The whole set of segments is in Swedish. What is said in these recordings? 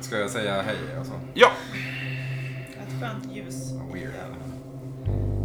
Ska jag säga hej och så? Ja. Ett skönt ljus. Weird. Ja.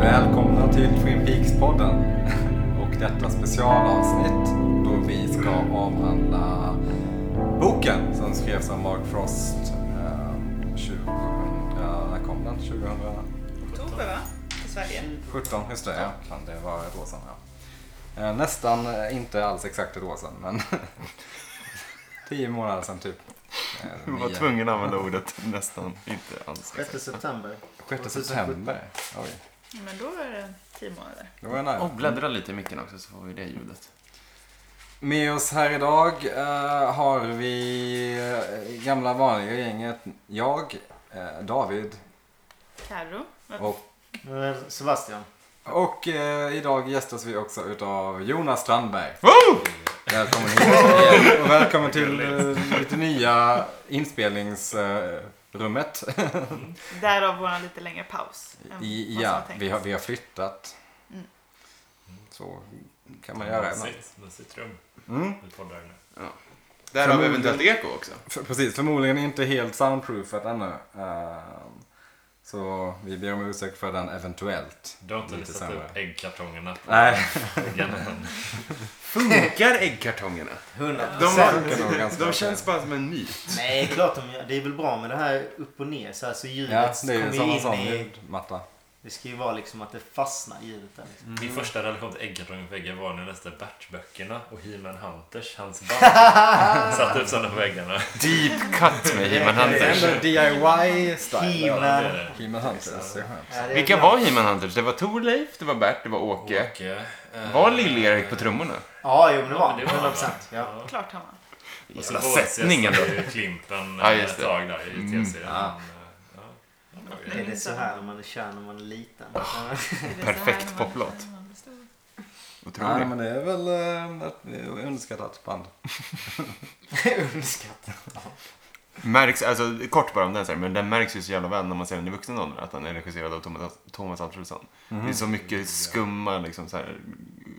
Välkomna till Twin Peaks-podden och detta specialavsnitt då vi ska avhandla boken som skrevs av Mark Frost eh, 2000, när kom den? 2017, Oktober va? I Sverige. just det. Ja, fan, det var ett år sedan. Ja. Eh, nästan eh, inte alls exakt ett år sedan, men tio månader sedan typ. Eh, Jag var nio. tvungen att använda ordet nästan inte alls. 6 september. 6 september. Oj, Men då är det tio månader. det var jag nära. Och bläddra lite i micken också så får vi det ljudet. Med oss här idag eh, har vi eh, gamla vanliga gänget. Jag, eh, David Carro. Men- och, Nu är det eh, Sebastian. och eh, idag gästas vi också utav Jonas Strandberg. Woo! Välkommen hit igen och välkommen till eh, lite nya inspelningsrummet. Därav vår lite längre paus. än vad som var ja, tänkt. vi har, vi har flyttat. Mm. Så kan man göra ibland. Sitt, med sitt rum. Mm. Vi poddar nu. Där har vi eventuellt eko också. För, precis, förmodligen inte helt soundproofat ännu. Eh, så vi ber om ursäkt för den eventuellt. Du har inte Lite listat sämre. upp äggkartongerna. Nej, Äggen. Funkar äggkartongerna? 100 De, funkar nog ganska de känns bara som en myt. Nej, klart de gör. Det är väl bra med det här upp och ner så här så ljudet ja, det är ju kommer som en in sån i... ljudmatta. Det ska ju vara liksom att det fastnar ljudet där. Liksom. Min första relation till äggkartongen på väggen var när jag läste Bert-böckerna och He-Man Hunters, hans band. Satt upp sådana på väggarna. Deep cut med He-Man Det är Hunters. ändå DIY-style. Himla. Det är det. He-Man Hunters, det är skönt. Ja, det är Vilka bra. var He-Man Hunters? Det var Torleif, det var Bert, det var Åke. Och, eh, Var Lill-Erik på trummorna? Ja, jo men det var det var han, 100 procent. Ja. ja. Klart har man. Och så Jävla våldses sättning ändå. ju Klimpen Ja, ja, just ett det. tag där i tv-serien. Mm. Men, eh, ja, det var Är ju- det så här när man är kär när man är liten? Det är så här Perfekt när man- poplåt. när man blir stor. Nej, Otroligt. men det är väl eh, ett underskattat band. Underskattat. Märks, alltså kort bara om den så här, men den märks ju så jävla väl när man ser den i vuxen ålder att den är regisserad av Thomas, Thomas Alfredsson. Mm. Det är så mycket skumma liksom, så här,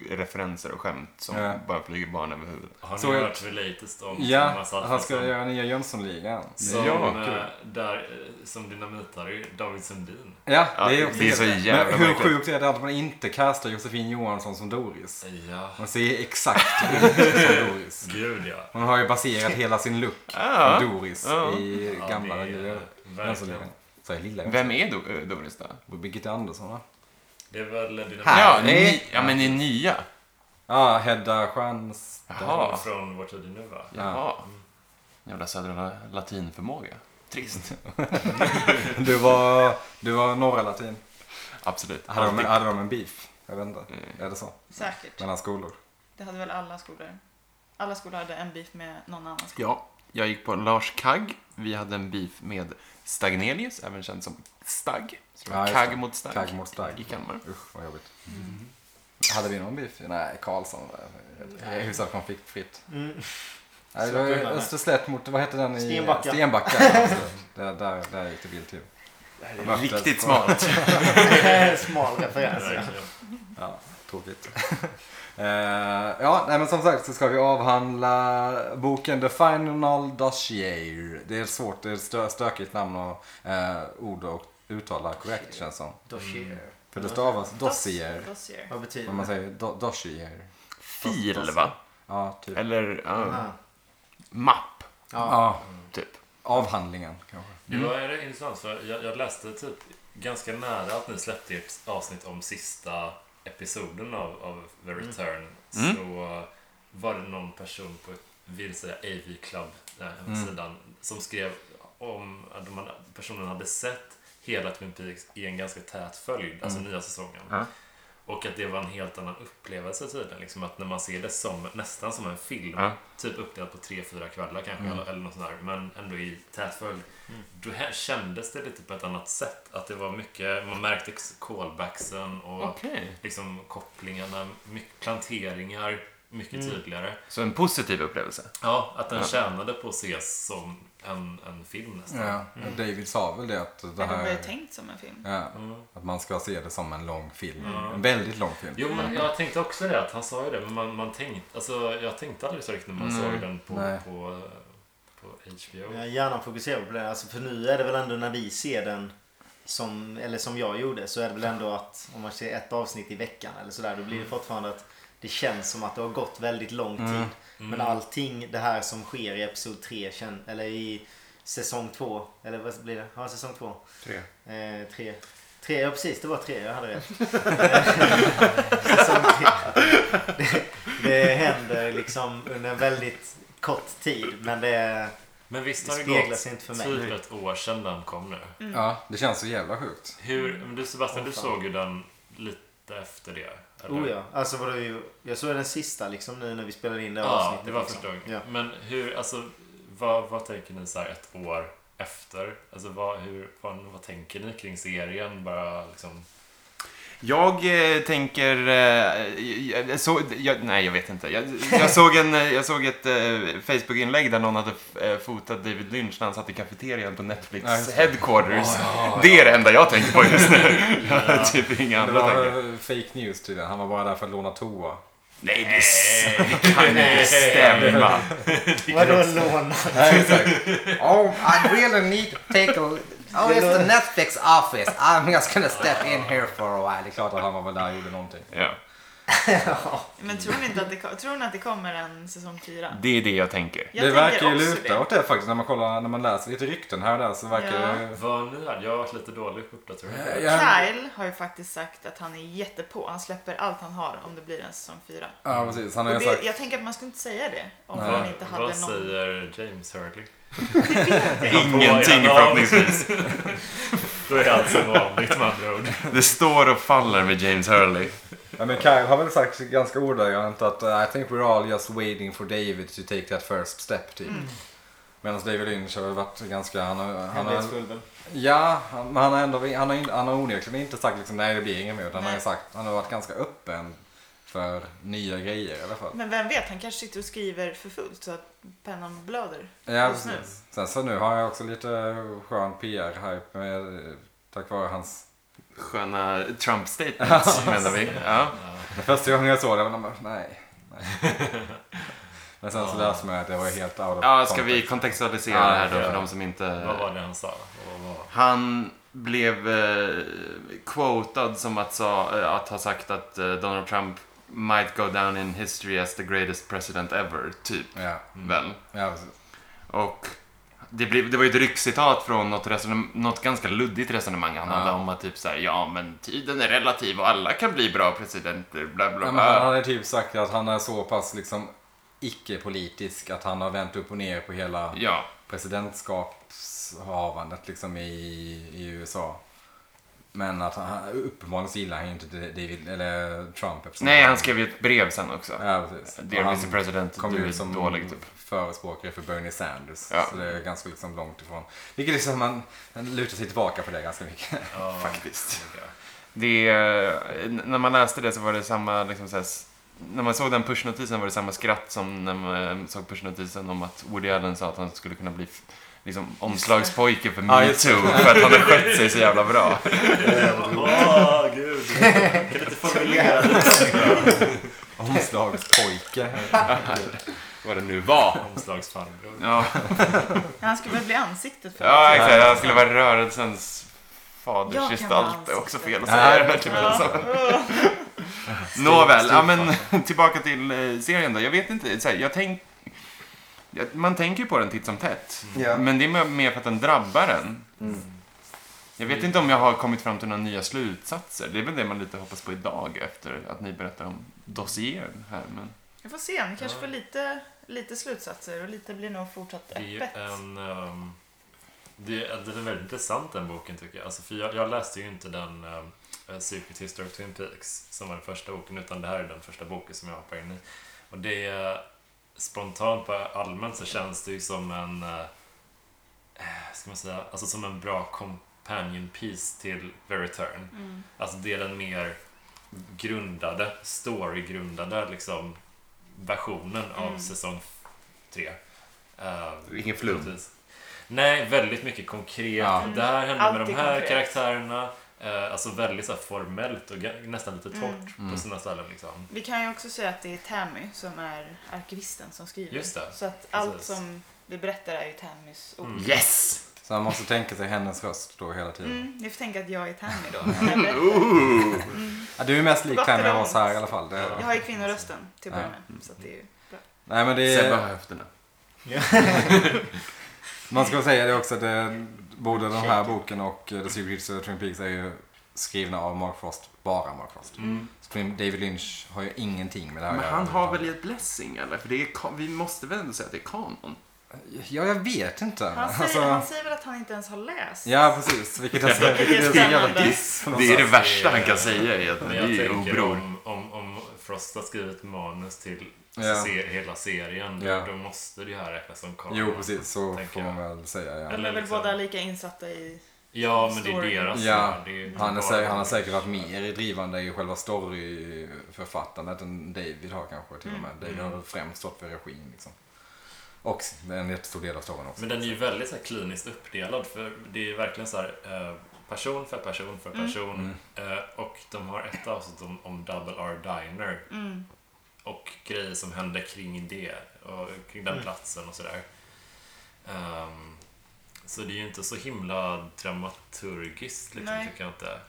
referenser och skämt som Ja. bara flyger barn över huvudet. Har ni Så jag- hört the latest om Ja, Thomas han ska Alfredsson? göra nya Jönssonligan. Som, Ja, kul. eh, där, eh, som dynamit-Harry, David Sundin. Ja, Ja, det är också det är så helt- jävla Men hur märkligt. sjukt är det att man inte castar Josefin Johansson som Doris? Ja, Hon ser exakt ut som Doris. gud ja. Hon har ju baserat hela sin look Ja. på Doris Ja. i Ja, gamla det är- Jönssonligan. Så är lilla Jönssonligan. Vem är Do- eh, Doris då? Birgitta Andersson va? Det är väl dynamit Ja, Här. ni, ja, men ni är nya. Ja, Hedda Stjärns... Jaha. från vår tid nu va? Jaha. Jävla södra latinförmåga. Trist. Du var, du var norra latin. Absolut. Hade de, Alltid. Mm. hade de en beef? Jag vet inte. Är det så? Säkert. Mellan skolor? Det hade väl alla skolor. Alla skolor hade en beef med någon annan skola. Ja, jag gick på Lars Kagg. Vi hade en beef med Stagnelius, även känd som Stagg. Så det Ja, var just det. Kagg Mm. mot Stagg. Kagg mot Stagg. I Kalmar. Usch, vad jobbigt. Hade vi någon beef? Nej, Karlsson. eh, Hyfsat konfliktfritt. Mm. Nej, det var ju Så- Österslätt mot, vad hette den i... Stenbacka. Stenbacka. ja, just det. där, där, där gick det bild till. Det är Riktigt smart. Smal referens. Ja. Verkligen. Ja, tråkigt. Eh, ja, nej, men som sagt så ska vi avhandla boken The Final Dossier. Det är ett svårt, det är ett stö- stökigt namn och eh, ord och uttala korrekt känns som. Dossier. För det stavas dossier. Dossier. Vad Om betyder man det? säger do, dossier. Fil, va? Ja, typ. Eller, ja. Ah. mapp, Ja. typ. Avhandlingen kanske. Det var mm. intressant för jag, jag läste typ ganska nära att ni släppte ert avsnitt om sista episoden av, av The Return. Så var det någon person på, vill säga AV Club, den här Mm. hemsidan, som skrev om att de hade- personen hade sett hela Twin Peaks i en ganska tät följd, alltså nya säsongen. Mm. Ja. Och att det var en helt annan upplevelse tydligen. Liksom att när man ser det som, nästan som en film, Ja. Mm. typ uppdelat på tre, fyra kvällar kanske, eller, eller något sånt där, men ändå i tät följd. Då här kändes det lite på ett annat sätt. Att det var mycket, man märkte callbacksen och liksom kopplingarna, mycket planteringar, mycket Mm. tydligare. Så en positiv upplevelse. Ja, att den tjänade på att ses som en, en film nästan. Ja. Mm. David sa väl det att det Det var ju här... tänkt som en film. Ja, att man ska se det som en lång film. En väldigt lång film. Jo, Mm. men jag tänkte också det, att han sa ju det, men man, man tänkte, alltså jag tänkte aldrig så riktigt när man såg den på, Nej. på, på HBO. Jag gärna fokuserar på det. Alltså, för nu är det väl ändå när vi ser den som, eller som jag gjorde, så är det väl ändå att om man ser ett avsnitt i veckan eller sådär, då blir det fortfarande att det känns som att det har gått väldigt lång tid. Men allting det här som sker i Episod 3, kän- eller i säsong 2, eller vad blir det? Ja, säsong 2. Tre. Eh, tre. Tre, ja precis det var tre, jag hade rätt. Säsong tre. det, det händer liksom under en väldigt kort tid men det är... Men visst Det har det speglas gått inte för mig. Mm. typ ett år sedan den kom nu? Ja, det känns så jävla sjukt. Hur, men du Sebastian, du Åh, fan. såg ju den lite efter det. eller? Oh ja, alltså var det ju, jag såg den sista liksom nu när vi spelade in det Ja, avsnittet. det var liksom. första gången. Ja. Men hur, alltså, vad, vad tänker ni så här ett år efter? Alltså, vad, hur, vad, vad tänker ni kring serien? Bara liksom... Jag eh, tänker... Eh, jag, jag såg, jag, nej, jag vet inte. Jag, jag, såg, en, eh, jag såg ett eh, Facebook-inlägg där någon hade f- eh, fotat David Lynch när han satt i kafeterian på Netflix Ja, just det. headquarters. Det är det enda jag tänker på just nu. Jag har typ inga Det andra var tankar. eh, fake news tydligen. Han var bara där för att låna toa. Nej, det, s- det kan inte stämma. Vadå låna? Nej, exakt. oh, I really need to take a... Oh, it's the Netflix office. I'm just gonna step in here for a while. Det är klart att han var väl där och gjorde någonting. Ja, Men tror ni, inte att det, ko- tror ni att det kommer en säsong fyra? det är det jag tänker. Jag det tänker verkar ju också luta åt det faktiskt när man kollar, när man läser lite rykten här och där så verkar Ja. det... Vad ni hade? Jag har varit lite dålig på uppdatering. Ja, Kyle har ju faktiskt sagt att han är jättepå. Han släpper allt han har om det blir en säsong fyra. ja, precis. Han har Och ju det, sagt... jag tänker att man skulle inte säga det om Nej. han inte hade Vad någon... säger James Hurley? Ingenting förhoppningsvis. Då är allt som vanligt med andra ord. Det står och faller med James Hurley. Ja, men Kyle har väl sagt ganska ordagrant att uh, I think we're all just waiting for David to take that first step typ. Mm. Medan David Lynch har väl varit ganska... Han har, han har, Hemlighetsfull väl? ja, han- men han har ändå... Han har, in- han har onekligen inte sagt liksom nej det blir inget mer. Utan han har, Nej. sagt, han har varit ganska öppen för nya grejer i alla fall. Men vem vet, han kanske sitter och skriver för fullt så att pennan blöder. Ja, just nu. precis. Sen så nu har jag också lite skön PR-hype med, tack vare hans... Sköna Trump-statements menar vi. Ja. Den första gången jag såg det var man bara, nej. nej. Men sen så läste man att det var helt out of Ja, ska vi context. kontextualisera Ja, det här då ja. för de som inte... Vad var det han sa? Vad var- Han blev eh, quotad som att, sa, eh, att ha sagt att eh, Donald Trump might go down in history as the greatest president ever, typ. Ja, Väl. ja precis. Och det, blev, det var ju ett ryckcitat från något, resonem, något ganska luddigt resonemang han Ja. hade om att typ såhär, ja men tiden är relativ och alla kan bli bra presidenter, bla bla Ja, men han bla. hade typ sagt att han är så pass liksom icke-politisk att han har vänt upp och ner på hela Ja, presidentskapshavandet liksom i, i USA. Men att han, uppenbarligen så gillar han ju inte David, eller Trump eftersom nej han skrev ju ett brev sen också. Ja, precis. Dear Och han- Mr President, kom du ju är som dålig typ. förespråkare för Bernie Sanders. Ja. Så det är ganska liksom långt ifrån. Vilket är som man, man lutar sig tillbaka för det ganska mycket. Ja, Faktiskt. okej. Det, eh, n- när man läste det så var det samma, liksom, så här, s- när man såg den pushnotisen var det samma skratt som när man eh, såg pushnotisen om att Woody Allen sa att han skulle kunna bli f- liksom, omslagspojke för Ja, just metoo för att han har skött sig så jävla bra. Åh, gud. Kan du inte formulera det? Omslagspojke. Vad det nu var. Omslagsfarbror. Ja, Han skulle väl bli ansiktet för ja det. exakt. Han skulle vara rörelsens Jag kan fadersgestalt. Det är vara också fel att ansikte. säga den här typen av Ja. saker. Nåväl, ja, men tillbaka till eh, serien då. Jag vet inte, så här, jag tänk, Ja, Man tänker ju på den titt som tätt. Ja. Men det är mer för att den drabbar en. Jag vet inte om jag har kommit fram till några nya slutsatser. Det är väl det man lite hoppas på idag efter att ni berättar om dossieren här. Men... Vi får se, ni kanske Ja. får lite, lite slutsatser och lite blir nog fortsatt Det är ju öppet. en... ehm, det, är- den är väldigt intressant den boken tycker jag. Alltså, för jag, jag läste ju inte den um, Secret History of Twin Peaks som var den första boken utan det här är den första boken som jag hoppar in i. Och det är spontant bara allmänt så känns det ju som en... eh, eh, ska man säga? Alltså som en bra companion piece till The Return. Mm. Alltså det är den mer grundade, storygrundade liksom versionen av Mm. säsong tre. Eh, Ingen flum. precis. Nej, väldigt mycket konkret. Ja. Det här hände med Allt de är här konkret. karaktärerna. Eh, alltså väldigt så här, formellt och ga- nästan lite torrt Mm. på sina ställen liksom. Vi kan ju också säga att det är Tammy som är arkivisten som skriver. Just det. Så att allt Precis. som vi berättar är ju Tammys ord. Mm. Yes! Så man måste tänka sig hennes röst då hela tiden. Mm, ni får tänka att jag är Tammy då. när jag berättar. Ja, du är mest lik Gott Tammy eller av oss här ont? i alla fall. Det, Jag har ju kvinnorösten till att börja Ja. med. Så att det Mm. är ju bra. Nej, men det Sebbe är, har höfterna. man ska säga det också att det, både den här boken och eh, The Secret History of Twin Peaks är ju skrivna av Mark Frost, bara Mark Frost. Mm. Så Twin- David Lynch har ju ingenting med det här Men att göra han har väl överhuvudtaget. ett blessing eller? För det är, ka- vi måste väl ändå säga att det är kanon? Ja, jag vet inte. Han, säger, Alltså- han säger väl att han inte ens har läst. Ja, precis. Vilket alltså, Det är vilket är en jävla spännande. diss. på något Det är det sätt. värsta han kan säga är att Men det jag är ju tänker obror. om, om, om Frost har skrivit manus till Ja. se, hela serien, då- Ja. då måste det ju här räknas som kanon. Jo, precis. Så Tänker får jag. man väl säga. Ja. De är väl liksom- båda lika insatta i... Ja, men det är Story. deras. Ja. det är ju inte Han, är, bara- sä- han har säkert varit mer drivande i själva storyförfattandet än David har kanske till och med. David har väl främst stått för regin liksom. Och det är en jättestor del av storyn också. Men den är ju väldigt så här, kliniskt uppdelad för det är ju verkligen så här eh, person för person för Mm. person. Mm. Eh, och de har ett avsnitt om, om Double R Diner Mm. och grejer som händer kring det och kring den platsen och sådär. Ehm, så det är ju inte så himla dramaturgiskt liksom, Nej. tycker jag inte.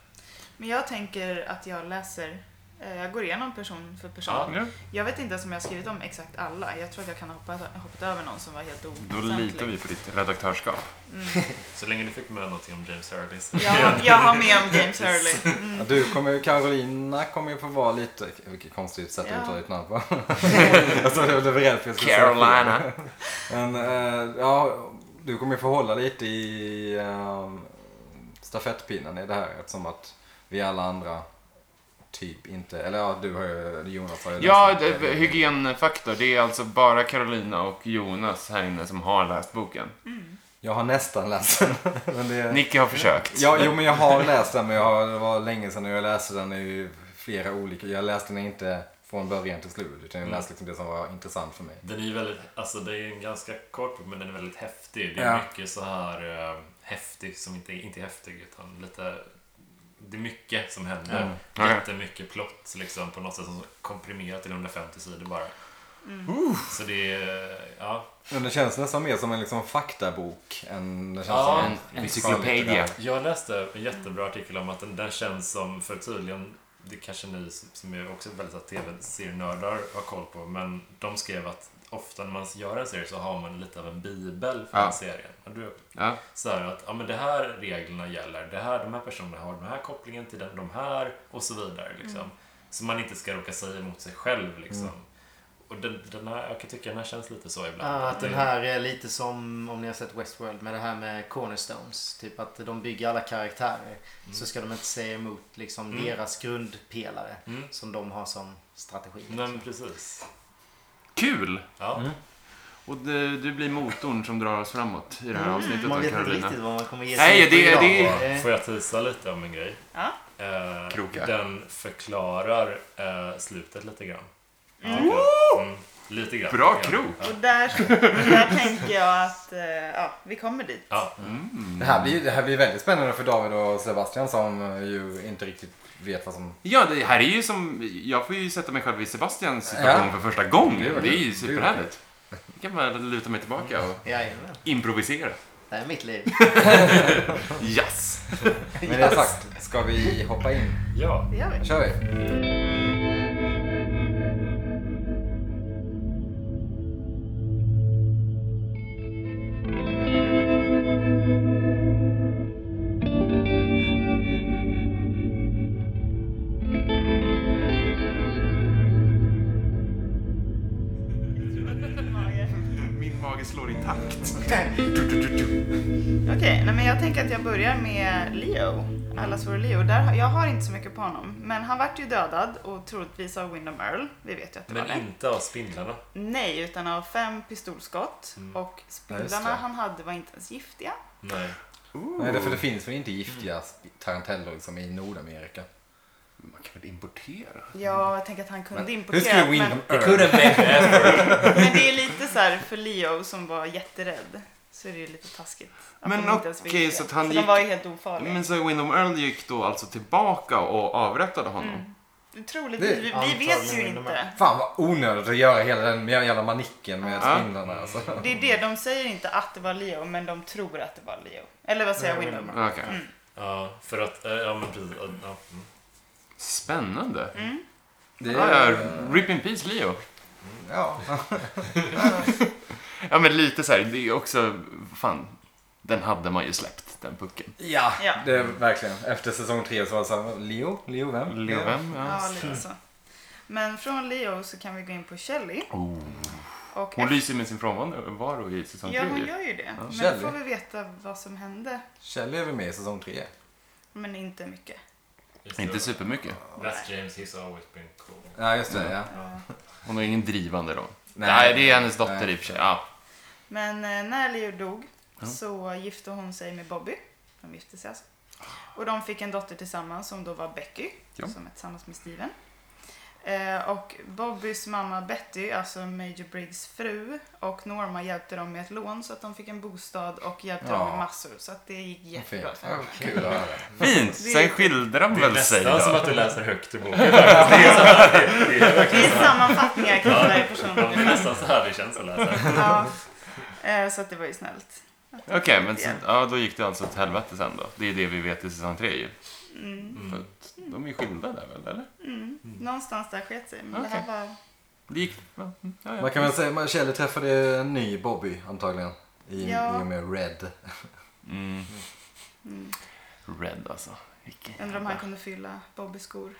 Men jag tänker att jag läser... eh, Jag går igenom person för person. Ja. Ja, Jag vet inte ens om jag har skrivit om exakt alla. Jag tror att jag kan ha hoppat, hoppat över någon som var helt då oväsentlig. Mm. litar vi på ditt redaktörskap. Så länge du fick med någonting om James Hurley så Jag, jag har med om James Hurley. Mm. Ja, Du kommer, Carolina kommer ju få vara lite, vilket konstigt sätt Ja. att uttala ditt namn på. Alltså, jag trodde jag blev rädd för jag skulle säga fel. Men eh, ja, du kommer ju få hålla lite i ehm, stafettpinnen i det här eftersom att vi alla andra typ inte, eller ja du har ju, Jonas har ju Ja, läst den. det- hygienfaktor. Det är alltså bara Carolina och Jonas här inne som har läst boken. Jag har nästan läst den. men det, Nicky har försökt. Eh, ja, jo men jag har läst den men jag har, det var länge sedan och jag läste den i flera olika, jag läste den inte från början till slut utan jag Mm. läste liksom det som var intressant för mig. Den är ju väldigt, alltså det är en ganska kort bok, men den är väldigt häftig. Det är Ja. mycket så här eh, häftig som inte, inte är häftig utan lite det är mycket som händer. Okej. Jättemycket plott liksom på något sätt som komprimerat till 150 sidor bara. Så det är, ja. Men det känns nästan mer som en liksom faktabok än det känns Ja, som En encyklopedia. Mm. Jag läste en jättebra artikel om att den, den känns som, för tydligen, det kanske ni som- som är också väldigt så här tv-serienördar har koll på, men de skrev att ofta när man gör en serie så har man lite av en bibel för Ja. den serien. Har du Ja. så här att ja, men det här reglerna gäller, det här, de här personerna har den här kopplingen till den, de här och så vidare. Liksom. Så man inte ska råka säga emot sig själv. Liksom. Och den, den här, jag kan tycka den här känns lite så ibland. Ja, Ah, att det- den här är lite som om ni har sett Westworld med det här med cornerstones. Typ att de bygger alla karaktärer. Mm. Så ska de inte säga emot liksom deras grundpelare. Mm. Som de har som strategi. Nej, men precis. Kul! Ja. Och du, du blir motorn som drar oss framåt i det här avsnittet Man av vet inte Carolina. riktigt vad man kommer ge Nej, in på det- idag. det- Eh, Och Får jag tisa lite om en grej? Ja. Eh, Kroka. Den förklarar eh, slutet lite grann. Mm, lite grann. Bra Ja. krok! Och där, där tänker jag att eh, ja, vi kommer dit. Ja, Mm. Det här, blir, det här blir väldigt spännande för David och Sebastian som eh, ju inte riktigt vet vad som... Ja, det här är ju som... Jag får ju sätta mig själv i Sebastians situation Ja. för första gången. Det är Det är ju det. superhärligt. Jag kan bara luta mig tillbaka och Jajamän. improvisera. Det här är mitt liv. Yes! Men det sagt, ska vi hoppa in? ja. Det gör vi. kör vi! slaget slår i takt. Okej, nej, men jag tänker att jag börjar med Leo. Allas vår Leo. Där, har- jag har inte så mycket på honom. Men han vart ju dödad och troligtvis av Windham Earl. Vi vet ju att det var Men det. inte av spindlarna. Nej, utan av fem pistolskott. Mm. Och Ja, just spindlarna det. han hade var inte ens giftiga. Nej. Nej, det, för det finns väl inte giftiga sp- tarantellor som i Nordamerika? Man kan väl importera? Ja, jag tänker att han kunde Men importera. Hur skulle men, Windham Det Earl... kunde been men det är lite så här för Leo som var jätterädd. Så är det ju lite taskigt. att Men de inte ens var okej, giftiga. så att han För gick- de var ju helt ofarliga. Men så Windom Earl gick då alltså tillbaka och avrättade honom. Troligtvis, Det- vi, vi antagligen vet ju Windham Earl. inte. Fan vad onödigt att göra hela den jävla manicken med Ja. spindlarna alltså. Det är det, de säger inte att det var Leo, men de tror att det var Leo. Eller vad säger Nej, Windham? Windham Okej. Ja, för att... eh, Ja, men precis. ja, ja, mm. Spännande. Mm. Det Ja, ja, rip in peace, Leo. Ja. Ja, men lite så här, det är ju också, fan, den hade man ju släppt, den pucken. Ja, Ja. det är verkligen. Efter säsong tre så var det såhär, Leo? Leo vem? Leo, vem? Ja. Ja, lite så. Men från Leo så kan vi gå in på Shelley. Oh. Och Hon lyser med sin frånvaro i säsong Ja, hon tre. gör ju det. Men Shelley. då får vi veta vad som hände. Kjell är väl med i säsong tre? Men inte mycket. Just Inte det. supermycket. That's James, he's always been cool. Ja, just det. Ja. Ja. Hon har ingen drivande roll. Nej. Nej, det är hennes dotter Nej. i och för sig. Ja. Men eh, när Leo dog Ja. så gifte hon sig med Bobby. De gifte sig alltså. Och de fick en dotter tillsammans som då var Becky, Ja. som är tillsammans med Steven. Eh, och Bobbys mamma Betty, alltså Major Briggs fru, och Norma hjälpte dem med ett lån så att de fick en bostad och hjälpte dem Ja. med massor. Så att det gick Fint. jättebra för Ja, dem. Kul att höra. Fint! Det är- Sen skildrar hon Det är väl sig nästan som då. att du läser högt ur boken. faktiskt. Det är så här- det Det är verkligen är så här. sammanfattningar kring varje Ja, person. Det är nästan så här det känns att läsa. Ja. Eh, så att det var ju snällt. Att de Okej, fick men så, det. ja, då gick det alltså åt helvete sen då. Det är det vi vet i säsong tre ju. Mm, För att de är ju skilda där väl, eller? mm. Någonstans där sket sig. Men det Okej. här var... Det gick... Ja, mm, ja. Man kan väl säga att Kjell träffade en ny Bobby antagligen. I, Ja. i och med Red. Mm. Mm. Red alltså. Vilken Undrar om jävla- han kunde fylla Bobbys skor.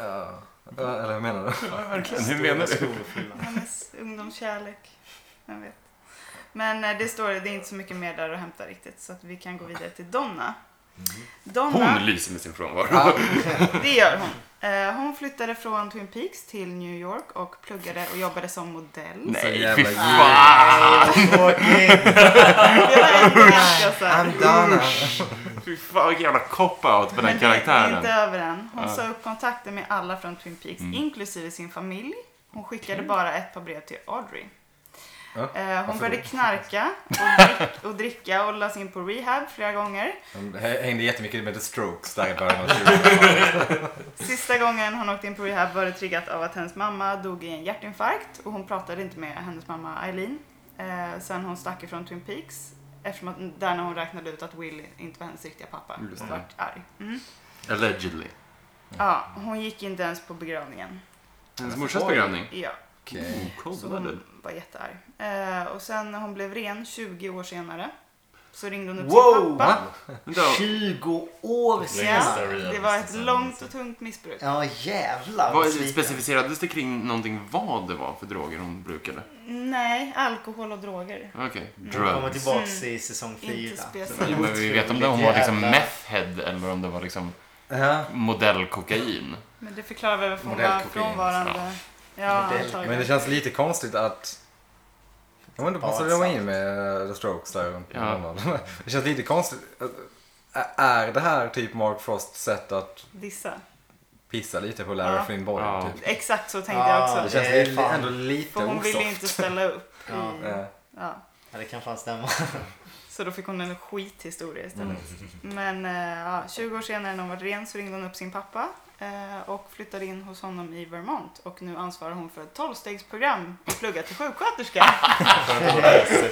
Ja. Ja, eller hur menar du? Ja, verkligen. Hur menar du? Hennes ungdomskärlek. Jag vet. Men eh, det står det är inte så mycket mer där att hämta riktigt så att vi kan gå vidare till Donna. Mm. Donna, Hon lyser med sin frånvaro. det gör hon. Eh, Hon flyttade från Twin Peaks till New York och pluggade och jobbade som modell. Så Nej, jävla Alltså, fy gay. fan! Tråkigt. Det var ändå ganska så här. Donna. Fy fan vilken jävla cop-out på den Men det är inte karaktären. över än. Hon Ja. sa upp kontakten med alla från Twin Peaks, Mm. inklusive sin familj. Hon skickade bara ett par brev till Audrey. Ja, Eh, varför Hon började då? knarka och, drick, och dricka och lades in på rehab flera gånger. De hängde jättemycket med The Strokes där i början av 2000-talet. Sista gången hon åkte in på rehab var det triggat av att hennes mamma dog i en hjärtinfarkt och hon pratade inte med hennes mamma Eileen eh, sen hon stack ifrån Twin Peaks. Eftersom att där när hon räknade ut att Will inte var hennes riktiga pappa. Just Hon det. vart arg. Mm. Allegedly. Ja, hon gick inte ens på begravningen. Hennes morsas Oj. begravning. Ja. Okej. Så Cold-blooded. hon var jättearg. Eh, och sen när hon blev ren 20 år senare så ringde hon upp sin Wow! pappa. Vänta, 20 år Ja, senare. Längsta det var ett rehabprocessen långt någonsin. och tungt missbruk. Ja jävlar vad, vad sviken. specificerades det kring någonting vad det var för droger hon brukade? Nej, alkohol och droger. Okej. Hon kommer Drugs. tillbaks i säsong Mm. Inte 4. Jo, speciellt. Men vi vet om det, hon var liksom meth head eller om det var liksom Ja. modellkokain. Men det förklarar väl varför hon var Modellkokain, frånvarande. Ja, Modell- Men det antagligen. känns lite konstigt att... Jag undrar måste de var in med eh, The Strokes där runt Ja. ja. Det känns lite konstigt. Ä- Är det här typ Mark Frosts sätt att Dissa. pissa lite på Larry Ja. Flynn Boyle? Ja. Typ? Exakt så tänkte Ja, Det jag också. känns det är li- fan- ändå lite För hon ville ju inte osoft. ställa upp. I, Ja. Ja. ja. Ja, det kan fan stämma. Så då fick hon en skithistoria istället. Mm. Men eh, ja, 20 år senare när hon var ren så ringde hon upp sin pappa eh, och flyttade in hos honom i Vermont. Och nu ansvarar hon för ett tolvstegsprogram och pluggar till sjuksköterska.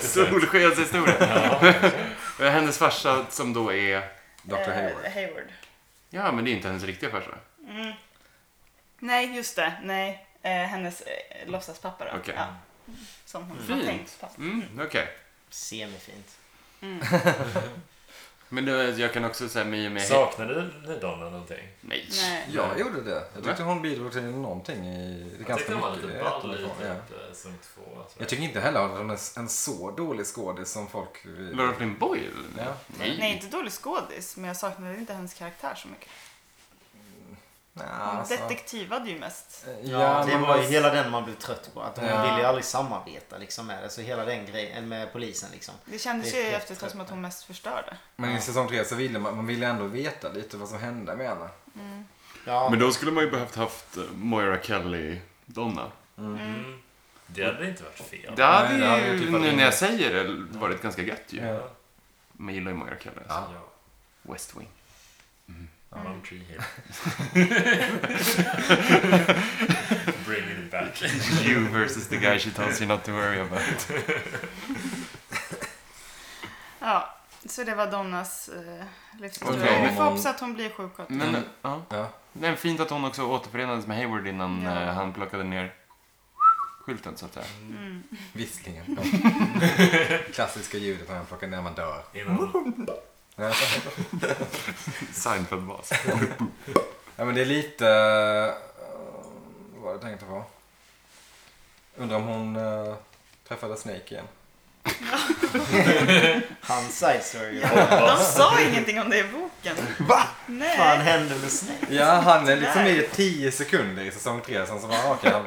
Solskenshistoria. Hennes farsa som då är... Dr. Hayward. Eh, Hayward. Ja, men det är inte hennes riktiga farsa. Mm. Nej, just det. Nej, eh, hennes eh, låtsaspappa då. Okej. Ja. Som hon har Fint. tänkt. Pappa. Mm, okej. Semifint. Men då, jag kan också säga mig och med... Saknade ni Donna någonting? Nej. Nej. Jag gjorde det. Jag tyckte hon bidrog till någonting i det Jag tyckte ganska hon var mycket. lite jag vet ball i inte vad, ja. typ eh, säsong två. sådär. Jag tycker inte heller att hon är en så dålig skådis som folk... Var det Flynn Boyle? Ja. Nej, inte dålig skådis, men jag saknade inte hennes karaktär så mycket. Nej, Hon alltså. eh, detektivade ju mest. Ja, det men var ju vad- hela den man blev trött på. Att de Ja. ville ju aldrig samarbeta liksom med det. Så hela den grejen med polisen liksom. Det kändes Det är ju helt efter ett tag som att hon mest förstörde. Men i säsong tre så ville man, man ville ändå veta lite vad som hände med henne. Ja, Men då skulle man ju behövt haft eh, Moira Kelly-Donna. Mm. Det hade inte varit fel. Det hade Nej, ju, det hade ju typ varit nu när rimligt. jag säger det, varit ganska gött ju. Ja. Man gillar ju Moira Kelly. Så, Alltså. ja. West Wing. One tree here. Bring it back. You versus the guy she tells you not to worry about. Ja, så det var Donnas eh, livshistoria. Okej, Vi men får hon- hoppas att hon blir Mm. sjuksköterska. Men, ja. Ja. Det är fint att hon också återförenades med Hayward innan Ja. eh, han plockade ner skylten så att säga. Mm. Visslingen. Klassiska ljudet när man plockar när man dör. Innan, Seinfeld-bas. Ja men det är lite... eh, Vad var det jag tänkte på? Undrar om hon eh, träffade Snake igen. hans side story. De sa ingenting om det i boken. Va? Vad Nej. fan hände med Snake? Ja han är liksom med i 10 sekunder i säsong 3 sen så bara "Ah, okej. han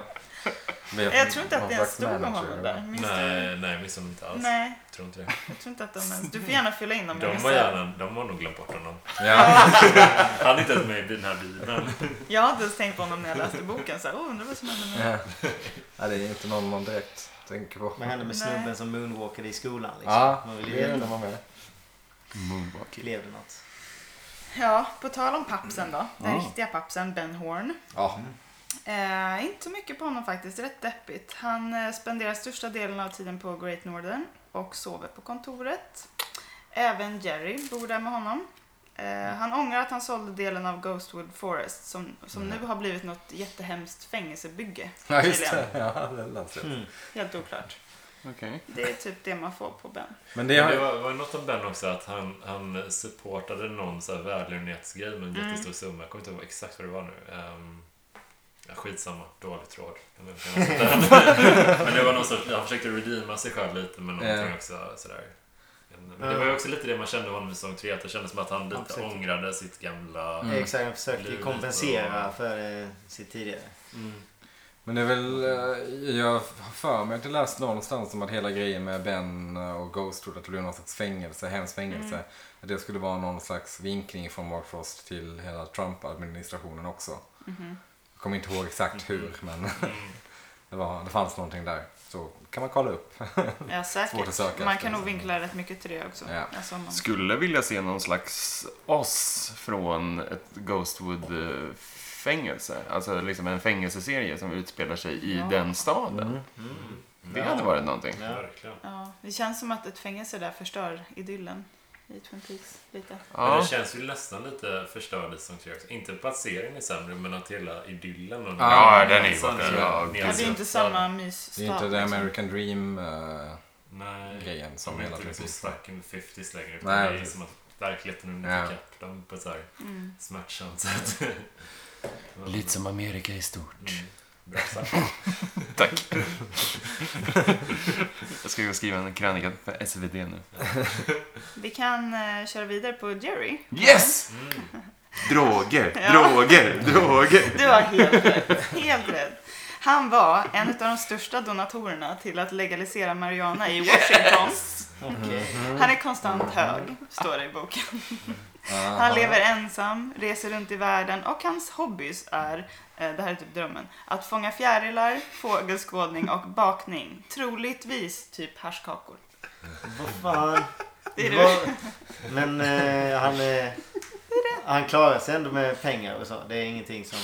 blev Jag tror inte att någon det ens slags stod om manager, honom där. Minns du? nej, nej, minns hon inte alls. Nej, Tror inte det. jag tror inte att de ens... Du får gärna fylla in om jag De har, missar. gärna, de har nog glömt bort honom. Ja. Han är inte ens med i den här bilen. Jag hade ens tänkt på honom när jag läste boken. Så här, oh, undrar vad som hände med ja. ja det är inte någon man direkt tänker på. Vad hände med Nej. snubben som moonwalkade i skolan? Liksom? Ja, Mm. Man vill ju det är veta. det man med. Moonwalking. Blev det något? Ja, på tal om pappsen då. Den Ja. riktiga pappsen, Ben Horn. Ja. Eh, inte så mycket på honom faktiskt, rätt deppigt. Han eh, spenderar största delen av tiden på Great Northern och sover på kontoret. Även Jerry bor där med honom. Mm. Eh, han ångrar att han sålde delen av Ghostwood Forest som, som nu har blivit något jättehemskt fängelsebygge. Mm. Ja just tydligen. det. Ja, det läste jag. Mm. Helt oklart. Okej. Det är typ det man får på Ben. Men det Det Mm. har... var, var något om Ben också att han, han supportade någon så här välgörenhetsgrej med en Mm. jättestor summa. Jag kommer inte ihåg exakt vad det var nu. Ehm, ja, skitsamma, dålig tråd. Jag vet inte vad jag ska- Men det var någon sorts, han försökte redeema sig själv lite med någonting Ja. också. Sådär. Men det var ju också lite det man kände av honom i säsong 3, att det kändes som att han lite Absolut. ångrade sitt gamla... Mm. Exakt, han försökte Livet kompensera och- för eh, sitt tidigare. Men det är väl, eh, jag har för mig att jag läste någonstans om att hela grejen med Ben och Ghost trodde att det blev någon slags fängelse, hemskt fängelse. Mm. Att det skulle vara någon slags vinkning från Mark Frost till hela Trump-administrationen också. Mhm. Jag kommer inte ihåg exakt Mm-hmm. hur men det, var, det fanns någonting där. Så kan man kolla upp. Ja, Svårt att söka säkert. Man efter, kan nog så. vinkla rätt mycket till det också. Ja. Alltså, om man... Skulle vilja se någon slags oss från ett Ghostwood-fängelse. Alltså liksom en fängelseserie som utspelar sig i Ja. den staden. Mm-hmm. Mm. Det hade varit någonting. Mm. Ja. Verkligen. ja, det känns som att ett fängelse där förstör idyllen i Twin Peaks lite. Men det Ja. känns ju nästan lite förstörd i säsong 3 också. Inte på att serien är sämre, men att hela idyllen och Ja, den är ju känslan borta. är Ja, nedsuttad. Ja, det är inte samma mysstad. Alltså, Det är inte the liksom. American Dream eh, Nej. grejen som Mm-hmm. de är hela inte liksom principen. stuck in the 50s längre. utan Nej, det är ju precis. som att verkligheten har hunnit Ja. ikapp dem på ett så här Mm. smärtsamt sätt. Lite som Amerika i stort. Mm. Bra sagt. Tack. jag ska gå och skriva en krönika för SvD nu. Vi kan eh, köra vidare på Jerry. Yes! Droger, Ja. droger, droger. Du har helt rätt. Helt rätt. Han var en av de största donatorerna till att legalisera marijuana i Washington. Okej. Mm. Han är konstant hög, står det i boken. Han Aha. lever ensam, reser runt i världen och hans hobbys är, eh, det här är typ drömmen, att fånga fjärilar, fågelskådning och bakning. Troligtvis typ haschkakor. Vad fan. Det är Vad- du. Men eh, han, eh, han klarar sig ändå med pengar och så. Det är ingenting som...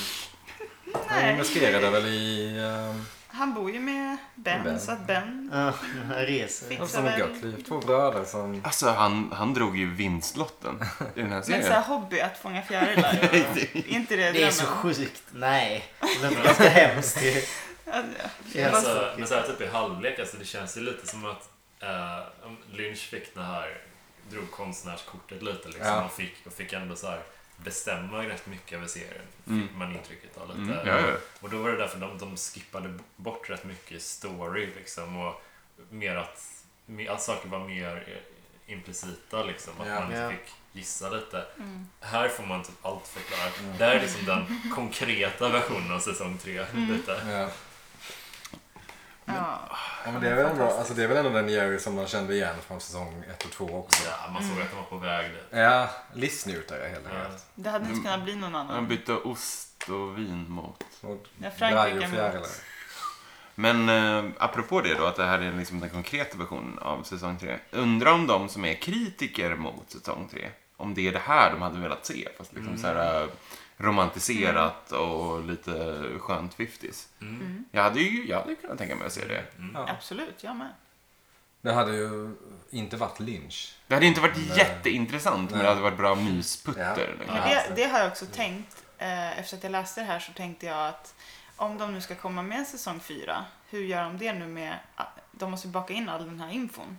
Han Nej. investerade väl i... eh, Han bor ju med Ben, Ben. så att Ben Uh, reser. Vad fixar som ett väl... gött liv. Två bröder som... eh, Alltså han, han drog ju vinstlotten i den här Men så här serien. hobby att fånga fjärilar. Är inte det Det är drömmen? så sjukt. Nej. Det låter ganska hemskt. ju. Ja, Det är Fast- alltså, men så här typ i halvlek, alltså, det känns ju lite som att eh, om Lynch fick den här drog konstnärskortet lite liksom, Ja. och, fick, och fick ändå så här bestämma rätt mycket över serien. Fick man intrycket av lite. Mm, ja, ja. Och då var det därför de, de skippade bort rätt mycket story liksom och mer att, mer, att saker var mer eh, implicita liksom. Att Ja. man inte Ja. fick gissa lite. Här får man typ allt förklarat. Det här är liksom den konkreta versionen av säsong tre. Lite. Ja. Ja. Ja, men det, är väl ändå, alltså, det är väl ändå den Jerry som man kände igen från säsong 1 och 2 också. Ja, man såg att de var på väg dit. Ja, livsnjutare helt Ja. enkelt. Det hade inte kunnat bli någon Han annan. bytte ost och vin mot. Och Ja, Braj Frankrike och fjärilar. mot... Men eh, apropå det då, att det här är liksom den konkreta versionen av säsong 3. Undrar om de som är kritiker mot säsong 3, om det är det här de hade velat se. Fast liksom så här eh, romantiserat och lite skönt fiftis. Mm. Jag hade ju jag hade ju kunnat tänka mig att se det. Ja. Absolut, jag med. Det hade ju inte varit lynch. Det hade inte varit Nej. jätteintressant, men Nej. det hade varit bra mysputter. Ja. Liksom. Men Ja, det, alltså. det har jag också tänkt. Eh, efter att jag läste det här så tänkte jag att om de nu ska komma med en säsong fyra, hur gör de det nu med... De måste ju baka in all den här infon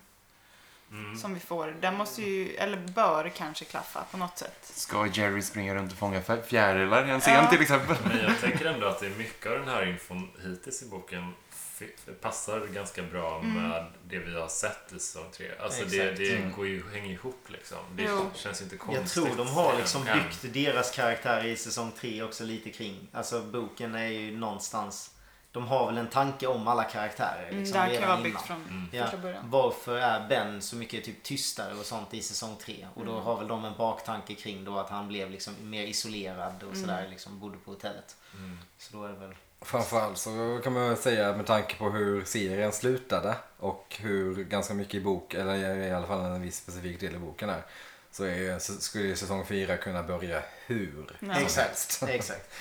Mm. som vi får. Den måste ju, eller bör kanske klaffa på något sätt. Ska Jerry springa runt och fånga fjär- fjärilar i en scen Ja. till exempel? Men jag tänker ändå att det är mycket av den här infon hittills i boken fi- passar ganska bra med det vi har sett i säsong 3. Alltså det, Exakt. det Mm. går ju hänger ihop liksom. Det Jo. känns ju inte Jag konstigt. tror de har liksom än. byggt deras karaktär i säsong 3 också lite kring. Alltså boken är ju någonstans. De har väl en tanke om alla karaktärer. Mm, Liksom, Mm. det här kan ju redan vara byggt innan. från Ja, första början. varför är Ben så mycket typ tystare och sånt i säsong 3? Och Mm. då har väl de en baktanke kring då att han blev liksom mer isolerad och Mm. sådär. Liksom bodde på hotellet. Mm. Så då är det väl... Framförallt så kan man väl säga med tanke på hur serien slutade och hur ganska mycket i bok, eller i alla fall en viss specifik del i boken är. Så är ju, så skulle ju säsong 4 kunna börja hur Ja. som Exakt. helst. Exakt.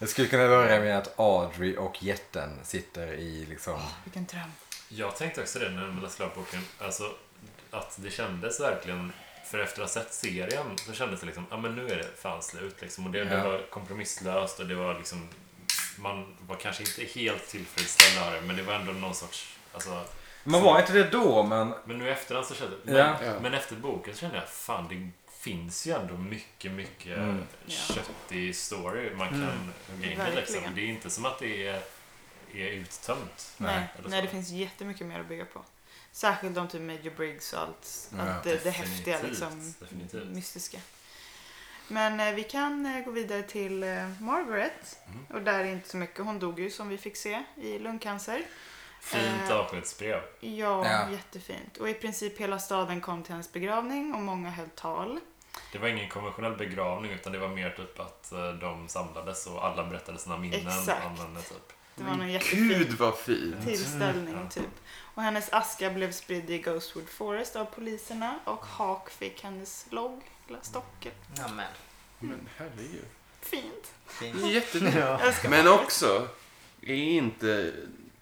Det skulle kunna börja med att Audrey och jätten sitter i liksom... Vilken dröm. Jag tänkte också det när jag läste klart boken. Alltså att det kändes verkligen, för efter att ha sett serien så kändes det liksom, ja men nu är det fan slut liksom. Och det, det Ja. var kompromisslöst och det var liksom, man var kanske inte helt tillfredsställd av det, men det var ändå någon sorts, alltså Man var inte det då, men Men nu i efterhand så kände men, Ja. men efter boken så kände jag fan det finns ju ändå mycket, mycket Mm. köttig story man kan hugga in i liksom. Verkligen. Det är inte som att det är, är uttömt. Nej, Nej, eller nej så. det finns jättemycket mer att bygga på. Särskilt de typ Major Briggs och allt. Ja, allt det, det definitivt, häftiga liksom. definitivt. Mystiska. Men eh, vi kan eh, gå vidare till eh, Margaret. Mm. Och där är inte så mycket. Hon dog ju som vi fick se i lungcancer. Fint Eh. avskedsbrev. Ja, Ja. jättefint. Och i princip hela staden kom till hennes begravning och många höll tal. Det var ingen konventionell begravning utan det var mer typ att eh, de samlades och alla berättade sina minnen. Exakt. om henne, typ. Det var någon jättefin Gud vad Mm. fint! tillställning typ. Och hennes aska blev spridd i Ghostwood Forest av poliserna och Hawk fick hennes logg, eller stockel. Ja, men. Men herregud. Fint. Det Det är- är jättefint. Ja. Jag älskar Men Margaret. också, är inte,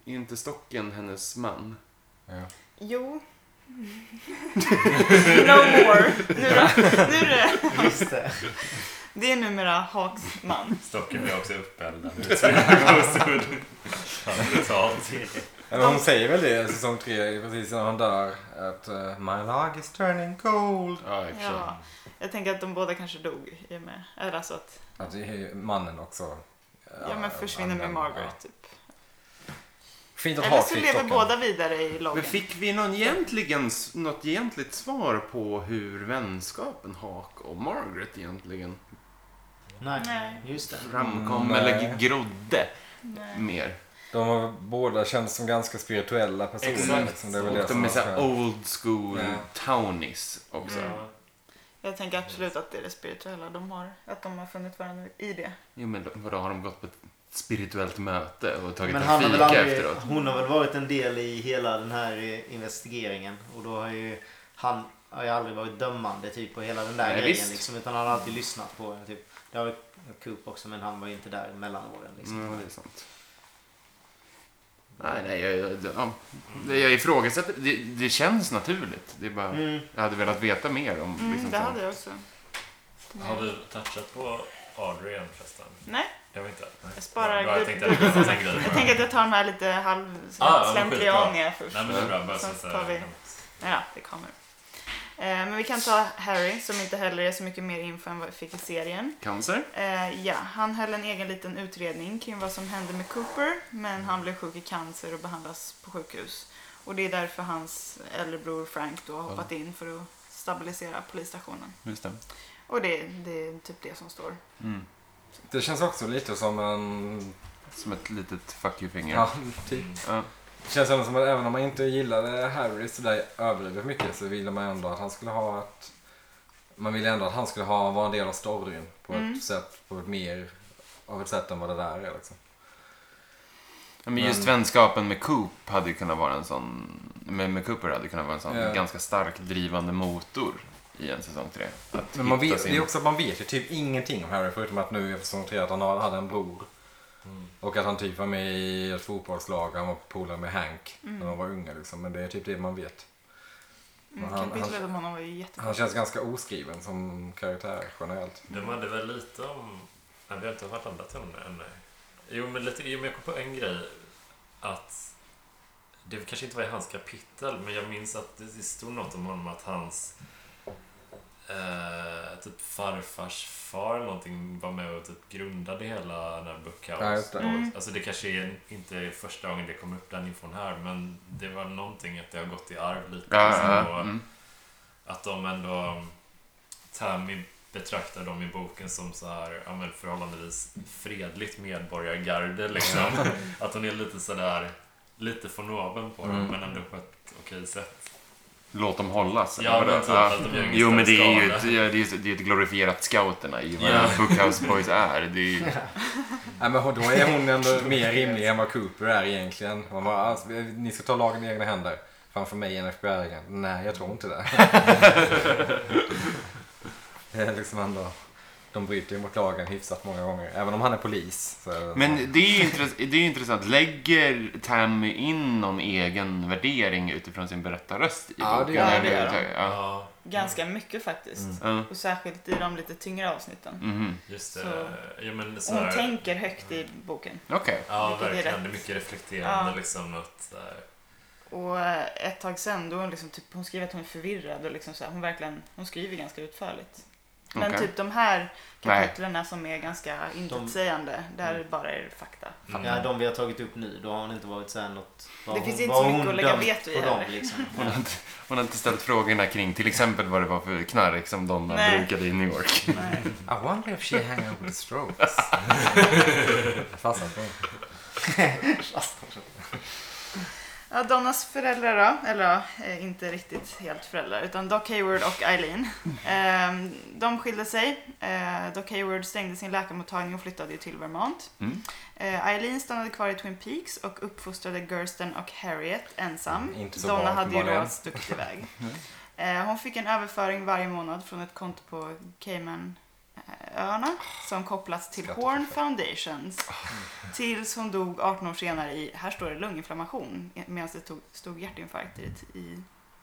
är inte stocken hennes man? Jo. no more. Nu då. Nu är det. Just det. Det är numera Hawks man. Stocken blev också uppeldad. Det var brutalt. Eller hon säger väl det i säsong 3 precis innan hon dör. Att eh, my log is turning cold. Ja, Ja. Jag tänker att de båda kanske dog i och med. Eller alltså att Att det är mannen också. eh, ja, men försvinner med använder- Margaret. Typ. ja. Fint att Eller ha så lever fickdockan. båda vidare i loggen. Men fick vi någon egentligen, något egentligt svar på hur vänskapen Hawk och Margaret egentligen Nej. Nej. Just det. framkom Mm, eller nej. grodde Nej. mer? De har båda känns som ganska spirituella personer. Exakt. Liksom. Det är väl Och det de som är är såhär skönt. old school Ja. townies också. Ja. Jag tänker absolut att det är det spirituella de har. Att de har funnit varandra i det. Jo men då- vadå, har de gått på ett spirituellt möte och tagit Men en han har väl fika aldrig, efteråt? hon har väl varit en del i hela den här eh, investigeringen. Och då har ju han har ju aldrig varit dömande typ på hela den där Nej, grejen. visst. Liksom, utan han har alltid lyssnat på henne. Typ. Det har väl Coop också men han var ju inte där mellan åren. Liksom. Mm. Ja, det är sant. Nej, nej, jag, jag, ja. Det- jag ifrågasätter. Det, det känns naturligt. Det är bara, Mm. Jag hade velat veta mer om... Mm, liksom, det så- hade jag också. Har vi touchat på Audrey än förresten? Nej, Det var inte. jag sparar Bra, jag gud. tänkte att det var en grej. Jag tänker att jag tar de här lite halv Ah, ja, men slentrianiga först. Nej men det är bra, bara Sen så tar att vi- Ja, det kommer. Eh, Men vi kan ta Harry som inte heller är så mycket mer info än vad vi fick i serien. Cancer? Eh, ja, han höll en egen liten utredning kring vad som hände med Cooper, men han blev sjuk i cancer och behandlas på sjukhus. Och det är därför hans äldre bror Frank då har hoppat in för att stabilisera polisstationen. Just det. Och det, det är typ det som står. Mm. Det känns också lite som en... Som ett litet fuck you-finger. Ja, typ. Ja. Det känns ändå som att även om man inte gillade Harry sådär överdrivet mycket så ville man ändå att han skulle ha ett... Man ville ändå att han skulle ha, vara en del av storyn på ett sätt, på ett mer av ett sätt än vad det där är liksom. Ja, men Mm. just vänskapen med Coop hade ju kunnat vara en sån, med, med Cooper hade kunnat vara en sån Ja. ganska stark drivande motor i en säsong tre. Att Men man hitta vet, sin- det är också att man vet ju typ ingenting om Harry förutom att nu är koncentrerat att han har- hade en bror. Och att han typ var med i ett fotbollslag och han var polare med Hank när de var unga liksom. Men det är typ det man vet. Men Mm, han- kapitlet om honom var ju jättekort. Han känns ganska oskriven som karaktär generellt. De hade väl lite om... Nej, vi har inte hört alla toner ännu. Jo, men lite... Jo, men jag kom på en grej. Att... Det kanske inte var i hans kapitel, men jag minns att det det stod något om honom att hans... Eh, typ farfars far eller någonting var med och typ grundade hela den här Ja, just Bookhouse. det. Mm. Alltså det kanske är inte är första gången det kommer upp den infon här, men det var någonting att det har gått i arv lite. Ja, liksom, ja, och- ja. Mm. att de ändå... um, Tammy betraktar dem i boken som så här, ja, men förhållandevis fredligt medborgargarde. Liksom. att hon är lite sådär, lite von oben på dem, Mm. men ändå på ett okej sätt. Låt dem hållas. Ja, eller vadå? men typ Ja. att de gör ingen Jo, större men det är ju skada. ett, ja, det är ju ett, det är ett glorifierat scouterna i vad Ja. Bookhouse Boys är. Det är ju, Nej, men då är hon ändå mer rimlig än vad Cooper är egentligen. Man bara, alltså, ni ska ta lagen i egna händer. Framför mig än fbi igen. Nej, jag tror inte det. det är liksom ändå, de bryter ju mot lagen hyfsat många gånger. Även om han är polis. Så är det men det är ju intress- det är ju intressant. Lägger Tammy in någon egen värdering utifrån sin berättarröst i Ja, det boken? gör han. överhuvudtaget? Ja. Ja, Ganska mycket faktiskt. Mm. Ja. Och särskilt i de lite tyngre avsnitten. Mhm. just Så- det. Ja, men Mm. Och hon sådär, tänker högt i boken. Okej. ja, Vilket är verkligen. rätt. Det är mycket reflekterande. Ja. Liksom, något, sådär. Och eh, ett tag sen då hon, liksom, typ, hon skriver att hon är förvirrad och liksom, så här, hon, verkligen, hon skriver ganska utförligt. Men Okej. typ de här Nej. kapitlerna som är ganska intetsägande, där bara är det fakta. Ja, de vi har tagit upp nu, då har hon inte varit såhär något... vad Det hon- finns inte vad så mycket hon att lägga dömt veto i på dem, heller. liksom. Hon har, inte, hon har inte ställt frågorna kring till exempel vad det var för knark som Donna Nej. brukade i New York. Nej. I wonder if she hang out with strokes. Jag fastnar på det. Ja, Donnas föräldrar då, eller ja, eh, inte riktigt helt föräldrar, utan Doc Hayward och Eileen. Ehm, de skilde sig. Eh, Doc Hayward stängde sin läkarmottagning och flyttade ju till Vermont. Mm. Eh, Eileen stannade kvar i Twin Peaks och uppfostrade Gersten och Harriet ensam. Mm, inte så Donna bra, hade ju då uppenbarligen. stuckit iväg. Mm. Eh, hon fick en överföring varje månad från ett konto på Caymanöarna som kopplats till Skrattar Horn Foundations. Ah. Tills hon dog 18 år senare i, här står det lunginflammation, medan det tog, stod hjärtinfarkt i det, i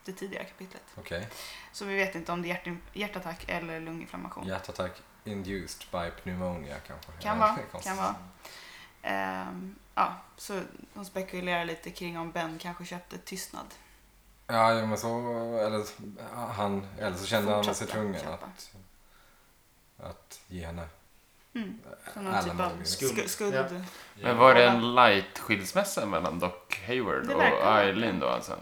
det tidigare kapitlet. Okej. Så vi vet inte om det är hjärtin, hjärtattack eller lunginflammation. Hjärtattack induced by pneumonia kanske. Kan Ja, vara, det är konstigt. kan vara. Ehm, ja, så hon spekulerar lite kring om Ben kanske köpte tystnad. Ja, jo, men så... Eller, han, eller så kände han sig Fortsatte tvungen köpa. att, att ge henne. Mm. Så någon Alla typ av möjliga. Mm. skuld. Skuld. skuld. Ja. Men var det en light-skilsmässa mellan Doc Hayward Det och verkar det. Eileen då alltså?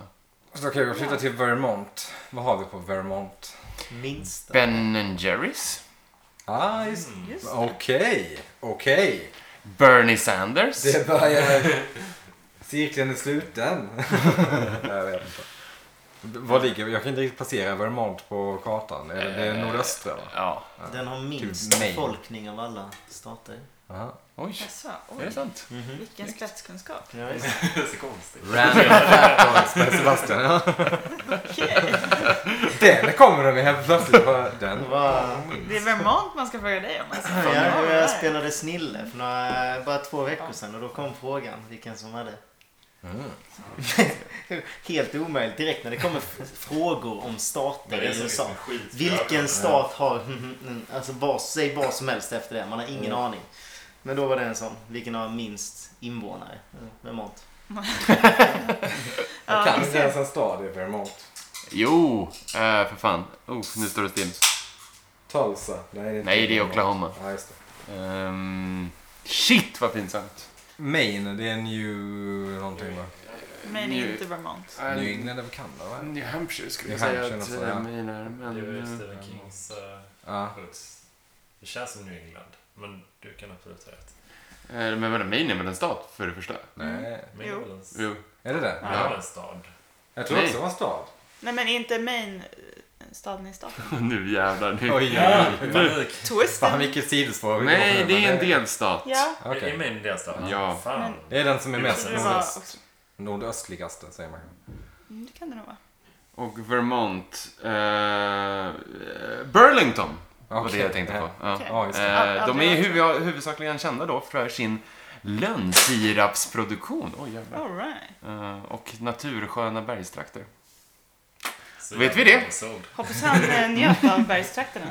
Så okej, vi flyttar till Vermont. Vad har vi på Vermont? Minst. Ben and Jerrys? Ah, just Just det. Okej, okej. Bernie Sanders? Det börjar... Cirkeln är sluten. jag vet inte. Var ligger Jag kan inte riktigt placera Vermont på kartan. Är det, det är nordöstra, va? Ja. Den har minst Typ mig. befolkning av alla stater. Aha. Oj, Jaså, är det oj, sant? vilken spetskunskap. Ja, visst. Det är så konstigt. Random fact med Sebastian. Ja. Okej. Den kommer de med helt plötsligt. Bara, Den. Det var... Mm. Det är Vermont man ska fråga dig om. Alltså, Fan, vad var Jag, det där? jag spelade snille för några, bara två veckor sedan och då kom frågan vilken som hade. Helt omöjligt direkt när det kommer f- frågor om Men stater det är i så USA. liksom skit- Vilken stat har... Alltså vad, säg vad som helst efter det. Man har Mm. ingen aning. Men då var det en sån. Vilken har minst invånare? Vermont. Jag Ja, kan vi inte ser. ens en stad i Vermont. Jo, eh, för fan. Oh, nu står det still. Tulsa? Nej, det är, Nej, det är Oklahoma. Ja, just det. Ehm, shit vad pinsamt. Maine, det är New... någonting va? Men Nu- inte Vermont. New England är väl Kanada va? Mm. New Hampshire skulle New jag säga Hampshire att också, det är ja. mina, men... Det är ju eh, Stephen Kings eh, Ja. hooks. Det känns som New England, men du kan absolut ha rätt. eh, Men vadå, Maine är väl en stat för det första? Nej. Jo. Men det är väl en s- Jo. Är det det? det är väl en stad. Jag tror Nej. också det var en stad. Nej men inte Maine, eh, staden i staten. nu jävlar. Nu. Oj, Ja, oj, oj. panik! Fan Twisten. vilket sidospår vi går Nej, på nu, det är men en delstat. Ja. Okej. Är Maine en delstat? Ja. Fan. Men- Det är den som är Jag mest Så det var nordöst, också- nordöstligaste säger man. Mm, Det kan det nog vara. Och Vermont. eh, eh, Burlington var det jag tänkte på. Ja. Okej. Ja, just det. Eh, Ja, de det är var- huv- huvudsakligen kända då för sin lönnsirapsproduktion. Oj, jävlar. All right. Eh, och natursköna bergstrakter. Så Vet vi jävla det? episod. Hoppas han eh, njöt av Mm. bergstrakterna.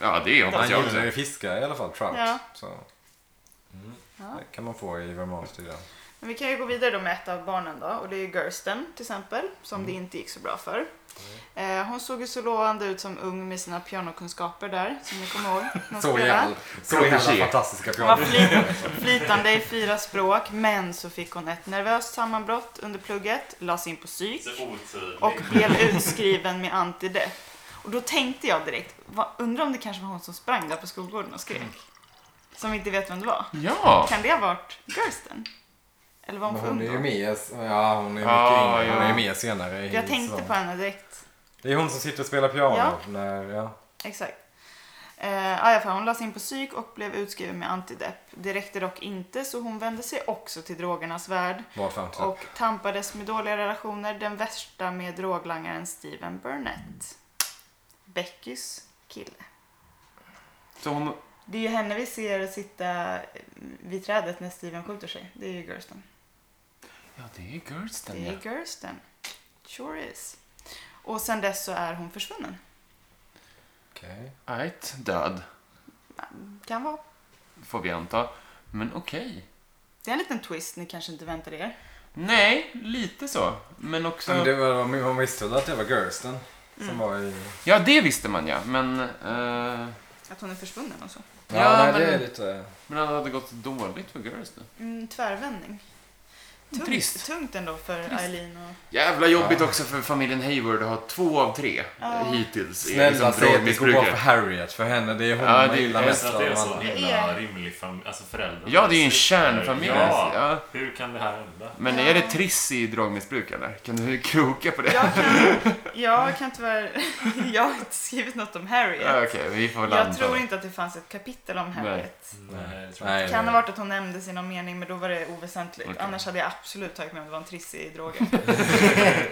Ja, det hoppas Han jag också. gillar ju fiska i alla fall, trout. Ja. Så Mm. Ja. det kan man få i Vermont tydligen. Men vi kan ju gå vidare då med ett av barnen då och det är ju Gersten till exempel som Mm. det inte gick så bra för. Eh, hon såg ju så lovande ut som ung med sina pianokunskaper där som ni kommer ihåg. när hon Så spelade. jävla, så jävla Protégé. fantastiska Hon var pianon. flyt, flytande i fyra språk men så fick hon ett nervöst sammanbrott under plugget, lades in på psyk Så otydlig. och blev utskriven med antidepp. Och då tänkte jag direkt, vad, undrar om det kanske var hon som sprang där på skolgården och Mm. skrek. Som vi inte vet vem det var. Ja! Kan det ha varit Gersten? Eller var hon Men för hon är ju ung då? med, ja hon är mycket Ja, yngre. Hon ja. är med senare i Jag tänkte säsongen. på henne direkt. Det är hon som sitter och spelar piano. Ja. När, ja. Exakt. Eh, ja, i alla fall, hon lades in på psyk och blev utskriven med antidepp. Det räckte dock inte så hon vände sig också till drogernas värld Vad fan typ. och tampades med dåliga relationer. Den värsta med droglangaren Steven Burnett. Beckys kille. Så hon... Det är ju henne vi ser sitta vid trädet när Steven skjuter sig. Det är ju Gersten. Ja, det är Gersten, Det ja. är Gersten. Sure is. Och sen dess så är hon försvunnen. Okej. Right, död, Kan vara. får vi anta. Men okej. Det är en liten twist ni kanske inte väntade er. Nej, lite så. Men också... Men det var, man visste väl att det var Gersten Mm. som var i... Ja, det visste man ja. Men... eh, Att hon är försvunnen och så. Ja, Ja, nej, det men- är lite... Men det hade gått dåligt för Gersten. Mm, tvärvändning. Tungt, Trist. tungt ändå för Eileen och... Jävla jobbigt också för familjen Hayward att ha två av tre eh, hittills. i Snälla säg att det går bra drogmissbrukare. för Harriet, för henne det är hon Ja, man det- gillar jag mest Alltså, att av det är en alla. Det så himla är- rimlig familj, alltså föräldrar. Ja, det är ju en kärnfamilj. Ja. Ja. Hur kan det här hända? Men är det triss i drogmissbruk eller? Kan du kroka på det? Jag kan, jag kan tyvärr... Jag har inte skrivit något om Harriet. Ja, Okej, vi får väl Jag anta. tror inte att det fanns ett kapitel om Harriet. Mm. Nej, jag tror inte. Nej, Kan det- ha varit att hon nämndes i någon mening, men då var det oväsentligt. Okej. Annars hade jag absolut tagit med om det var en triss i droger.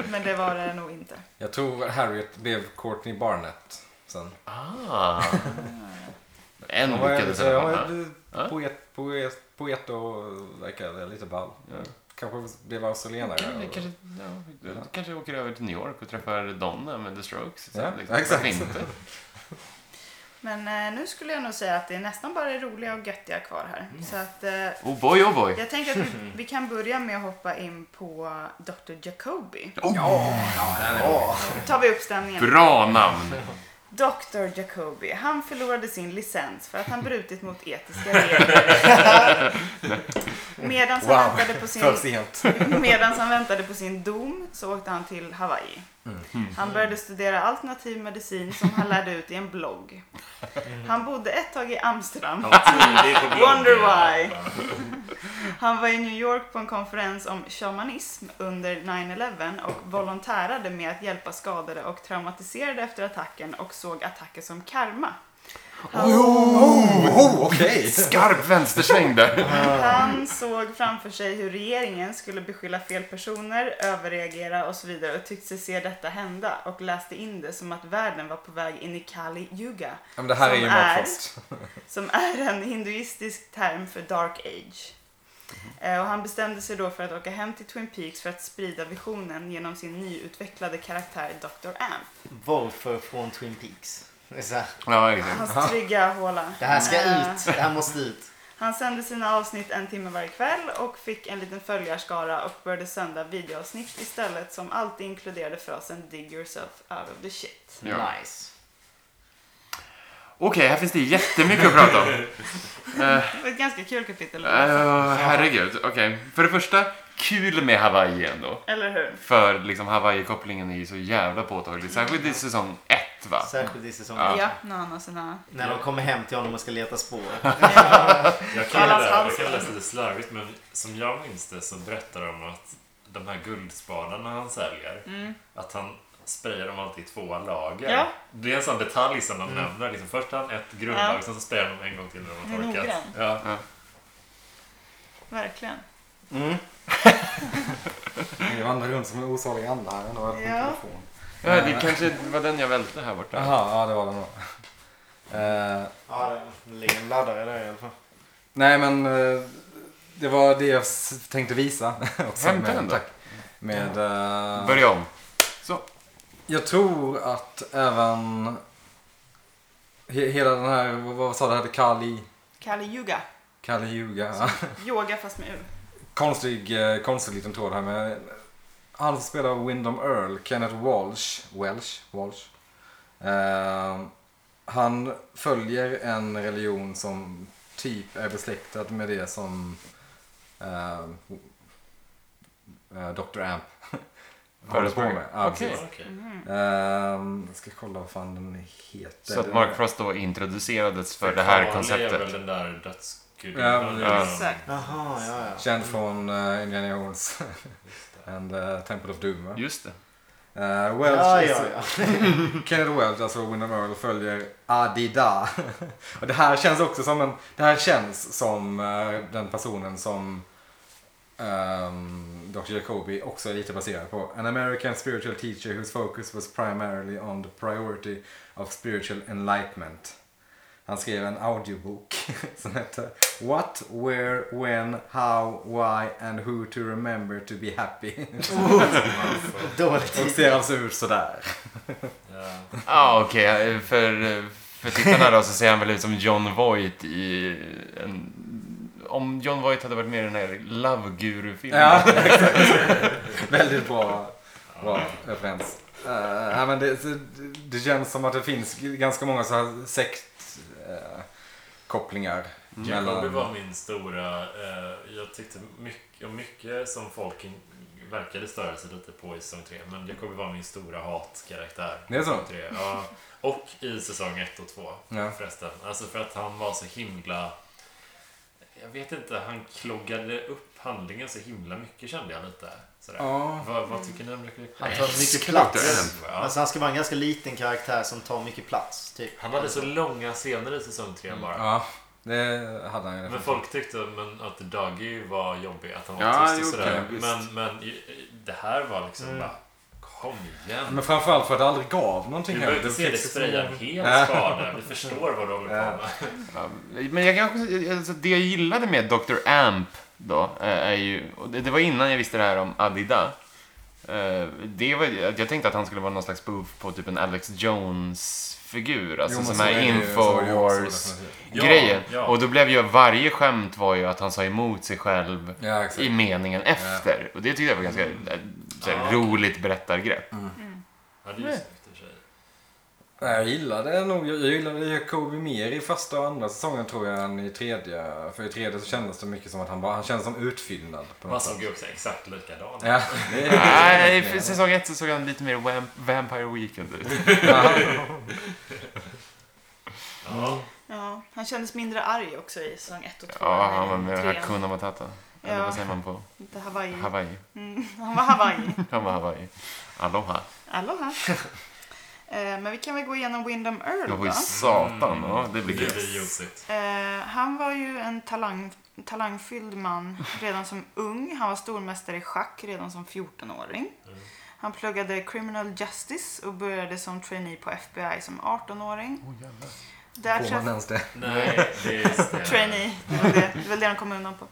men det var det nog inte. Jag tror Harriet blev Courtney Barnett sen. Ah. En Hon var, lyckades i jag alla var fall. lite Ja. poet, poet, poet och verkade lite ball. Ja. Kanske blev australienare. Okej, det Kanske, ja, du kanske åker över till New York och träffar Donna med The Strokes. Ja, liksom. exakt. Varför inte? Men eh, nu skulle jag nog säga att det är nästan bara det roliga och göttiga kvar här. Så att eh, Oh boy, oh boy. jag tänker att vi, vi kan börja med att hoppa in på Dr. Jacoby. tar vi upp stämningen. Bra namn! Dr. Jacobi, han förlorade sin licens för att han brutit mot etiska regler. Medan han, Wow, väntade på för sin, sent. medans han väntade på sin dom så åkte han till Hawaii. Han började studera alternativ medicin som han lärde ut i en blogg. Han bodde ett tag i Amsterdam. Tidigt på bloggen. Wonder why. Han var i New York på en konferens om shamanism under 9-11 och volontärade med att hjälpa skadade och traumatiserade efter attacken och såg attacker som karma. Han, Oh, okej! Skarp vänstersväng där. han såg framför sig hur regeringen skulle beskylla fel personer, överreagera och så vidare och tyckte sig se detta hända och läste in det som att världen var på väg in i Kali Yuga Ja, men Det här är Som ju är- Markfrost. som är en hinduistisk term för dark age. Eh, Och han bestämde sig då för att åka hem till Twin Peaks för att sprida visionen genom sin nyutvecklade karaktär Dr. Amp. Wolfer från Twin Peaks. Det är så här, Ja, exakt. Hans trygga håla. Det här ska Eh, ut. Det här måste ut. Han sände sina avsnitt en timme varje kväll och fick en liten följarskara och började sända videoavsnitt istället som alltid inkluderade frasen “Dig yourself out of the shit”. Ja. Nice. Okej, här finns det jättemycket att prata om. Det var ett ganska kul kapitel. Eh, herregud, okej. För det första, kul med Hawaii ändå. Eller hur? För liksom Hawaii-kopplingen är ju så jävla påtaglig. Särskilt i säsong ett va? Särskilt i säsong Ja. Ja, när han har sina... När de kommer hem till honom och ska leta spår. Jag kan Allas halsen. det, jag kan läsa lite slarvigt men som jag minns det så berättar de att de här guldspanarna han säljer, att han sprayar dem alltid i två lager. Mm. Ja. Det är en sån detalj som de Mm. nämner. Liksom, först har han ett grundlag, Ja. sen så sprayar de en gång till när de Det är har torkat. noggrant. Ja. Verkligen. Ni vandrar runt som en osalig ande här. Jag har öppnat Ja. telefon. Ja, det kanske var den jag välte här borta. Jaha, ja det var det nog. Eh, Ja, det ligger en laddare där i alla fall. nej men eh, det var det jag s- tänkte visa. också Hämta med- den då. Tack. Med... eh, Börja om. Jag tror att även he- hela den här, vad vad sa du, hette Kali, Kali Yuga. Kali Yuga. Yoga fast med U. konstig, eh, konstig liten tråd här med. Han som spelar Windom Earl, Kenneth Walsh, Welsh, Walsh. Eh, han följer en religion som typ är besläktad med det som eh, eh, Dr. Amp håller på med. Ja, Okej. Typ. precis. Okej. Ehm, jag ska kolla vad fan den heter. Så att Mark Frost då introducerades för det Kali här är väl konceptet. den där dödsgudinnan. Ja, eller någon- Exakt. Jaha, ja, ja. Känd från eh, Indiana Jones and uh, Temple of Doom. va? Just det. Eh, Welsh, Ja, ja, ja. Kenneth Welch, alltså Windham Earl, följer Adida. och det här känns också som en, det här känns som eh, den personen som ehm, Dr. Jacobi också är lite baserad på. An American spiritual teacher whose focus was primarily on the priority of spiritual enlightenment. Han skrev en audiobok som hette What, Where, When, How, Why and Who to Remember to be Happy. Dåligt. Och ser alltså ut sådär. Ja. Ja, okej. För, för tittarna då så ser han väl ut som John Voight i en... Om John Voight hade varit med i den här Love Guru-filmen. Ja, exakt. Väldigt bra, bra referens. Eh, ja, men det, det, det känns som att det finns ganska många så här sektkopplingar. Jacobi mellan... var min stora... Eh, jag tyckte mycket, om mycket som folk in, verkade störa sig lite på i säsong 3. Men Jacobi var min stora hatkaraktär. Det är så? i säsong tre. Ja. Och i säsong 1 och 2 Ja. förresten. Alltså för att han var så himla... Jag vet inte, han kloggade upp handlingen så himla mycket kände jag lite. Sådär. Ja. Vad, vad tycker ni om Jacobi? Han tar mycket Skrattar plats. Ja. Alltså han ska vara en ganska liten karaktär som tar mycket plats. Typ. Han hade så långa scener i säsong 3 bara. Ja, det hade han ju. Men folk tyckte men att Dagi var jobbig, att han var Ja, tyst och jo, sådär. okej, visst. men, men i- det här var liksom bara, kom igen. Men framförallt för att det aldrig gav Du någonting behöver inte Det se dig fick så spraya en Alltså, många- hel Ja. skada. Vi förstår vad du håller på med. Ja, Men jag kan också, alltså det jag gillade med Dr. Amp då, eh, är ju, och det det var innan jag visste det här om Adida. Eh, Det var, att jag tänkte att han skulle vara någon slags spoof på typ en Alex Jones-figur, alltså Jo, men som så är det ju- så är det ju också Infowars definitivt. grejen. Ja, ja. Och då blev ju varje skämt var ju att han sa emot sig själv Ja, exakt. i meningen efter. Och det tyckte jag var ganska eh, såhär, Ja. roligt berättargrepp. Ja, det är ju snyggt i och för sig. Nej, Jag gillade nog, jag gillade Jacobi mer i första och andra säsongen tror jag än i tredje. För i tredje så kändes det mycket som att han bara, han kändes som utfyllnad. På Man något såg sätt. ju också exakt likadan Ja, det är- Nej, i säsong ett så såg han lite mer Vamp- Vampire Weekend ut. Mm. Ja. Ja, han kändes mindre arg också i säsong 1 och 2. Ja, han var med den här Kuna Matata. Eller Ja. vad säger man på Inte Hawaii. Hawaii? Mm, han var Hawaii. Han var Hawaii. Aloha. Aloha. Eh, Men vi kan väl gå igenom Windham Earl Det var ju då. satan. Ja, det blir Det gött. blir ljusigt. Eh, Han var ju en talang, talangfylld man redan som ung. Han var stormästare i schack redan som 14-åring. Mm. Han pluggade criminal justice och började som trainee på FBI som 18-åring. Där Får man träff- ens det? Nej, det är just det. trainee, det var det, det var det de kom undan på.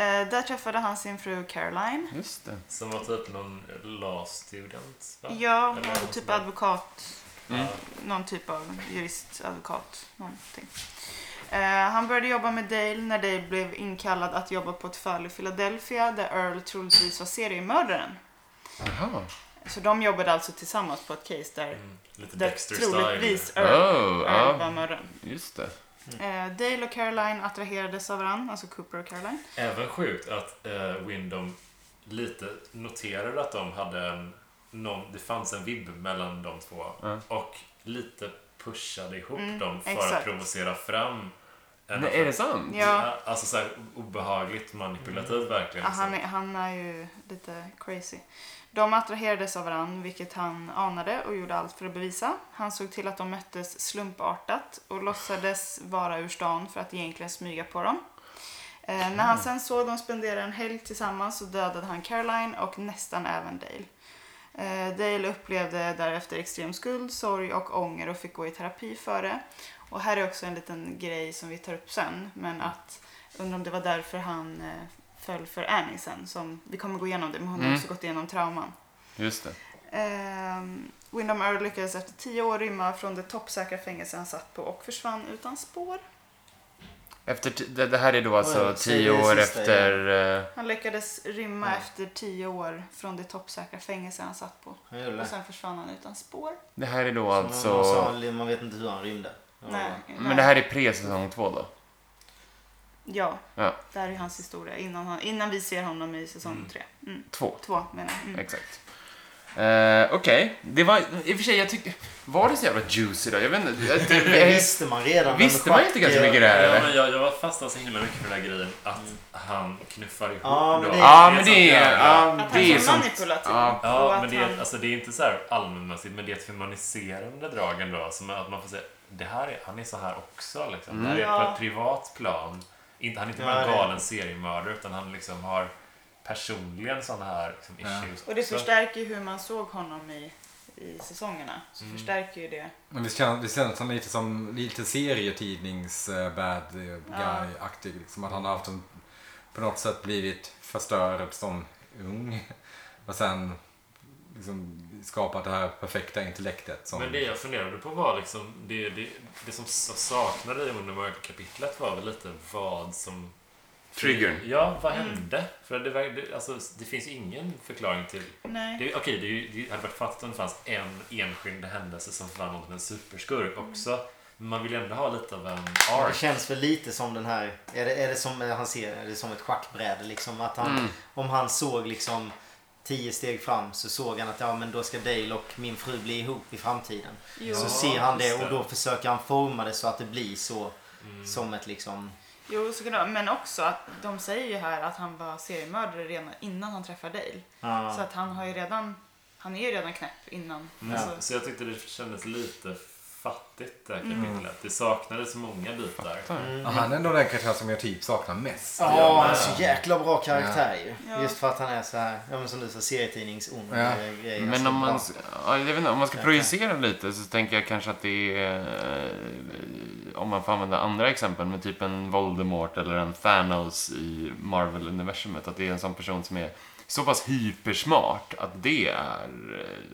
Eh, Där träffade han sin fru Caroline. Just det. Som var typ någon law student, va? Ja, hon Eller var något typ sånt. advokat. Ja. Någon typ av jurist, advokat, någonting. Eh, Eh, han började jobba med Dale när Dale blev inkallad att jobba på ett fall i Philadelphia där Earl troligtvis var seriemördaren. Jaha. Så de jobbade alltså tillsammans på ett case där, Mm, lite där Dexter-style. troligtvis Earl, Oh, Earl var ja. mördaren. Just det. Eh, Dale och Caroline attraherades av varandra, alltså Cooper och Caroline. Även sjukt att eh, Windom lite noterade att de hade en, någon, det fanns en vibb mellan de två Ja. och lite pushade ihop Mm, dem för exakt. att provocera fram en Nej, är det sant? Ja, Mm. Alltså såhär obehagligt manipulativt verkligen. Ja, han, är, han är ju lite crazy. De attraherades av varandra, vilket han anade och gjorde allt för att bevisa. Han såg till att de möttes slumpartat och låtsades vara ur stan för att egentligen smyga på dem. Eh, När han sen såg dem spendera en helg tillsammans så dödade han Caroline och nästan även Dale. Eh, Dale upplevde därefter extrem skuld, sorg och ånger och fick gå i terapi för det. Och här är också en liten grej som vi tar upp sen, men att undrar om det var därför han eh, föll för Annie sen. Som, vi kommer gå igenom det, men hon har Mm. också gått igenom trauman. Just det. Ehm, Windom Earl lyckades efter tio år rymma från det toppsäkra fängelse han satt på och försvann utan spår. Efter ti- det, det här är då Oj, alltså säg tio det år sista efter... eh, Han lyckades rymma Ja. efter tio år från det toppsäkra fängelse han satt på. Han gjorde Och det. sen försvann han utan spår. Det här är då Som alltså... någon sa, li- man vet inte hur han rymde. Ja, Nej, nej. Men det här är pre-säsong två då? Ja, Ja. det här är hans historia innan, han, innan vi ser honom i säsong Mm. tre. Mm. Två. Två menar jag. Mm. Exakt. Eh, Okej, det var i och för sig, jag tyckte... Var det så jävla juicy då? Jag vet inte. Jag, Det jag, visste man redan. visste men man inte ganska schack är- mycket det här Ja, eller? men jag, jag var fastnad så himla mycket för den där grejen att han knuffar ihop Ja, men dem. det- Ja, men sånt det är... jävla- Ja, Att han det är är som... manipulativ. Ja. Och Ja, att men det är, han- alltså, det är inte så här allmänmässigt, men det är ett humaniserande drag ändå. Som är att man får säga, det här är, han är så här också. Liksom. Det här är Ja. på ett privat plan. Inte, han är inte Mm. Ja, bara en det är- galen seriemördare, utan han liksom har personligen sådana här liksom, issues Och det också. förstärker ju hur man såg honom i, i säsongerna. Så Mm. förstärker ju det. Men det känns, det känns som lite som lite serietidnings eh, bad guy-aktig. Liksom att han har haft en, på något sätt blivit förstörd som ung. Och sen liksom skapat det här perfekta intellektet. Som, Men det jag funderade på var liksom, det, det, det som s- saknade i under mörkerkapitlet var väl lite vad som... Triggern. Ja, vad hände? För det, var- det, alltså, det finns ingen förklaring till Nej. Det, okej, det, är ju- det hade varit fattigt om det fanns en enskild händelse som förvandlade en superskurk också. Men man vill ju ändå ha lite av en Ja, Det arc. känns väl lite som den här, är det, är det som han ser, är det som ett schackbräde liksom? Att han, om han såg liksom tio steg fram så såg han att ja men då ska Dale och min fru bli ihop i framtiden. Jo. så ser han det just och det. då försöker han forma det så att det blir så som ett liksom Jo, så kan det vara. Men också att de säger ju här att han var seriemördare redan innan han träffade Dale. ja. Så att han har ju redan, han är ju redan knäpp innan. Mm. Alltså, Så jag tyckte det kändes lite fattigt det här kapitlet. Det saknades många bitar. Ja, Han är nog den karaktär som jag typ saknar mest. Ja, Ja, han är men- så jäkla bra karaktär ju. Ja. Just för att han är så här, ja men som du sa, serietidnings-ond Ja. eh, grej. Men Alltså, om man, bra. s- ja, jag vet inte, om man ska projicera lite så tänker jag kanske att det är, eh, om man får använda andra exempel, men typ en Voldemort eller en Thanos i Marvel-universumet, att det är en sån person som är så pass hypersmart att det är eh,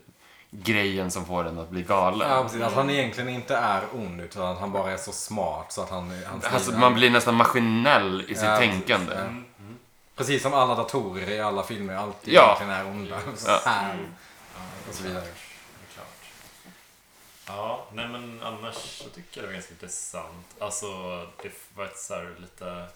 grejen som får den att bli galen. Ja, precis. Att han egentligen inte är ond utan att han bara är så smart så att han... han Alltså man blir nästan maskinell i sitt Ja, precis. tänkande. Ja. Precis som alla datorer i alla filmer alltid Ja. egentligen är onda. Så Ja. här. Och så vidare. Det är klart. Ja, nej men annars så tycker jag det var ganska intressant. Alltså, det var ett så här lite...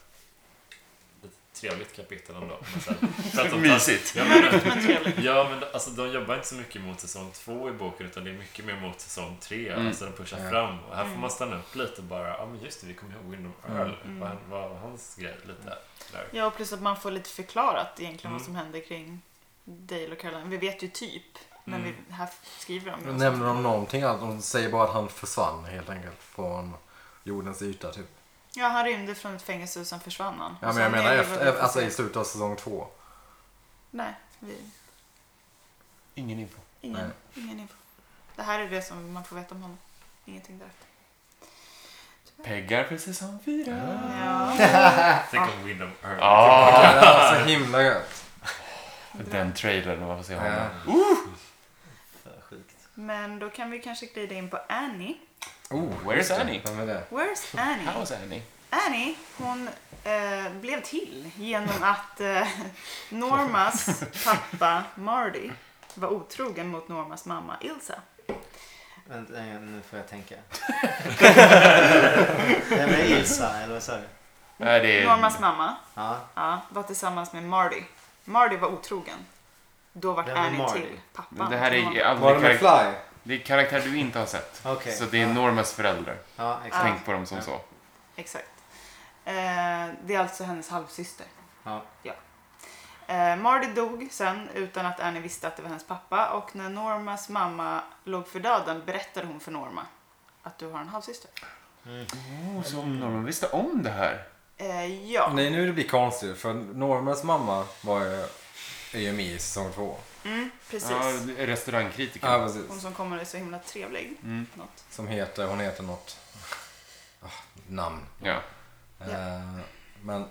lite trevligt kapitel ändå. Men sen, för att de- Mysigt. Ja, men, men trevligt. Ja, men alltså, de jobbar inte så mycket mot säsong två i boken utan det är mycket mer mot säsong tre. Mm. Alltså de pushar Ja. fram. Och här får man stanna upp lite och bara, ja ah, men just det, vi kommer ihåg Windom Earl. Vad, han- vad var hans grej lite? Där. Ja, och plus att man får lite förklarat egentligen vad Mm. som händer kring Dale och Caroline. Vi vet ju typ, men Mm. vi, här skriver de ju också. Nämner de någonting? alls? De säger bara att han försvann helt enkelt från jordens yta typ. Ja, han rymde från ett fängelse och sen försvann han. Ja, Och men jag sen menar är det vad vi efter, får alltså se. i slutet av säsong två. Nej, vi, Ingen info. ingen, Nej. ingen info. Det här är det som man får veta om honom. Ingenting därefter. Peggar för säsong fyra. Ja, Tänk om Windom Earl. Ah, Det var så himla gött. den trailern, man får se honom. Ja. För sjukt. men då kan vi kanske glida in på Annie. Oh, Where's just det. Annie? Vem är det? Where's Annie? How's Annie? Annie, hon eh, blev till genom att eh, Normas pappa Marty var otrogen mot Normas mamma Ilsa. Vänta, nej, eh, nu får jag tänka. Vem är Ilsa? Eller vad sa du? Nej, det Mm. är... Normas mamma Ja. ja, var tillsammans med Marty. Marty var otrogen. Då var Vem är Annie Marty? till pappan. Det här är, till ju mamma. Var det aldrig med karak- Fly? det är karaktär du inte har sett. Okej. Så det är ja. Normas föräldrar. ja, exakt. Tänk på dem som Ja. så. Exakt. Eh, det är alltså hennes halvsyster. Ja. Eh, Marty dog sen utan att Annie visste att det var hennes pappa och när Normas mamma låg för döden berättade hon för Norma att du har en halvsyster. Åh, så om Norman visste om det här. Eh, ja. Nej, nu det blir konstigt. För Normas mamma var ju, är ju med i säsong två. Mm, precis. Ja, restaurangkritiker. Ja, Hon precis. som kommer är så himla trevlig. Mm. Något. Som heter, hon heter något ah, namn. Ja. Ja. Eh, men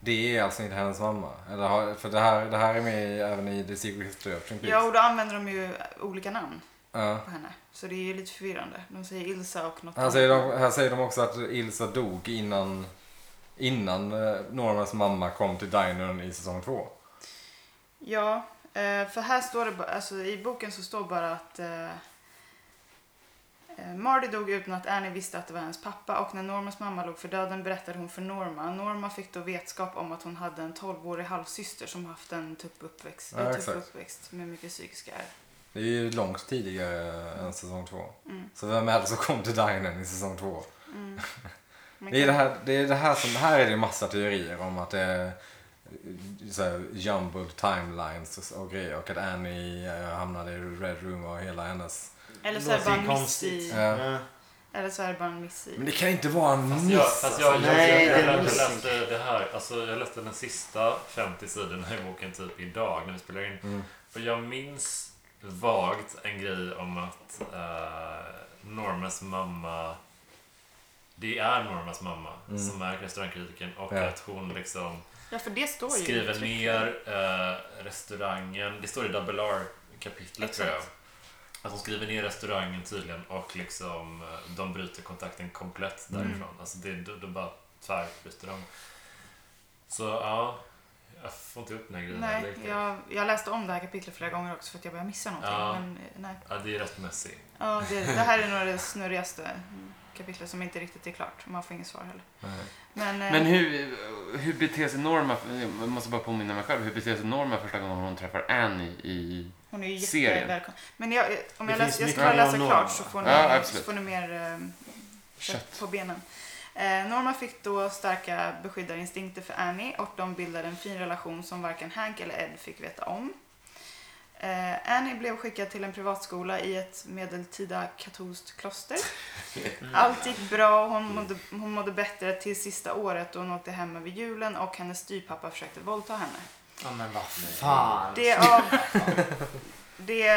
det är alltså inte hennes mamma. Eller, har- för det här, det här är med i- även i The Secret History of Twin Peaks. Ja, och då använder de ju olika namn Ja. på henne. Så det är ju lite förvirrande. De säger Ilsa och något Här säger, de, här säger de också att Ilsa dog innan, innan eh, Normas mamma kom till dinern i säsong två. Ja, eh, för här står det bara, alltså i boken så står bara att eh, eh, Marty dog utan att Annie visste att det var hennes pappa och när Normas mamma låg för döden berättade hon för Norma. Norma fick då vetskap om att hon hade en 12-årig halvsyster som haft en tuff uppväxt, Ja, tuff exakt. uppväxt med mycket psykiska ärr. Det är ju långt tidigare än säsong två. Mm. Så vem är det som kom till dinern i säsong två? Mm. Man Det är det kan- här, det är det här som, här är det massa teorier om att det är eh, så här, jumbled timelines och grejer och att Annie eh, hamnade i Red Room och hela hennes... Eller så är det bara en miss i... Ja. Ja. Eller så är det bara en miss i. Men det kan inte vara en Fast miss! jag, fast jag, jag, alltså. jag, Nej, jag, det är jag missing. läste det här, alltså jag läste den sista 50 sidorna i boken typ idag när vi spelar in. Mm. Och jag minns vagt en grej om att eh, Normas mamma, det är Normas mamma Mm. som är restaurangkritiken och Ja. att hon liksom Ja, för det står ju skriver uttryckligen. ner eh, restaurangen. Det står i Double R-kapitlet tror jag. Exakt. Att hon skriver ner restaurangen tydligen och liksom eh, de bryter kontakten komplett Mm. därifrån. Alltså det, de, de bara tvärbryter dem. Så ja, jag får inte upp den här grejen heller Nej, riktigt. jag, jag läste om det här kapitlet flera gånger också för att jag började missa någonting. Ja. Men, eh, nej. Ja, det är rätt messy. Ja, det, det här är nog det snurrigaste kapitlet som inte riktigt är klart. Man får inget svar heller. Nej. Men, eh, Men hur, hur beter sig Norma, jag måste bara påminna mig själv, hur beter sig Norma första gången hon träffar Annie i... hon är ju serien? jättevälkommen. Men jag, eh, om Det jag, finns läser, jag ska mycket bara läsa om Norma. klart så får ni, Ja, så absolut. får ni mer eh, kött Kött. på benen. Eh, Norma fick då starka beskyddarinstinkter för Annie och de bildade en fin relation som varken Hank eller Ed fick veta om. Eh, Annie blev skickad till en privatskola i ett medeltida katolskt kloster. Allt gick bra och hon mådde, hon mådde bättre till sista året då hon åkte hem över julen och hennes styvpappa försökte våldta henne. ja, men vad fan. Det, av, det,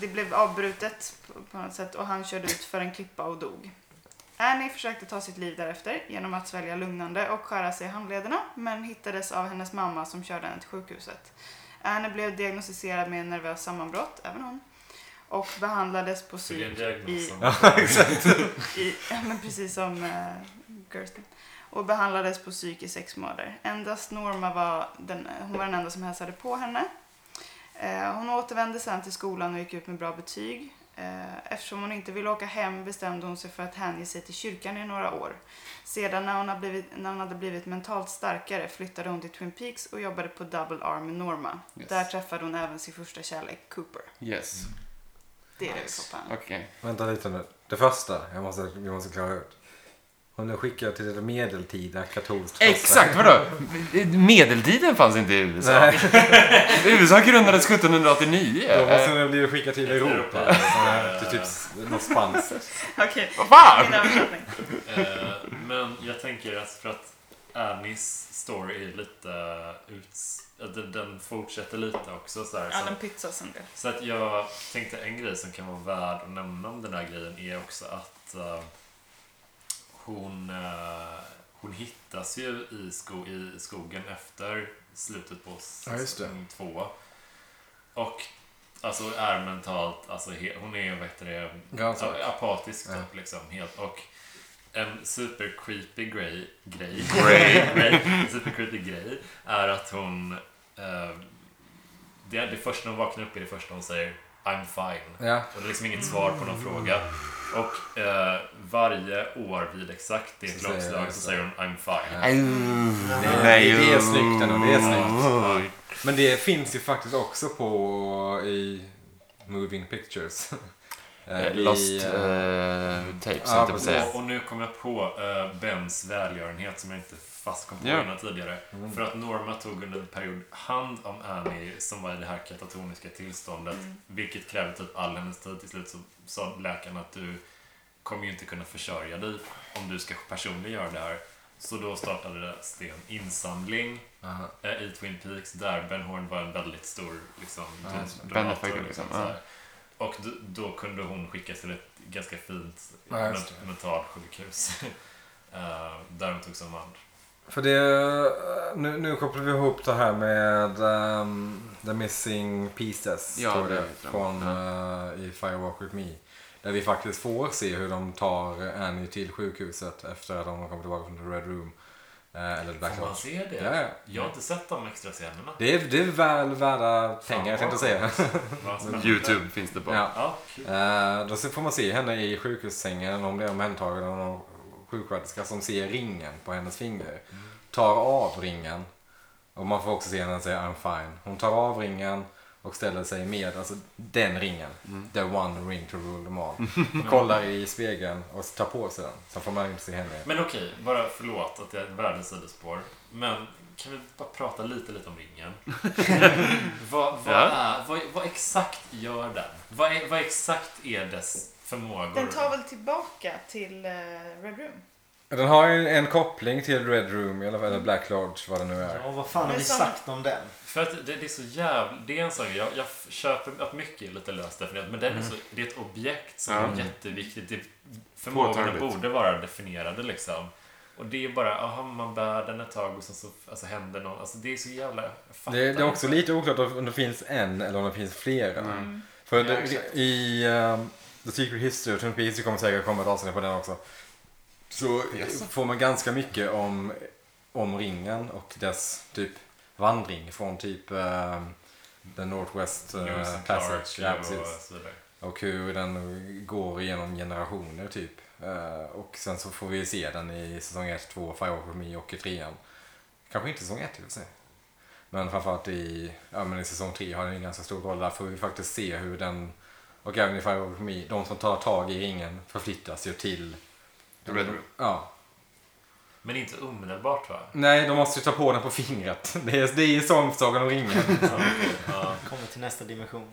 det blev avbrutet på- på något sätt och han körde ut för en klippa och dog. Annie försökte ta sitt liv därefter genom att svälja lugnande och skära sig i handlederna men hittades av hennes mamma som körde henne till sjukhuset. Annie blev diagnostiserad med nervös sammanbrott, även hon, och behandlades på Så det är en psyk diagnos i som... i, ja, men precis som eh, Gersten. Och behandlades på psyk i sex månader. Endast Norma var den, hon var den enda som hälsade på henne. Eh, hon återvände sen till skolan och gick ut med bra betyg. Eh, eftersom hon inte ville åka hem bestämde hon sig för att hänge sig till kyrkan i några år. Sedan när hon, hade blivit, när hon hade blivit mentalt starkare flyttade hon till Twin Peaks och jobbade på Double R med Norma. Yes. Där träffade hon även sin första kärlek, Cooper. Yes, Det är det vi får på henne. okej. Vänta lite nu. Det första jag måste, jag måste klara ut. Hon är skickad till det medeltida katolskt kloster. Exakt, vadå? Medeltiden fanns inte i USA. Nej, USA grundades 1789. då måste Eh, hon bli skickad till Europa. eller sån här, Till typ s- något spanskt. Okej, Vad fan! min översättning. Eh, men jag tänker att för att Annies story är lite uts... att Den, den fortsätter lite också så här. Alltså. Ja, så- den pytsas en del. Så att jag tänkte en grej som kan vara värd att nämna om den här grejen är också att eh, hon, eh, hon hittas ju i, sko i skogen efter slutet på Ja, just det. säsong två. Och Alltså är mentalt, alltså he- hon är vad heter det, Ganska. a- apatisk typ liksom helt och en super creepy grej, grej, grej super creepy grej är att hon eh, det, är det första hon vaknar upp i det första hon säger I'm fine. Ja. Och det är liksom inget svar på någon fråga. Och eh, varje år vid exakt det Så säger klockslag jag så så. säger hon I'm fine. Det, Nej, det, det um, är ju. snyggt ändå, det är snyggt. Ja. Men det finns ju faktiskt också på i Moving Pictures. Eh, i, Lost eh, eh, tapes, ja, ja, på att säga. Och, och nu kom jag på eh, Bens välgörenhet som jag inte fast kom på Ja. innan tidigare. Mm. För att Norma tog under en period hand om Annie som var i det här katatoniska tillståndet. Vilket krävde typ all hennes tid. Till slut så sa läkaren att du kommer ju inte kunna försörja dig om du ska personligen göra det här. Så då startade det en insamling aha. eh, i Twin Peaks där Ben Horn var en väldigt stor liksom, dra- benefactor, dramaturg, liksom, så ja. här. Och d- då kunde hon skickas till ett ganska fint Ja, men- just det. mentalsjukhus. eh, där hon togs om hand. För det, eh, nu, nu kopplar vi ihop det här med ehm, The Missing Pieces. Ja, står det det, är det. från eh, i Firewalk With Me. Där vi faktiskt får se hur de tar Annie till sjukhuset efter att de har kommit tillbaka från The Red Room. Eh, eller The Black Får man Lodge. se det? Ja, ja. Jag har inte sett de extra scenerna. Det är, det är väl värda pengar jag tänkte säga. Vad spännande. Youtube finns det på. Mm. ja. Ja, kul. Eh, då så får man se henne i sjukhussängen om det är omhändertagen av någon sjuksköterska som ser ringen på hennes finger. Tar av ringen. Och man får också se henne säga I'm fine. Hon tar av ringen och ställer sig med, alltså den ringen. The one ring to rule them all. Och kollar i spegeln och tar på sig den. Så får man inte se henne. Men okej, bara förlåt att jag är världens sidospår. Men kan vi bara prata lite, lite om ringen? vad, vad, Ja. är, vad, vad exakt gör den? Vad, är, vad exakt är dess förmågor? Den tar väl tillbaka till eh, Red Room? Den har ju en koppling till Red Room, i alla fall, eller Black Lodge, vad det nu är. Ja, vad fan har Men vi som- sagt om den? För att det, det är så jävla... Det är en sån grej. Jag, jag f- köper att mycket är lite löst definierat. Men den Mm. är så, det är ett objekt som är jätteviktigt. Det, förmågorna Påtagligt. borde vara definierade liksom. Och det är bara, aha, man bär den ett tag och sen så alltså, händer något. Alltså det är så jävla... jag fattar Det, det är inte. också lite oklart om det finns en eller om det finns flera. För Ja, exakt. det, i um, The Secret History, och Twin Peaks, det kommer säkert komma ett avsnitt på den också. Så får man ganska mycket om, om ringen och dess typ vandring från typ um, The Northwest eh, Lewis and Passage. Ja, Clark och precis. så vidare. Och hur den går igenom generationer typ. Eh, Och sen så får vi se den i säsong 1, 2, Firewalk With Me och i 3 Kanske inte säsong 1 i och för sig. Men framförallt i, ja, men i säsong 3 har den en ganska stor roll. Där får vi faktiskt se hur den, och även i Firewalk With Me, de som tar tag i ringen förflyttas ju till... The Red Room. Ja. Men inte omedelbart va? Nej, de måste ju ta på den på fingret. Det är, det är som Sagan om ringen. Kommer till nästa dimension.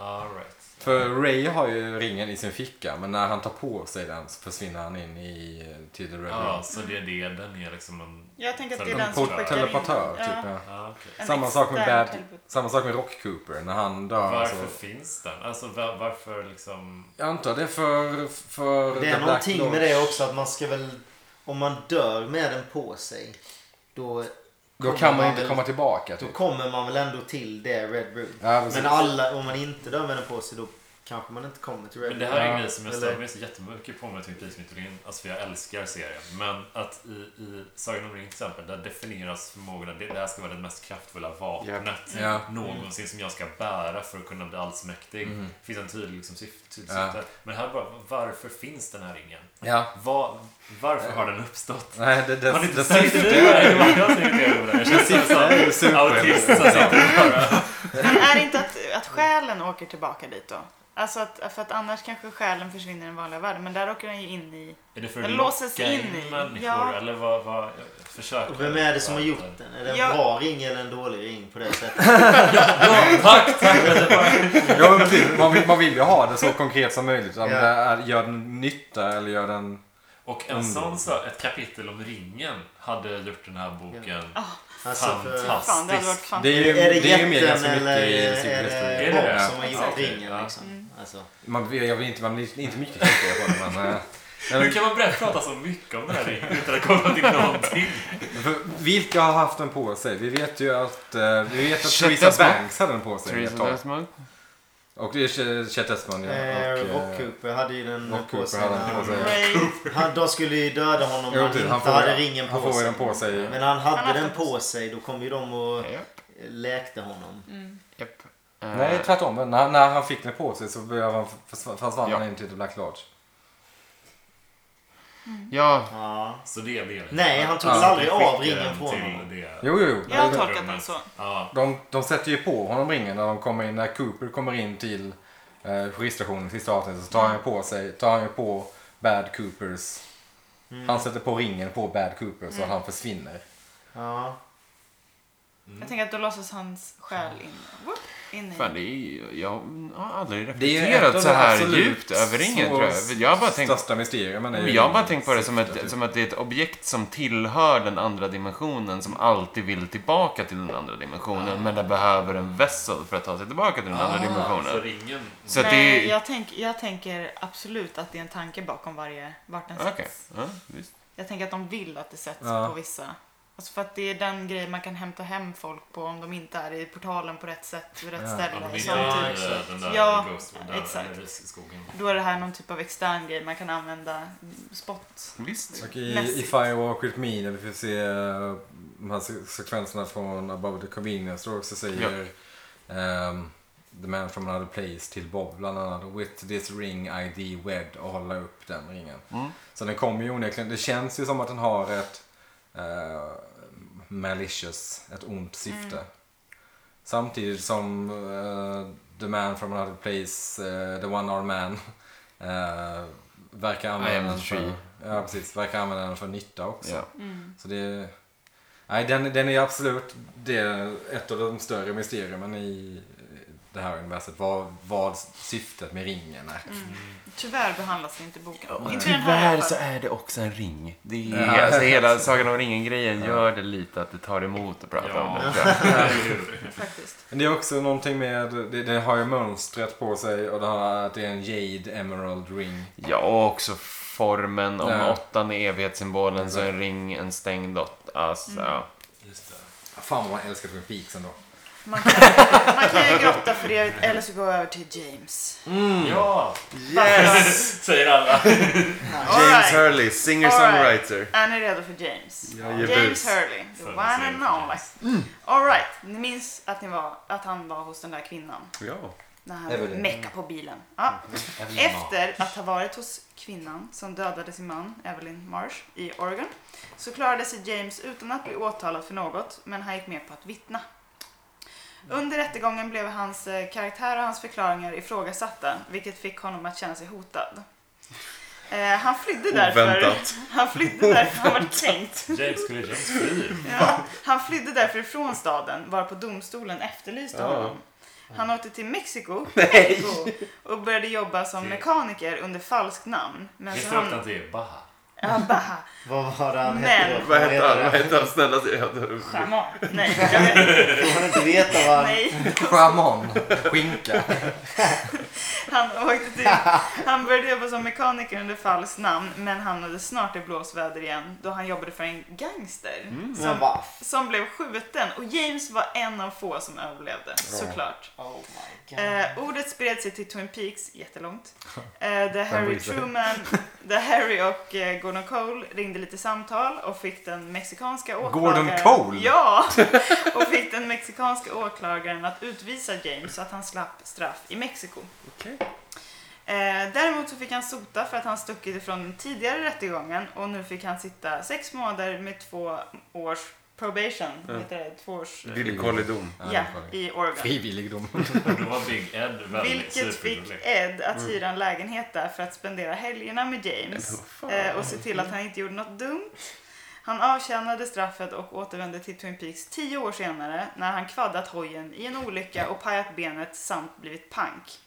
All right. För Ray har ju ringen i sin ficka, men när han tar på sig den så försvinner han in i, till The Red Room. Ja, så det är det. Den är liksom en... Jag tänker att det är En den som port- skickar in... Telepatör, typ. Ja, Ja. Ja, okej. en Samma, sak med extern Bad, teleport- samma sak med Rock Cooper när han dör. Varför så- finns den? Alltså va- varför liksom... jag antar det är för... för Det är The Black någonting med Lodge. det också att man ska väl... Om man dör med den på sig då... Då kan man inte väl- komma tillbaka. Då Typ. kommer man väl ändå till det Red Room. Ja, precis. Men alla, om man inte dör med den på sig då kanske man inte kommer till Red Men det Room. här är en Ja, grej som jag eller- stör mig så jättemycket på med Twin Peaks-mytologin. Alltså för jag älskar serien. Men att i, i Sagan om ringen till exempel, där definieras förmågorna. Det, det här ska vara det mest kraftfulla vapnet Ja. någonsin som jag ska bära för att kunna bli allsmäktig. Det finns en tydlig liksom, syf- tydlig Mm. Ja. syfte. Men här bara, varför finns den här ringen? Ja. Var, varför har den uppstått? Nej, det, det, Har ni inte det, sagt det? typ Nej, Jag tänker inte över det. Jag känns som en autist som sitter bara... Men är det inte att, att själen åker tillbaka dit då? Alltså att, för att annars kanske själen försvinner i den vanliga världen. Men där åker den ju in i... Är det för Den att låses locka in in i. människor? Ja. Eller vad... vad jag försöker. Och vem är det som har gjort den? Är det en Ja. bra ring eller en dålig ring på det sättet? Tack, tack! för att jag bara- ja, men precis. man, vill, man vill ju ha det så konkret som möjligt. Om Ja. det är, gör den nytta eller gör den... Och Mm. en sån sak, ett kapitel om ringen hade gjort den här boken Alltså, för, fantastisk. Fan, det hade varit fan. Det är ju, är det det är ju med jätten ganska mycket eller i är Secret History. det Är det Bob det? som har Ja, gjort okej, ringen? ja. Mm. Liksom? Alltså, Man, jag vill inte, man blir inte mycket klokare på det, men... eh, nej, Nu men kan man börja prata så mycket om den här ringen utan att komma till någonting. För vilka har haft den på sig? Vi vet ju att, eh, vi vet att Shit, Theresa that's Banks hade den på sig ett Theresa tag. Desmond. Och det är Ch- Chet Esmond ja. Eh, Och, och eh, Cooper hade ju den och på Cooper sig. hade när den på han- sig. Ray, Han, de skulle ju döda honom om Jo, han precis. inte Han får, hade ringen han på får ju sig. den på sig. Men han hade Han hade den den på sig. Då kom ju de och läkte honom. Mm. Japp. Nej, tvärtom. Men När, när han fick den på sig så blev han, försvann försvann Ja. han in till The Black Lodge. Ja, Ja. Så det är det. Nej, han tog Ja, väl aldrig Skickar av ringen den från till honom. det. Jo, jo, jo. jag har Men tolkat den så. Ja, De, de sätter ju på honom ringen när de kommer in. När Cooper kommer in till eh, polisstationen sista avsnittet så tar han ju på sig, tar han ju på Bad Coopers. Mm. Han sätter på ringen på Bad Cooper så att han försvinner. Ja. Jag tänker att då låses hans själ in, whoop, in i. fan det är ju, jag har aldrig Det är ju ett av reflekterat så de här absolut djupt över ringen så tror jag. Jag har bara tänkt oh, Största mysterium. men det är ju- Jag har bara tänkt på det som, Sista, ett, typ. som att det är ett objekt som tillhör den andra dimensionen som alltid vill tillbaka till den andra dimensionen men den behöver en vessel för att ta sig tillbaka till den Ah, andra så dimensionen. ringen. Så att det Nej, är... jag, tänk, jag tänker absolut att det är en tanke bakom varje, vart den Okej. sätts. Ja, visst. Jag tänker att de vill att det sätts Ja. på vissa. Alltså för att det är den grejen man kan hämta hem folk på om de inte är i portalen på rätt sätt, vid rätt Ja. Ja, ställe. de och vill sånt ju typ. inte den där Ja, Ghost den där exakt. eller i skogen. Då är det här någon typ av extern grej man kan använda spot. visst. Och i, i Mässigt. Firewalk With Me när vi får se eh, de här se- sekvenserna från Above the Convenience då också säger ehm, The Man from another place till Bob bland annat With this ring ID wed och hålla upp den ringen. Mm. Så den kommer ju onekligen, det känns ju som att den har ett eh, malicious, ett ont syfte. Samtidigt som eh, The Man from another place, eh, The One Arm Man eh, verkar I am använda the den för, tree. ja, precis, verkar använda den för nytta också. Ja. Så det, nej, den, den är absolut det är ett av de större mysteriumen i det här universet. Vad, vad syftet med ringen är. Tyvärr behandlas det inte i boken. Och inte i den här i alla tyvärr fall. så är det också en ring. Det är, Ja. alltså, hela Sagan om ringen-grejen gör det lite att det tar emot att prata Ja. om det. tror jag. Faktiskt. Men det är också någonting med, det, det har ju mönstret på sig och det har, att det är en jade emerald ring. Ja, och också formen. Om Ja. åttan är evighetssymbolen så är en ring en stängd åtta. Alltså, Mm. ja. Just det. Fan vad man älskar Twin Peaks ändå. Man kan, man kan ju grotta för det eller så går jag över till James. Ja! Yes! Säger alla. James Hurley. singer-songwriter. Är ni redo för James? Jag ger James bus. Hurley, the För one att and säga only. Alright, ni minns att, ni var, att han var hos den där kvinnan Ja. när han Evelyn. meckade på bilen. Ja. Efter att ha varit hos kvinnan som dödade sin man, Evelyn Marsh, i Oregon så klarade sig James utan att bli åtalad för något, men han gick med på att vittna. Under rättegången blev hans eh, karaktär och hans förklaringar ifrågasatta, vilket fick honom att känna sig hotad. Eh, han flydde därför... Oväntat. Han flydde därför han var kränkt. James skulle James fly. Ja, han flydde därför ifrån staden varpå domstolen efterlyste honom. Han åkte till Mexiko Mexiko, och började jobba som mekaniker under falskt namn. Men Visste så du att han han... inte är Baha? Ja, bara, Vad var det han Men- hette då? Får man veta det? hette han? Snälla säg att Shaman. Nej, jag vet Får man inte veta vad han... nej. Shaman, skinka. Han åkte till... Han började jobba som mekaniker under falskt namn men hamnade snart i blåsväder igen då han jobbade för en gangster Men som, vad? som blev skjuten. Och James var en av få som överlevde, såklart. Oh my god. Eh, ordet spred sig till Twin Peaks, jättelångt. Eh, där Harry bryr sig? Truman, där Harry och eh, Gordon Cole ringde lite samtal och fick den mexikanska åklagaren... Gordon Cole? Ja! Och fick den mexikanska åklagaren att utvisa James så att han slapp straff i Mexiko. Eh, däremot så fick han sota för att han stuckit ifrån den tidigare rättegången och nu fick han sitta sex månader med två års probation, heter det? Två års... Villkorlig dom. Ja, i Oregon. Frivilligdom. Då var Big Ed väldigt Vilket fick superrolig. Ed att hyra en lägenhet där för att spendera helgerna med James eh, och se till att han inte gjorde något dumt. Han avtjänade straffet och återvände till Twin Peaks tio år senare när han kvaddat hojen i en olycka och pajat benet samt blivit pank.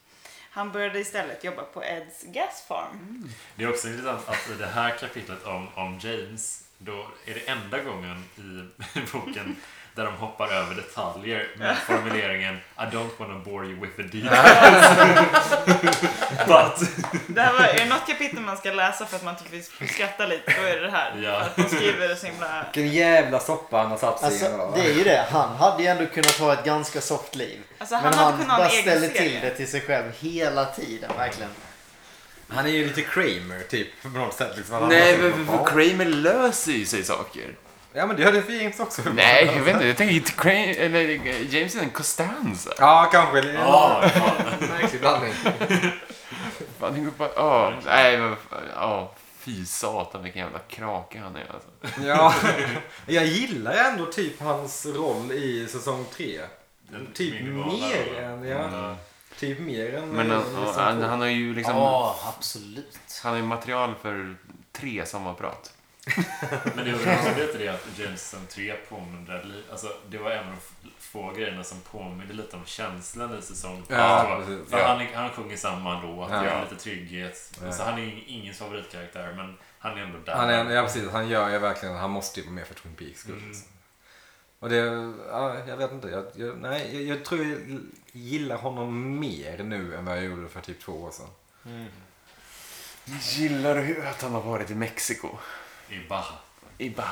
Han började istället jobba på Eds gas farm. Det är också intressant att i det här kapitlet om, om James, då är det enda gången i boken där de hoppar över detaljer med formuleringen I don't wanna bore you with the details. But Det här var, är det något kapitel man ska läsa för att man typ vill skratta lite, då är det det här. Ja. För att de skriver det så himla... Vilken jävla soppa han har satt sig i. Alltså, va? det är ju det. Han hade ju ändå kunnat ha ett ganska soft liv. Alltså, han men hade han kunnat ha en bara egen ställer serie. till det till sig själv hela tiden. Verkligen. Han är ju lite Kramer typ på något sätt. Liksom. Han Nej, har- men för Kramer löser ju sig saker. Ja men det gör det för James också. Nej, jag vet inte. Jag tänker inte Kramer, eller eh, James är en Costanza. Ja, kanske. Det är ja, ja. en märklig blandning. Fan, tänk bara, ja, nej, men, ja, fy satan vilken jävla krake han är alltså. Ja, jag gillar ju ändå typ hans roll i säsong tre. Den Typ minimala Mm. mer än, rollen. ja. Typ mer än Men eh, han, säsong han, två. han har ju liksom, Ja, absolut. han har ju material för tre sommarprat. Men det roliga är det att Jameson 3 påminner li- alltså det var en av de f- få grejerna som påminner lite om känslan i säsong två. Ja, precis. För Ja. han, är- han sjunger samma låt, Ja. det gör lite trygghet. Så han är ju ingens favoritkaraktär, men han är ändå där. Han är, ja precis, han gör ju verkligen, han måste ju vara med för Twin Peaks skull. liksom. Och det, ja, jag vet inte, jag, jag, nej, jag, jag tror jag gillar honom mer nu än vad jag gjorde för typ två år sedan. Gillar du att han har varit i Mexiko? I Baja. I Baja.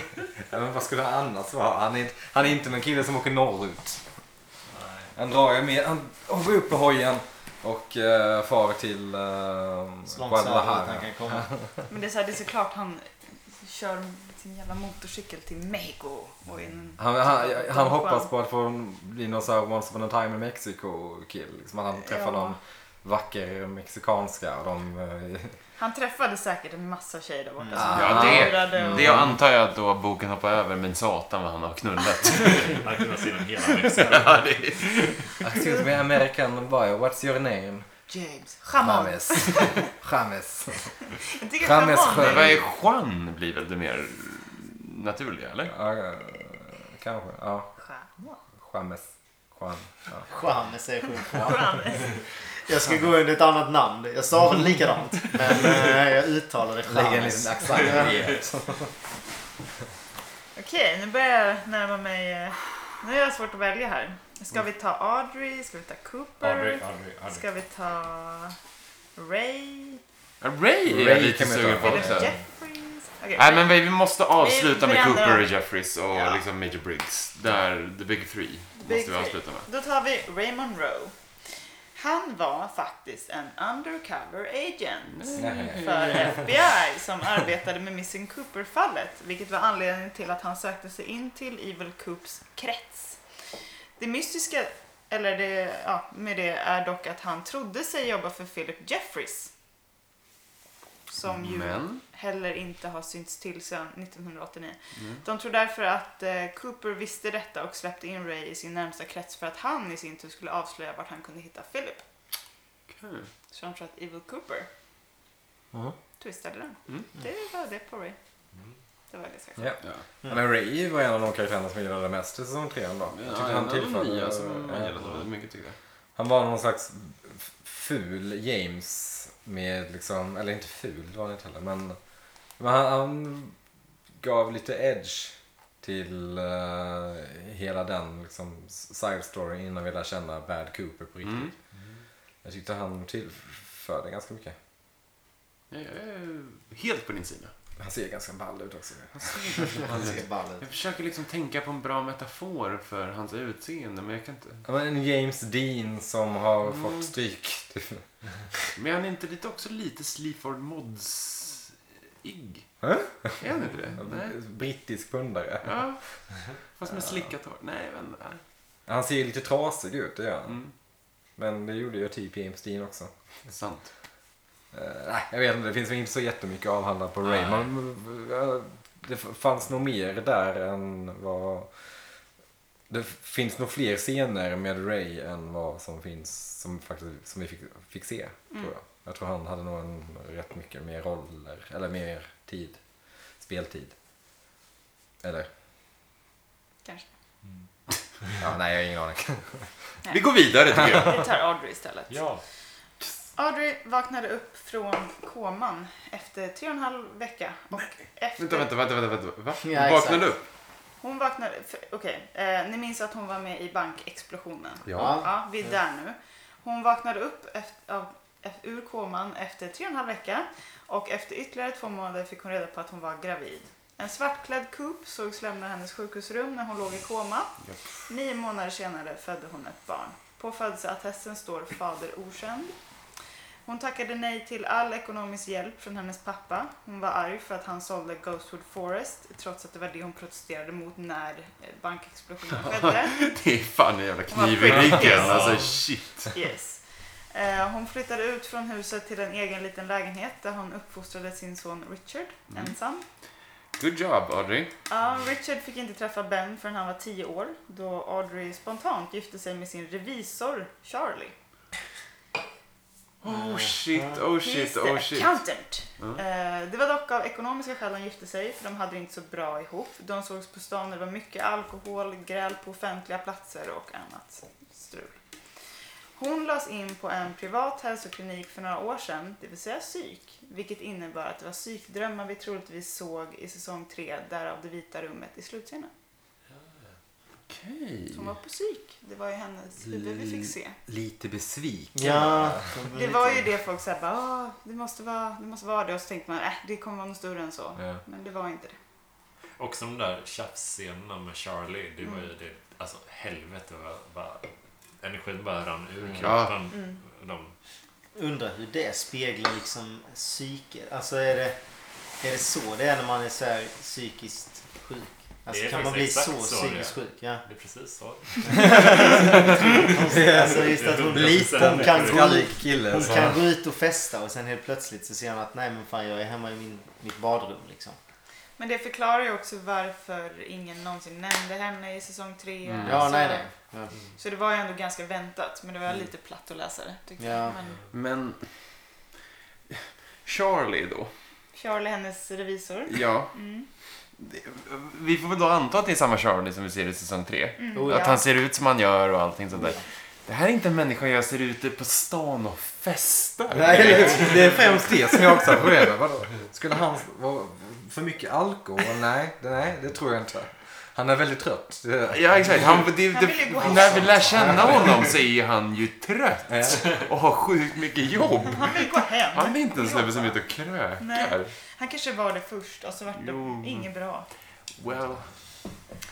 Ja, men vad skulle han annars vara? Han är, inte- han är inte någon kille som åker norrut. Han drar ju med, han hoppar upp på hojen och eh, far till uh, Så långt söderut han Guadalajara. kan komma. Men det är, så här, det är såklart han kör sin jävla motorcykel till Mexiko. Och en, Han, han, han hoppas på att få bli någon sån här once upon a time in Mexico kill. Liksom att han träffar Ja. någon vacker mexikanska och de... eh, Han träffade säkert en massa tjejer där borta. som Mm. Ja, han det- lurade och- Det jag antar jag att då boken hoppar över, men satan vad han har knullat. Han kunde ha sett hela Mexiko. Excuse me, American boy, what's your name? James. Chamon. James. James. Jag tycker Chamez Chamon själv. Vad är... är Juan blir väl det mer naturliga, eller? Ja, eh, kanske. Ja, Chamon. James. Juan. Ja. Charme säger sjukt. Chamez. Jag ska gå under ett annat namn. Jag sa väl likadant. Men eh, jag uttalade Lägger en charme. liten accent i det. Okej, nu börjar jag närma mig... eh, Nu är jag svårt att välja här. Ska vi ta Audrey? Ska vi ta Cooper? Aldrig, aldrig, aldrig. Ska vi ta Ray? Ja, Ray är jag Ray lite kan vi ta. sugen på Eller också. Jeffries? Okej, Nej men vi vi måste avsluta Vi- vi med ändrar. Cooper och Jeffries och Ja. liksom Major Briggs. Där, The Big Three Big måste vi Three. avsluta med. Då tar vi Ray Monroe. Han var faktiskt en undercover agent Nej. för FBI som arbetade med Missing Cooper-fallet, vilket var anledningen till att han sökte sig in till Evil Coops krets. Det mystiska eller det, ja, med det är dock att han trodde sig jobba för Philip Jeffries. Som ju Men? heller inte har synts till sedan 1989. De tror därför att eh, Cooper visste detta och släppte in Ray i sin närmsta krets för att han i sin tur skulle avslöja vart han kunde hitta Philip. Okej. Så de tror att Evil Cooper twistade den. Det var det på Ray. Det var ganska Ja. Men Ray var en av de karaktärerna som jag gillade mest i säsong tre ändå. Jag tyckte han tillförde... nya som man ja. gillade väldigt mycket tycker jag. Han var någon slags f- ful James med liksom, eller inte ful, det var han inte heller, men, men han, han gav lite edge till eh, hela den liksom side story innan vi lär känna Bad Cooper på riktigt. Mm. Jag tyckte han tillförde ganska mycket. Jag är helt på din sida. Han ser ganska ball ut också. Han ser ball ut. Jag försöker liksom tänka på en bra metafor för hans utseende men jag kan inte. Ja, men En James Dean som har Mm. fått stryk. typ. Men han är inte lite också lite Sleaford Mods-igg? Hä? Är han inte det? Nej. Brittisk pundare. Ja. Fast med slickat hår. Nej, men... nej. Han ser ju lite trasig ut, det gör han. Mm. Men det gjorde ju typ James Dean också. Sant. Eh, nej, jag vet inte. Det finns väl inte så jättemycket avhandlat på Ray. Nej. Man, eh, det f- fanns nog mer där än vad... Det f- finns nog fler scener med Ray än vad som finns som, faktiskt, som vi fick, fick se. Mm. Tror jag. jag tror han hade nog en, rätt mycket mer roller, eller mer tid. Speltid. Eller? Kanske. Ja, nej, jag har ingen aning. Vi går vidare tycker jag. Vi tar Audrey istället. Ja. Audrey vaknade upp från koman efter tre och en halv vecka. Och efter... Vänta, vänta, vänta, vänta, vänta. Va? Ja, Vaknar exakt. du upp? Hon vaknade, för- okej, eh, ni minns att hon var med i bankexplosionen? Ja. Ja, vi är där nu. Hon vaknade upp efter, av, ef- ur koman efter tre och en halv vecka och efter ytterligare två månader fick hon reda på att hon var gravid. En svartklädd Coop sågs lämna hennes sjukhusrum när hon låg i koma. Nio månader senare födde hon ett barn. På födelseattesten står fader okänd. Hon tackade nej till all ekonomisk hjälp från hennes pappa. Hon var arg för att han sålde Ghostwood Forest trots att det var det hon protesterade mot när eh, bankexplosionen skedde. Det är fan en jävla kniv i Vad sjukt. ryggen. Alltså shit. Yes. Eh, Hon flyttade ut från huset till en egen liten lägenhet där hon uppfostrade sin son Richard ensam. Good job, Audrey. Ja, Richard fick inte träffa Ben förrän han var 10 år då Audrey spontant gifte sig med sin revisor Charlie. Oh shit, oh shit, He's the oh shit. accountant. Eh, Det var dock av ekonomiska skäl de gifte sig för de hade det inte så bra ihop. De sågs på stan när det var mycket alkohol, gräl på offentliga platser och annat strul. Hon lades in på en privat hälsoklinik för några år sedan, det vill säga psyk, vilket innebar att det var psykdrömmar vi troligtvis såg i säsong 3, därav det vita rummet i slutscenen. Okej. Så Hon var på psyk, det var ju hennes huvud vi fick se. Mm. Lite besviken. Ja, Det var ju det folk sa, bara, "Åh, det måste vara det måste vara det och så tänkte man, äh, det kommer vara något större än så. Ja. Men det var inte det. Också de där tjafsscenerna med Charlie, det var ju det, alltså helvete vad, vad energin bara rann Mm. ur kroppen. De, Undrar hur det speglar liksom psyket. Alltså är det, är det så det är när man är så här psykiskt sjuk? Alltså Det är kan man bli faktiskt så, exakt så det är. psykiskt sjuk? Ja. det är precis så. Alltså just att hon, Det är lite, hon kan gå ut Skallig kille. Hon så- kan gå ut och festa och sen helt plötsligt så ser hon att nej men fan jag är hemma i min, mitt badrum liksom. Men det förklarar ju också varför ingen någonsin nämnde henne i säsong tre. Mm. Ja, Så- nej nej. Ja. Så det var ju ändå ganska väntat, men det Mm. var lite platt att läsa det. Tyckte Ja. jag. Men Men... Charlie då? Charlie, hennes revisor. Ja. Mm. Det- Vi får väl då anta att det är samma Charlie som vi ser i säsong 3. Oh, Att ja. han ser ut som han gör och allting sånt där. Det här är inte en människa jag ser ute på stan och festar. Nej, det är- det är främst det som jag observerar. Vadå? Skulle han vara för mycket alkohol? Nej, det, nej, det tror jag inte. Han är väldigt trött. Det, Ja, exakt. Han, det, Han vill ju gå det, hem. när vi lär känna honom så är han ju trött och har sjukt mycket jobb. Han vill gå hem. Han är inte en snubbe som är ute och krökar. Nej. Han kanske var det först och så vart det Jo. inget bra. Well.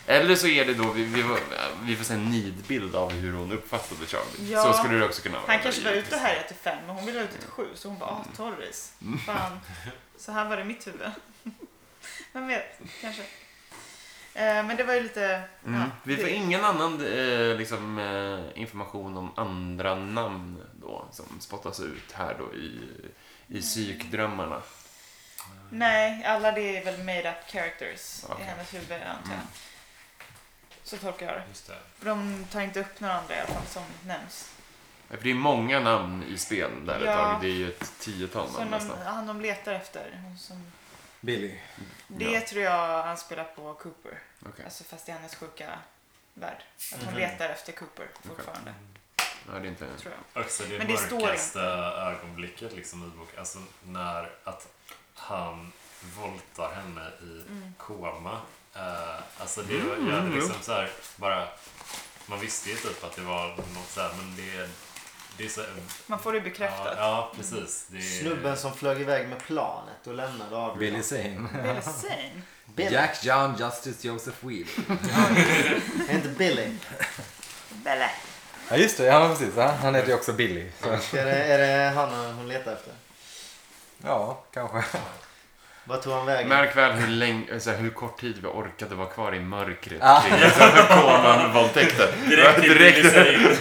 Eller så är det då, vi, vi, får- vi får se en nidbild av hur hon uppfattade Charlie. Ja. Så skulle det också kunna vara. Han kanske var ute här till fem, men hon ville ut till sju, så hon bara, ah, Torris. Fan. Så här var det i mitt huvud. Vem vet, kanske. Eh, Men det var ju lite... Mm. ja, Vi får det- ingen annan eh, liksom, eh, information om andra namn då som spottas ut här då i, i psykdrömmarna. Nej, alla det är väl made up characters Okej. i hennes huvud antar Mm. jag. Så tolkar jag det. Just det. För de tar inte upp några andra i alla fall som nämns. För det är många namn i spel där ett Ja. tag. Det är ju ett tiotal namn Som de, nästan. han de letar efter. hon Som, Billy. det Ja. tror jag han spelar på Cooper. Okej. Mhm. Alltså fast i hennes sjuka värld. Att hon letar efter Cooper fortfarande. Ja, det är inte... Tror jag. Också det, Men det står mörkaste inte. ögonblicket liksom i boken. Alltså när att han våldtar henne i Mm. koma. Eh, alltså det var jag hade liksom så här bara. Man visste ju typ att det var något så här men det, det är så. Man får det Ja, bekräftat. ja precis. Det, Snubben som flög iväg med planet och lämnade av Billy Zane. Billy Zane. Billy. Jack John Justice Joseph Wheeler. Är inte Billy? Belle. Mm. Ja, just det. Ja, precis. Ja, Han heter ju också Billy. Så, Är det, är det han hon letar efter? ja, kanske. Vad tog han vägen? Märk väl hur, länge, så här, hur kort tid vi orkade vara kvar i mörkret Ah. kring koman-våldtäkten. Direkt till Direkt.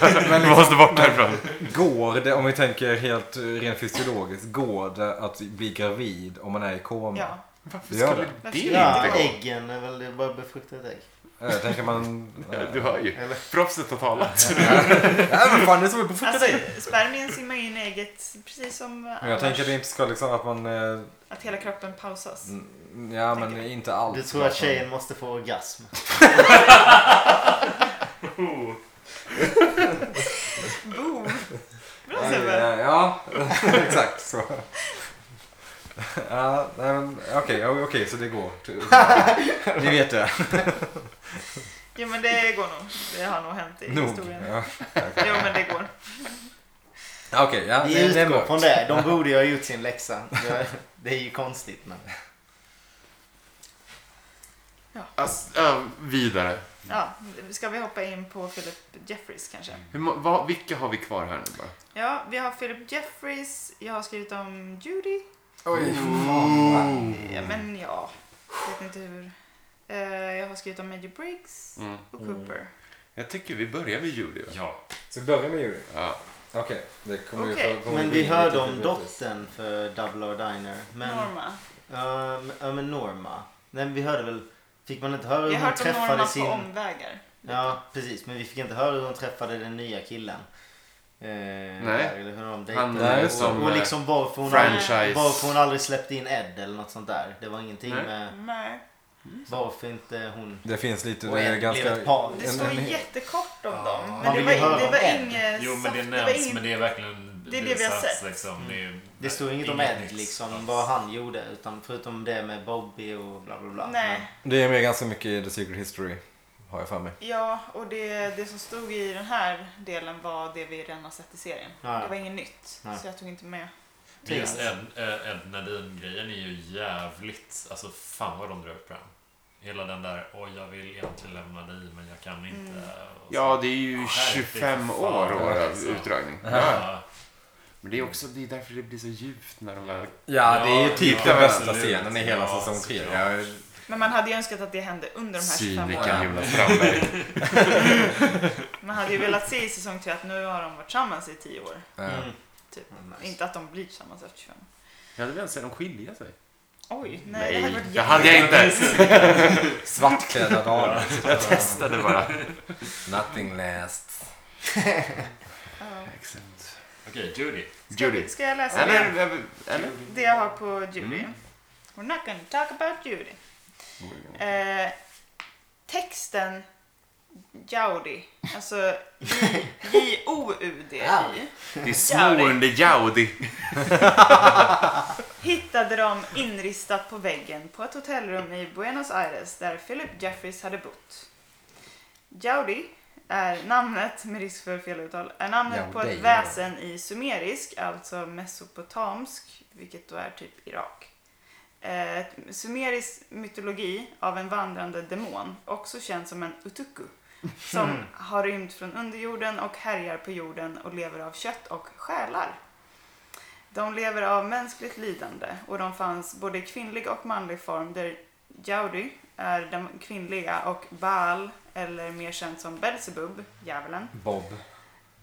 Men liksom- Vi måste bort härifrån. Går det, om vi tänker helt eh, rent fysiologiskt, går det att bli gravid om man är i koma? Ja. Varför Ja. skulle det Ja, inte gå? äggen är väl det är bara befruktat ägg. Eh, tänker man... Ja, Du hör ju. Proffset har talat. Nej men fan, det är som är på Alltså, alltså, spermien simmar in i ägget precis som Men jag tänker att det Mm. inte ska liksom att man... eh, att hela kroppen pausas. Ja men inte allt. Du tror alltså. att tjejen måste få orgasm? Boom! Bra Ja, Sebbe! ja, ja, exakt så. Ja, nej men okej, okay, så det går. Ni vet det. Jo men det går nog. Det har nog hänt i Nog. historien. Ja. Jo men det går. Okej, ja. Vi det- det är utgår mörkt. från det. De borde ju ha gjort sin läxa. Det- Det är ju konstigt men. Ass, ja, Alltså, vidare. Ja, ska vi hoppa in på Philip Jeffries kanske? Mm. Hur, må- vad, vilka har vi kvar här nu bara? Ja, vi har Philip Jeffries. Jag har skrivit om Judy. Mm. Oj, Ja, Mm. men ja, vet inte hur. Eh, Jag har skrivit om Major Briggs Mm. och Cooper. Jag tycker vi börjar vid Judy. va? Ja. Så vi börjar med Judy. Ja. Okej, det kommer Okej. ju kommer Men bli vi hörde lite om teoretiskt. dottern för Double or Diner. Men, Norma. Ja, men- ja men Norma. Nej men vi hörde väl. Fick man inte höra Jag hur har hon hört om träffade Norma sin... på omvägar. Ja, precis. Men vi fick inte höra hur hon träffade den nya killen. Eh, där, eller hur de Han dejtade. är just det. som och eh, liksom varför hon, aldrig, franchise. varför hon aldrig släppte in Ed eller något sånt där. Det var ingenting Nej. med Nej, varför inte hon... Det finns lite, Och det är en blev ganska... ett par. det står en- en- jättekort om dem. Men Man det vill var, ju höra det om var Ed. inget... Jo, men det saft- var nämns, ingen- men det är verkligen en Det är det vi har bisats, sett. Liksom. Det, är, Det stod inget om Ed liksom, vad han gjorde. Utan förutom det med Bobby och bla bla bla. Nej, Det är med ganska mycket i The Secret History, har jag för mig. ja, och det, det som stod i den här delen var det vi redan har sett i serien. Ja. Det var inget nytt, Nej. så jag tog inte med. Men just Ed, eh, Ed Nadine-grejen är ju jävligt... Alltså, fan vad de drar upp den. Hela den där, oj, jag vill egentligen lämna dig, men jag kan inte. Mm. och så. Ja, det är ju Skärp dig 25 för år, fan, år av alltså. utdragning. Ja. Ja. Men det är också det är därför det blir så djupt när de väl... Ja, det är ju Ja, typ ja, den bästa absolut. scenen i hela Ja, säsong 3. såklart. Ja, Men man hade ju önskat att det hände under de här 25 åren. Cynikern Jonas Strandberg. Man hade ju velat se i säsong 3 att nu har de varit tillsammans i 10 år. ja. Mm. Typ. Ja, nice. Inte att de blir tillsammans efter 25. Jag hade velat se dem skilja sig. Oj, nej, det hade varit det hade jag inte. Svartklädda damer. Jag testade bara. Nothing lasts. Ja. Okej, Judy. Judy. Ska jag läsa Eller, det? eller, eller? Det jag har på Judy. We're not gonna talk about Judy. Eh, texten Jaudi, alltså J- J-O-U-D-I, Det är små under Jaudi. hittade de inristat på väggen på ett hotellrum i Buenos Aires där Philip Jeffries hade bott. Jaudi är namnet, med risk för feluttal, är namnet på Jaudi, ett ja. väsen i sumerisk, alltså mesopotamisk, vilket då är typ Irak. Eh, ett sumerisk mytologi av en vandrande demon, också känd som en utuku, som har rymt från underjorden och härjar på jorden och lever av kött och själar. De lever av mänskligt lidande och de fanns både i kvinnlig och manlig form där Jaudi är den kvinnliga och Baal, eller mer känd som Belzebub, djävulen, Bob.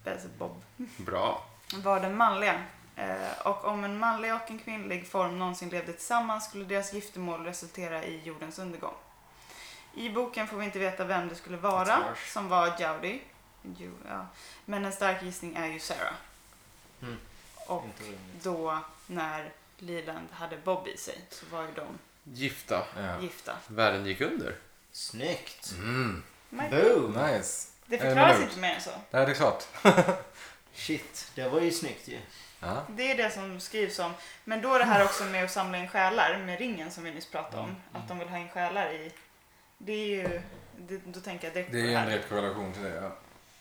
Belzebob, Bra. var den manliga. Eh, Och om en manlig och en kvinnlig form någonsin levde tillsammans skulle deras giftermål resultera i jordens undergång. I boken får vi inte veta vem det skulle vara That's harsh. som var Jaudi. Jo, ja. Men en stark gissning är ju Sarah. Mm. Och Inte rimligt. då när Leland hade Bob i sig så var ju de Gifta. Ja. gifta. Världen gick under. Snyggt! Mm, Men Boom! nice. det Eh, förklaras men- inte mer än så. Det här är klart. Shit, det var ju snyggt ju. Ja. Det är det som skrivs om. Men då är det här också med att samla in själar med ringen som vi nyss pratade om. Att de vill ha in själar i. Det är ju, det, då tänker jag direkt Det är ju på det en här. direkt korrelation till det. Ja.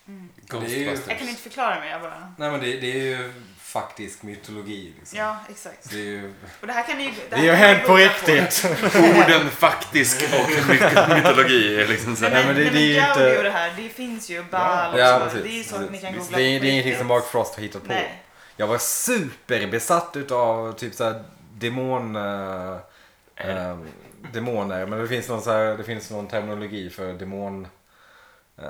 Mm. Jag kan inte förklara mig, jag bara... Nej men det, det är ju faktisk mytologi liksom. Ja, exakt. Det är ju... Och det här kan ni ju... Det har hänt på riktigt. Orden faktisk och myt- mytologi är liksom så Nej, här. Nej, men, men det- nej, men det är ju Gaudi inte- och det här, det finns ju. Baal Ja, och precis. så. Alltså, Det är ju sånt ni kan Precis. googla det, är, på det är ingenting riktigt. som Mark Frost har hittat på. Nej. Jag var superbesatt utav typ såhär demon... eh, eh, demoner, men det finns någon, så här, det finns någon terminologi för demon... eh,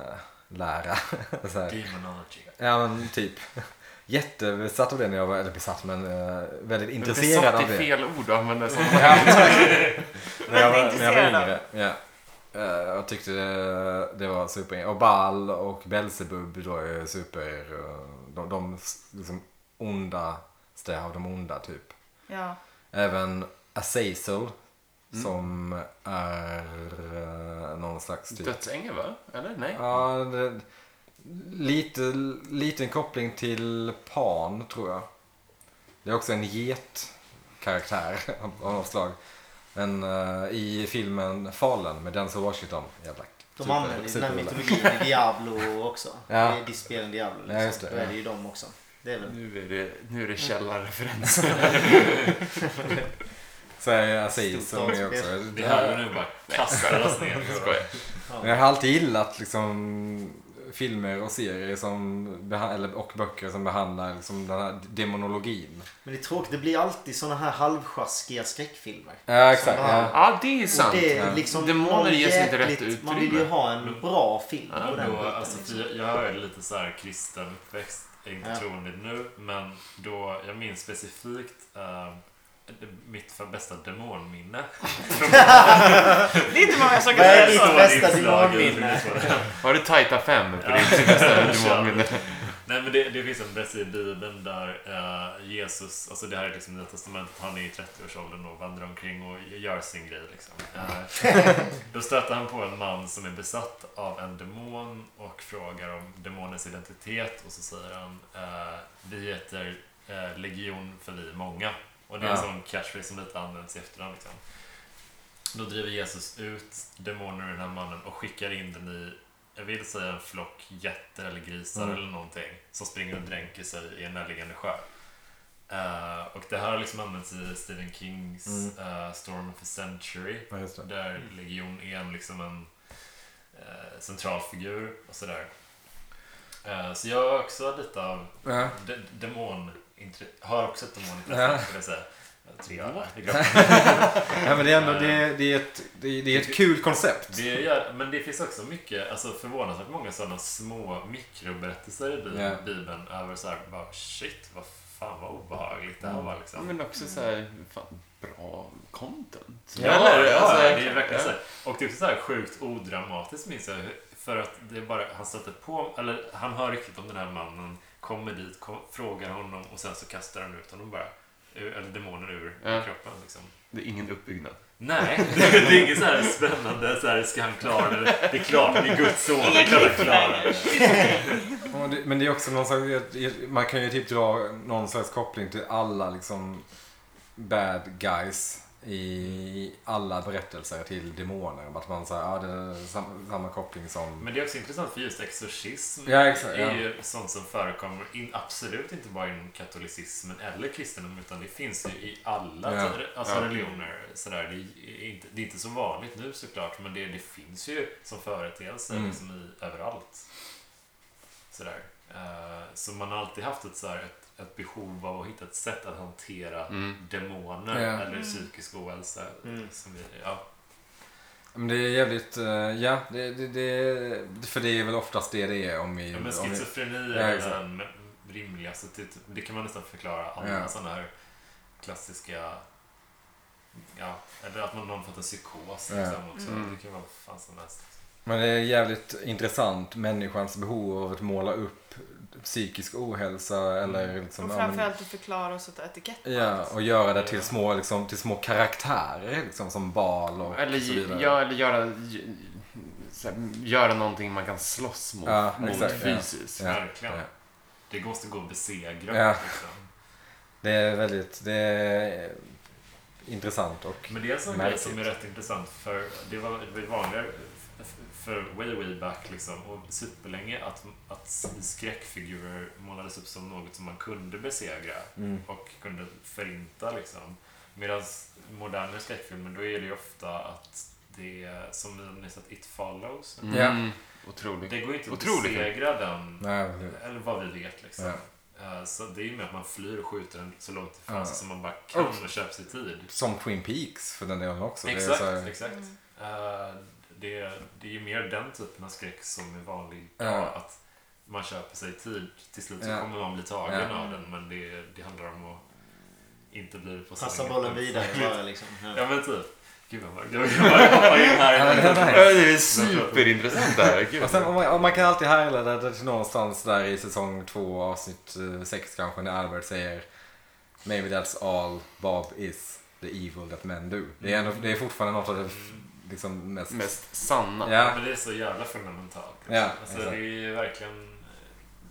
lära. så här. Demonology. Ja men typ. Jättebesatt av det när jag var, eller besatt men eh, väldigt intresserad Besatt av är det. fel ord att använda som Ja, när, jag var, Väldigt när jag intresserad var av. yngre. Ja. Eh, jag tyckte det, det var super Och Baal och Belzebub då är super... eh, De, de s- liksom ondaste av de onda typ. Ja. Även Azazel Mm. som är eh, någon slags typ... Dödsängel va? Eller? Nej? Ja, det, lite, liten koppling till Pan tror jag. Det är också en get karaktär av något slag. Men eh, i filmen Fallen med Denzel Washington. Jävla De super- använder ju den här superrulle. mytologin i Diablo också. Typ Ja. I diskspelen Diablo. Liksom. Ja, just det, Då är ja. det ju dem också. Det är väl... Nu är det, nu är det källarreferenser. Säger Aziz som är Stort också. Det här nu bara kastar oss ner. Skojar. Men jag har alltid gillat liksom filmer och serier som, beha- eller, och böcker som behandlar liksom den här demonologin. Men det är tråkigt, det blir alltid sådana här halvsjaskiga skräckfilmer. Ja, exakt, exakt. Som ja. Ja. Ja, det är Och sant. det ja. är liksom Demoner någon ges inte rätt jäkligt- Man vill ju utrymme. ha en bra film på den Då, biten. alltså, jag, jag har ju lite så här kristen uppväxt, inte Ja. troende nu, men då, jag minns specifikt eh, mitt för bästa demonminne. Det är inte många som kan Vad säga är ditt så. bästa Inslaget, demonminne? så det var- Har du tajta fem? För det är Ja. inte bästa Ja. demonminne. Nej men det, det finns en berättelse i Bibeln där eh, Jesus, alltså det här är liksom Nya Testamentet, han är i 30-årsåldern och vandrar omkring och gör sin grej liksom. Eh, då stöter han på en man som är besatt av en demon och frågar om demonens identitet och så säger han eh, vi heter eh, legion för vi är många. Och det är en Ja. sån catchphrase som lite används i efterhand liksom. Då driver Jesus ut demoner ur den här mannen och skickar in den i, jag vill säga en flock getter eller grisar Mm. eller någonting som springer och dränker sig i en närliggande sjö. Eh, och det här har liksom använts i Stephen Kings Mm. eh, Storm of a Century Ja, just det. där Legion är en, liksom en eh, central figur och sådär. Eh, så jag har också lite av Ja. de, demon... Har också ett demonintresse, Ja. skulle jag säga. Tre år. Ja, men det är ändå det är, det är ett, det är, det är ett kul koncept. Det gör, men det finns också mycket, alltså förvånansvärt många sådana små mikroberättelser i Bibeln, Ja. Bibeln över så här, bara shit, vad fan vad obehagligt det här var Ja, liksom. men också så här, fan, bra content. Ja, Eller, alltså, alltså, det är verkligen ja. så här. Och det är också så här sjukt odramatiskt minns jag. hur- För att det är bara, han stöter på, eller han hör riktigt om den här mannen, kommer dit, kom, frågar honom och sen så kastar han ut honom bara. Ur, eller demonen ur Ja. kroppen liksom. Det är ingen uppbyggnad. Nej, det är inget så här spännande, så här, ska han klara det? Det är klart, det är Guds son, det är Inga klart han klarar cliffhangers. det. Ja, det- Men det är också någon slags, man kan ju typ dra någon slags koppling till alla liksom bad guys i alla berättelser till demoner. Att man säger, ja det är sam- samma koppling som... Men det är också intressant för just exorcism Ja, exakt, är ja. ju sånt som förekommer in, absolut inte bara inom katolicismen eller kristendomen utan det finns ju i alla Ja, t- alltså ja. religioner. Sådär. Det, är inte, det är inte så vanligt nu såklart men det, det finns ju som företeelse Mm. liksom i, överallt. Sådär. Eh, så man har alltid haft ett, sådär, ett, ett behov av att hitta ett sätt att hantera Mm. demoner Ja. eller Mm. psykisk ohälsa. Mm. Som vi, ja. Men det är jävligt, eh, ja, det, det, det, för det är väl oftast det det är om vi... Ja, men om vi schizofreni Ja, är exakt. den rimligaste. Det, det kan man nästan förklara alla Ja. sådana här klassiska... Ja, eller att man någon fått en psykos Ja. liksom också. Mm. Det kan vara vad fan som helst. men det är jävligt intressant, människans behov av att måla upp psykisk ohälsa Mm. eller liksom... Och ja, men- framförallt att förklara och sätta etikett på Ja, allt. och göra det till små, liksom, till små karaktärer liksom, som bal och Eller, så ge- vidare. ja, eller göra, ge- så här, göra någonting man kan slåss mot, Ja, mot exakt, ja. fysiskt. Ja, Verkligen. ja. Det måste gå att besegra. Ja. Liksom. Det är väldigt det är intressant och... Men det är en sån grej Märkligt. som är rätt intressant för det var, det var ju vanligare f- för way way back liksom och superlänge att, att skräckfigurer målades upp som något som man kunde besegra Mm. och kunde förinta liksom. Medan moderna skräckfilmer då är det ju ofta att det är som ni har ni sett It Follows. Mm. Ja. Otroligt. Det går ju inte att Otroligt. besegra den, Nej, men det- eller vad vi vet liksom. Eh, Så det är ju mer att man flyr och skjuter den så långt ifrån Ja. sig som man bara kan och köper sig tid. som Twin Peaks för den delen också. Exakt, Det är så här, exakt. Mm. Eh, det, det är ju mer den typen av skräck som är vanlig Ja. idag. Att man köper sig tid. Till slut så Ja. kommer man bli tagen Ja. av den. Men det, det handlar om att inte bli på Passa sängen. bollen vidare bara liksom. Ja. Ja men typ. Gud vad mörkt. Jag vill bara hoppa in här. Ja, det är superintressant det här. Gud. och sen, om man, om man kan alltid härleda det till någonstans där i säsong två avsnitt eh, sex kanske när Albert säger Maybe that's all Bob is the evil that men do. Det är, ändå, det är fortfarande något av det liksom, mest... Mest sanna. Ja, Men det är så jävla fundamentalt. Ja, alltså, exakt. det är ju verkligen...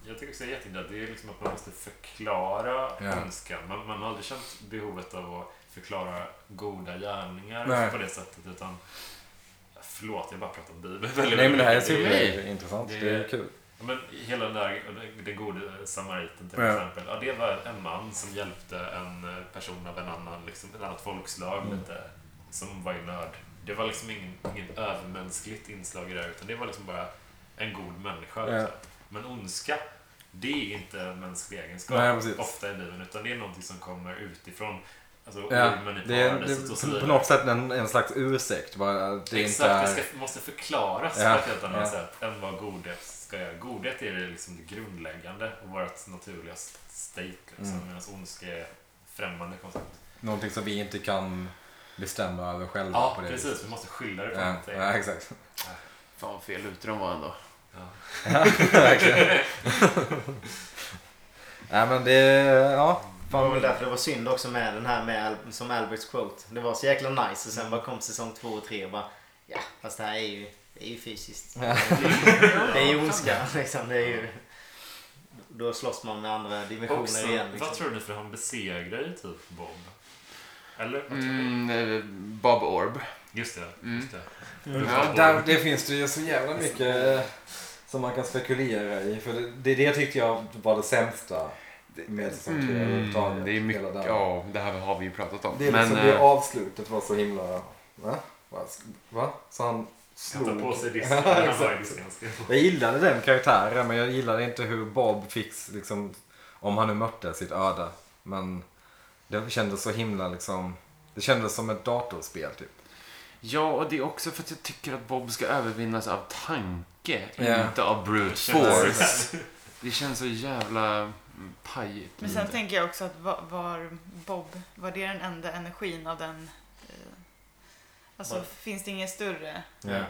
jag tycker också det är jätteintressant. Det är liksom att man måste förklara Ja. önskan. Man, man har aldrig känt behovet av att förklara goda gärningar Nej. på det sättet. Utan, förlåt, jag bara pratar bibel. väldigt Nej men det här är mycket. superintressant. det är- Det är kul. Ja, men hela den där den gode samariten till Ja. exempel. Ja, det var en man som hjälpte en eh, person av en annan, liksom, ett annat folkslag Mm. lite, som var i nöd. Det var liksom ingen, inget övermänskligt inslag i det här, utan det var liksom bara en god människa. Ja. liksom. Men ondska, det är inte en mänsklig egenskap Nej, precis. ofta i livet, utan det är någonting som kommer utifrån. Alltså Ja, ormen i det är, det paradiset och så är på- på vidare. något sätt en, en slags ursäkt. Bara, att det inte Exakt, är, det ska, måste förklaras Ja, på ett helt annat ja. sätt än vad godhet ska göra. Godhet är det liksom det grundläggande och vårt naturliga state, liksom, Mm. medan ondska är främmande koncept. någonting som vi inte kan bestämma över själva. Ja, på det viset. precis. Vi måste skilja det från Mm. Ja, någonting. ja, exakt. Fan vad fel ute de var ändå. Nej men det, ja. Det var väl Fan, därför det var synd också med den här med Al- som Alberts quote. Det var så jäkla nice och sen bara kom säsong två och tre och bara ja fast det här är ju, det är ju fysiskt. Det är ju ondska liksom. Det är ju, då slåss man med andra dimensioner Också, igen. Liksom. Vad tror ni för han besegrar ju typ Bob? Eller? vad tror ni? Mm, eh, Bob Orb. Just det. Just det. Mm. ja, där, det finns det ju så jävla mycket eh, som man kan spekulera i. För det, det, det tyckte jag var det sämsta med säsong tre överhuvudtaget. Mm, det är Hela mycket, den. ja det här har vi ju pratat om. Det är Men liksom det eh, avslutet var så himla... Va? Va? va? Så han Han tar på slog... sig disken. Han var ju diskensk. Jag gillade den karaktären men jag gillade inte hur Bob fick liksom... Om han nu mötte sitt öde. Men det kändes så himla liksom... Det kändes som ett datorspel typ. ja, och det är också för att jag tycker att Bob ska övervinnas av tanke, Ja. inte av brute force. Det känns så jävla mm, pajigt. Men sen tänker jag också att var, var Bob, var det den enda energin av den? Eh, alltså Var- finns det inget större? Ja.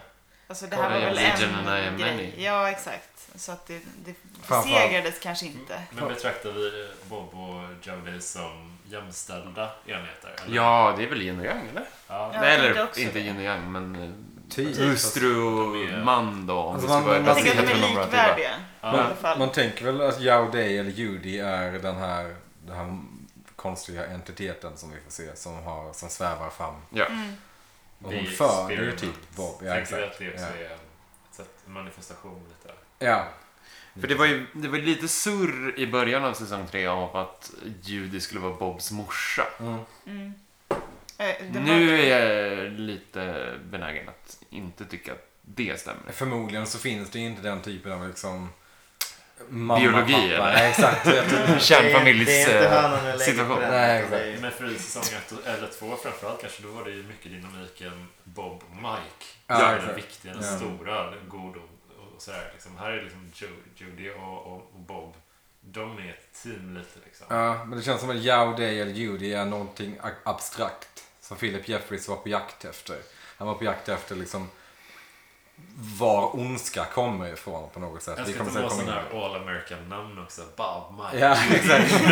Alltså det här var Ja, väl Legion and I en am grej. many. Ja, exakt. Så att det, det Framförallt- besegrades kanske inte. Men betraktar vi Bob och Jodie som jämställda enheter? eller? Ja, det är väl yin och yang eller? Ja. Ja, Nej, jag eller tänkte också inte det. yin och yang men eh, Typ. hustru De är- och man då om Alltså, vi man- ska börja man- Jag Fast tänker att de till är normativa. likvärdiga. Ja. I alla fall. Man tänker väl att Yao Day eller Judy är den här, den här konstiga entiteten som vi får se som, har, som svävar fram. Ja. Mm. Och The hon för ju experiment. typ Bob. Ja, Tänker vi att exakt. det också Ja. är ett sätt, en manifestation lite? ja. För det var ju det var ju lite surr i början av säsong tre om att Judy skulle vara Bobs morsa. Mm. Eh, det var- Nu är jag lite benägen att inte tycka att det stämmer. Förmodligen så finns det ju inte den typen av liksom... Mamma, Biologi, pappa. eller? Nej, exakt. Jag tror- Kärnfamiljs... Det är inte eh, hönan eller ägget på situation. den. Nej, utan det är ju- Men för i säsong 1 eller 2 framförallt kanske, då var det ju mycket dynamiken Bob och Mike. Ja, det är den exakt. viktiga, den Ja. stora, den god och, och sådär. Liksom. Här är liksom Ju- Judy och, och, och Bob. De är ett team lite liksom. Ja, men det känns som att Yao Day eller Judy är någonting a- abstrakt. Som Philip Jeffries var på jakt efter. Han var på jakt efter liksom var ondska kommer ifrån på något sätt. Jag Vi ska kommer inte ha säkert komma in sådana på det. här All American-namn också. Bob, Mike, Ja, exakt.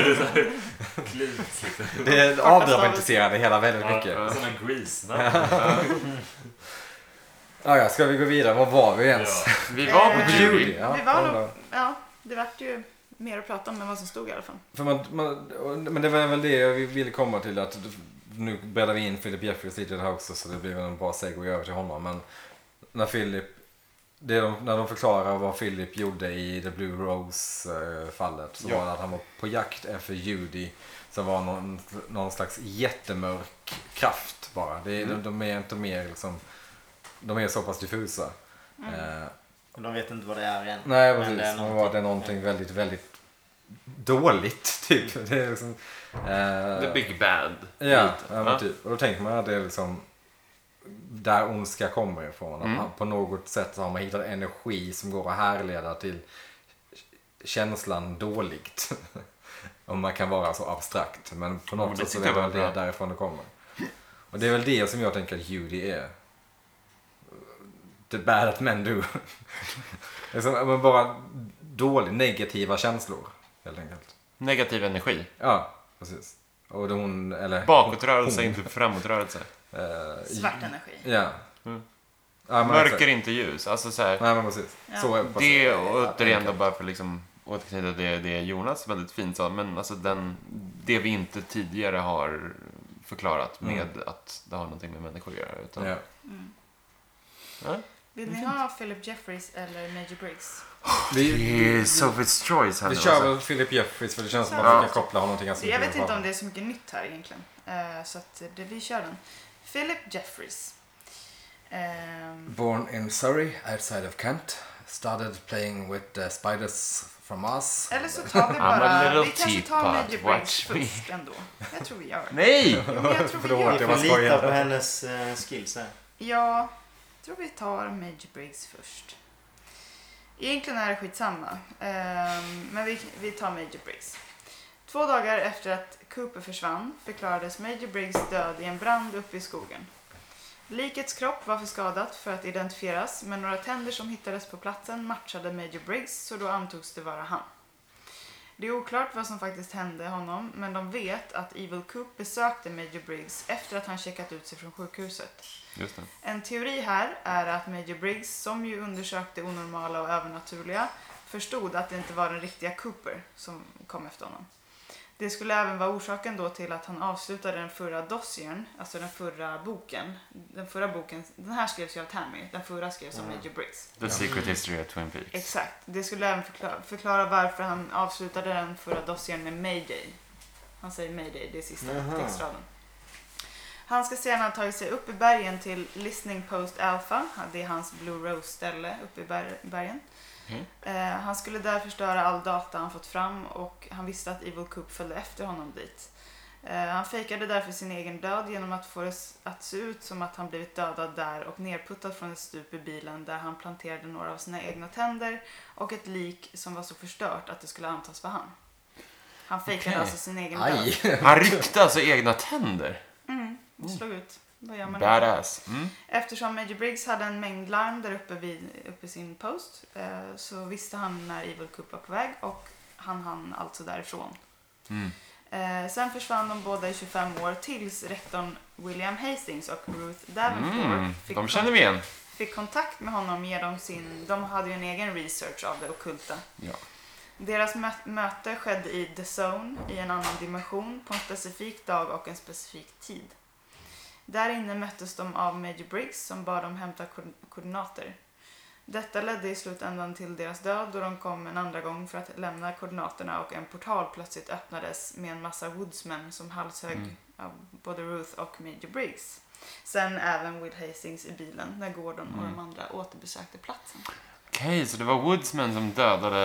Cleat liksom. Det avdramatiserade hela väldigt mycket. Ja, sådana Grease-namn. Ah, ja, ska vi gå vidare? Var var vi Ja. ens? Vi var på Eh, Judy. Ja, Det var alla. nog, ja, det vart ju mer att prata om än vad som stod i alla fall. För man, man, men det var väl det jag ville komma till att nu breddar vi in Philip Jeffries lite i det här också så det blir väl en bra segway över till honom. Men när Philip, det de, när de förklarar vad Philip gjorde i The Blue Rose eh, fallet så var det att han var på jakt efter Judy som var någon, någon slags jättemörk kraft bara. Det, är- de, de är inte mer liksom, de är så pass diffusa. Eh, Och de vet inte vad det är än. Nej Men det är precis, men någonting. var det någonting väldigt, väldigt dåligt typ. Det är liksom, eh, The Big Bad. Ja, Lite, ja va? men typ. Och då tänker man att det är liksom där ondska kommer ifrån. Att man, på något sätt så har man hittat energi som går att härleda till känslan dåligt. Om man kan vara så abstrakt. Men på något det sätt så är det tyckte jag väl var det bra. därifrån det kommer. Och det är väl det som jag tänker att Judy är. The bad at men do. liksom, men bara dålig, negativa känslor. Helt enkelt. Negativ energi. Ja, precis. Och då hon, eller... Bakåtrörelse, inte framåtrörelse. eh, Svart energi. Ja. Mm. ja men Mörker, exakt. inte ljus. Alltså så här, Nej men precis. Ja. Så är- Det Ja, och återigen då enkelt. bara för liksom återknyta till det, det Jonas väldigt fint sa, men alltså den, det vi inte tidigare har förklarat Mm. med att det har någonting med människor att göra. Utan, Ja. Mm. Ja. Vill ni ha Philip Jeffries eller Major Briggs? Vi, Det är Sophie's Choice här vi nu, kör alltså. väl Philip Jeffries för det känns som att Ja. vi kan koppla honom till ganska Jag vet med inte om varandra. det är så mycket nytt här egentligen. Eh, Så att det, vi kör den. Philip Jeffries. Ehm, Born in Surrey, outside of Kent. Started playing with the spiders from Mars. Eller så tar vi I'm a bara... little Vi kanske tar teapot, Major Briggs typ watch me. först ändå. Jag tror vi gör det. Nej! Jo, men jag tror vi Förlåt, gör jag Vi det. var får lita skojare. på hennes eh, skills här. Ja, jag tror vi tar Major Briggs först. Egentligen är det skitsamma, ehm, men vi, vi tar Major Briggs. Två dagar efter att Cooper försvann förklarades Major Briggs död i en brand uppe i skogen. Likets kropp var för skadat för att identifieras, men några tänder som hittades på platsen matchade Major Briggs, så då antogs det vara han. Det är oklart vad som faktiskt hände honom, men de vet att Evil Coop besökte Major Briggs efter att han checkat ut sig från sjukhuset. Just det. En teori här är att Major Briggs, som ju undersökte onormala och övernaturliga, förstod att det inte var den riktiga Cooper som kom efter honom. Det skulle även vara orsaken då till att han avslutade den förra dossiern, alltså den förra boken. Den förra boken, den här skrevs ju av Tammy, den förra skrevs av Major Briggs. The Secret History of Twin Peaks. Exakt, det skulle även förklara, förklara varför han avslutade den förra dossiern med Mayday. Han säger Mayday, det är sista Jaha. textraden. Han ska sedan ha tagit sig upp i bergen till Listening Post Alpha, det är hans Blue Rose ställe uppe i ber- bergen. Mm. Eh, han skulle där förstöra all data han fått fram och han visste att Evil Coop följde efter honom dit. Eh, han fejkade därför sin egen död genom att få det s- att se ut som att han blivit dödad där och nerputtad från ett stup i bilen där han planterade några av sina egna tänder och ett lik som var så förstört att det skulle antas vara han. Han fejkade Okej. alltså sin egen död. Aj! Han ryckte alltså egna tänder. Mm, slog ut. Vad gör man då? Badass. Mm. Eftersom Major Briggs hade en mängd larm där uppe vid uppe i sin post eh, så visste han när Evil Cup var på väg och han hann alltså därifrån. Mm. Eh, sen försvann de båda i 25 år tills rektorn William Hastings och Ruth Davenport Mm. fick, De kon- känner vi igen. fick kontakt med honom genom sin... De hade ju en egen research av det ockulta. Ja. Deras mö- möte skedde i The Zone, i en annan dimension, på en specifik dag och en specifik tid. Där inne möttes de av Major Briggs som bad dem hämta ko- koordinater. Detta ledde i slutändan till deras död då de kom en andra gång för att lämna koordinaterna och en portal plötsligt öppnades med en massa woodsmen som halshögg Mm. av både Ruth och Major Briggs. Sen även Will Hastings i bilen när Gordon och de andra återbesökte platsen. Okej, så det var Woodsman som dödade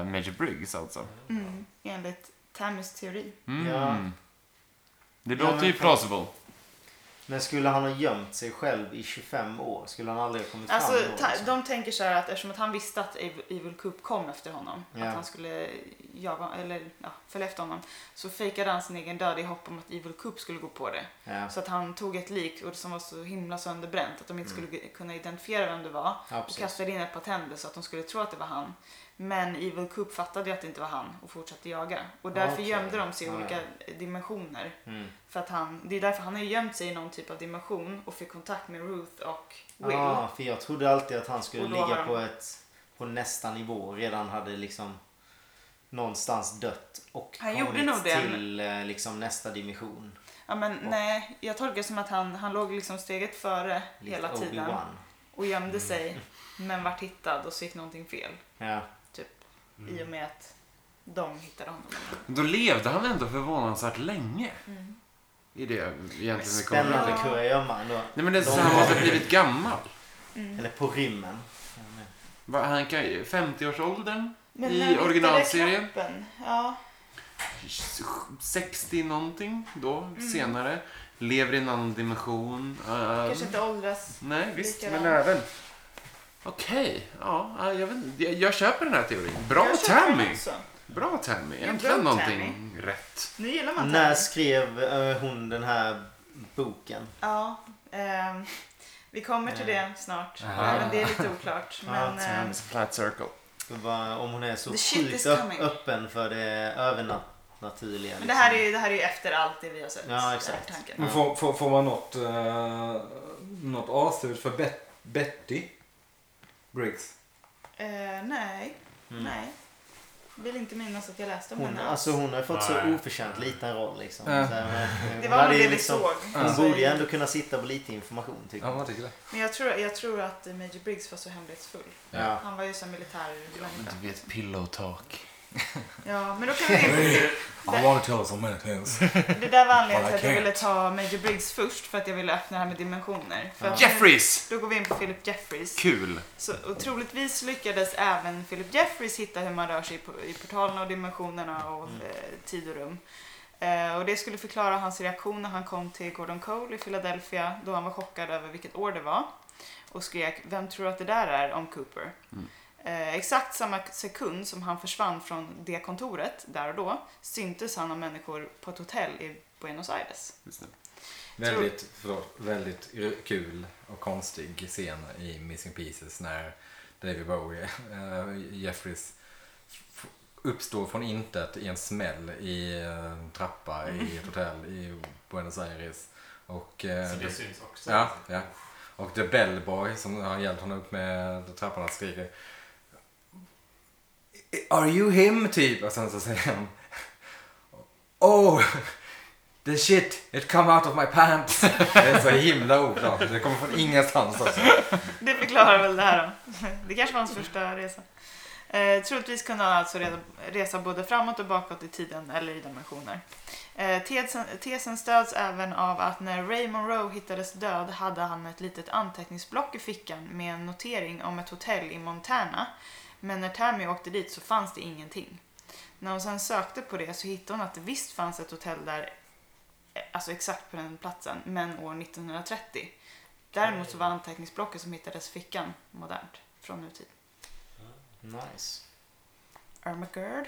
eh, Major Briggs alltså? Mm, enligt Tammys teori. Mm. Ja. Det Ja, låter men ju för- plausible. Men skulle han ha gömt sig själv i 25 år? Skulle han aldrig ha kommit fram Alltså, då, ta, liksom? de tänker så här att eftersom att han visste att Ev- Evil Coop kom efter honom, Ja. att han skulle jaga, eller ja, följa efter honom, så fejkade han sin egen död i hopp om att Evil Coop skulle gå på det. Ja, Så att han tog ett lik och som var så himla sönderbränt att de inte skulle kunna identifiera vem det var Mm. ja, och precis. kastade in ett par tänder så att de skulle tro att det var han. Men Evil Coop fattade ju att det inte var han och fortsatte jaga. Och därför Okej. gömde de sig i Ja, ja. olika dimensioner. Mm. För att han, det är därför han har ju gömt sig i någon typ av dimension och fick kontakt med Ruth och Will. Ah, för jag trodde alltid att han skulle Och då har ligga han- på, ett, på nästa nivå och redan hade liksom någonstans dött och Han gjorde kommit nog det, men- till eh, liksom nästa division. Ja, men nej, jag tolkar det som att han, han låg liksom steget före Likt hela tiden Obi-Wan. och gömde sig men vart hittad och så gick någonting fel typ, Ja. i och med att de hittade honom. Då levde han ändå förvånansvärt länge. Mm. I det egentligen vi kommer fram Spännande till. kurragömma ändå. Nej men det är så De- han måste ha blivit gammal. Mm. Eller på rymmen. Va, Han kan ju 50-årsåldern Men när i hittade originalserien. kroppen? Ja, 60 någonting då, Mm. senare. Lever i en annan dimension. Ehm, kanske inte åldras. Nej, visst. Likadant. Men även... Okej, ja, ja, jag, vet, inte. jag, jag köper den här teorin. Bra Jag köper den Tammy! också. Bra Tammy, Ja, äntligen bra någonting rätt. Nu gillar man När Tammy. skrev eh, hon den här boken? Ja, ehm, vi kommer till det snart. Även det är lite oklart. Men, ehm, Tammys flat circle. Vad- Om hon är så The shit sjukt is ö- coming. öppen för det övernaturliga. liksom. men det här är ju det här är ju efter allt det vi har sett. Ja, är exakt. tanken. Men får, får, får man något, uh, något avslut för Bet- Betty Briggs? Mm. Eh, nej, nej. vill inte minnas att jag läste om Hon, henne. alltså hon har ju fått så Nej. oförtjänt liten roll liksom. Ja. Så här, men- det var hon hade väl ju det vi liksom- såg. Hon Så- borde ju ändå kunna sitta på lite information tycker Ja, jag. man tycker det. Men jag tror, jag tror att Major Briggs var så hemlighetsfull. Ja. Han var ju så militärmänniska. Du vet, pillow talk. Ja, men då kan vi... I wanna tell so many things. Det där var anledningen till att jag Well, I ville ta Major Briggs först för att jag ville öppna det här med dimensioner. För att Jeffries! Nu, då går vi in på Philip Jeffries. Kul! Så otroligtvis lyckades även Philip Jeffries hitta hur man rör sig i po- i portalerna och dimensionerna och eh, tid och rum. Eh, och det skulle förklara hans reaktion när han kom till Gordon Cole i Philadelphia då han var chockad över vilket år det var och skrek “Vem tror du att det där är?” om Cooper. Eh, exakt samma sekund som han försvann från det kontoret där och då syntes han av människor på ett hotell i Buenos Aires. Väldigt, förlåt, väldigt kul och konstig scen i Missing Pieces när David Bowie, eh, Jeffries, f- uppstår från intet i en smäll i eh, en trappa i ett hotell i Buenos Aires. Och, eh, Så det det- syns också. ja, ja. och The Bellboy som har hjälpt honom upp med trappan och skriker Are you him? typ. Och sen så säger han Oh! The shit, it come out of my pants. Det är så himla oklart. Det kommer från ingenstans alltså. Det förklarar väl det här då. Det kanske var hans första resa. Eh, troligtvis kunde han alltså reda, resa både framåt och bakåt i tiden eller i dimensioner. Eh, tesen, tesen stöds även av att när Ray Monroe hittades död hade han ett litet anteckningsblock i fickan med en notering om ett hotell i Montana. Men när Tammy åkte dit så fanns det ingenting. När hon sen sökte på det så hittade hon att det visst fanns ett hotell där, eh, alltså exakt på den platsen, men år 1930. Däremot så var anteckningsblocket som hittades i fickan modernt från nutid. Nice. Ermagerd.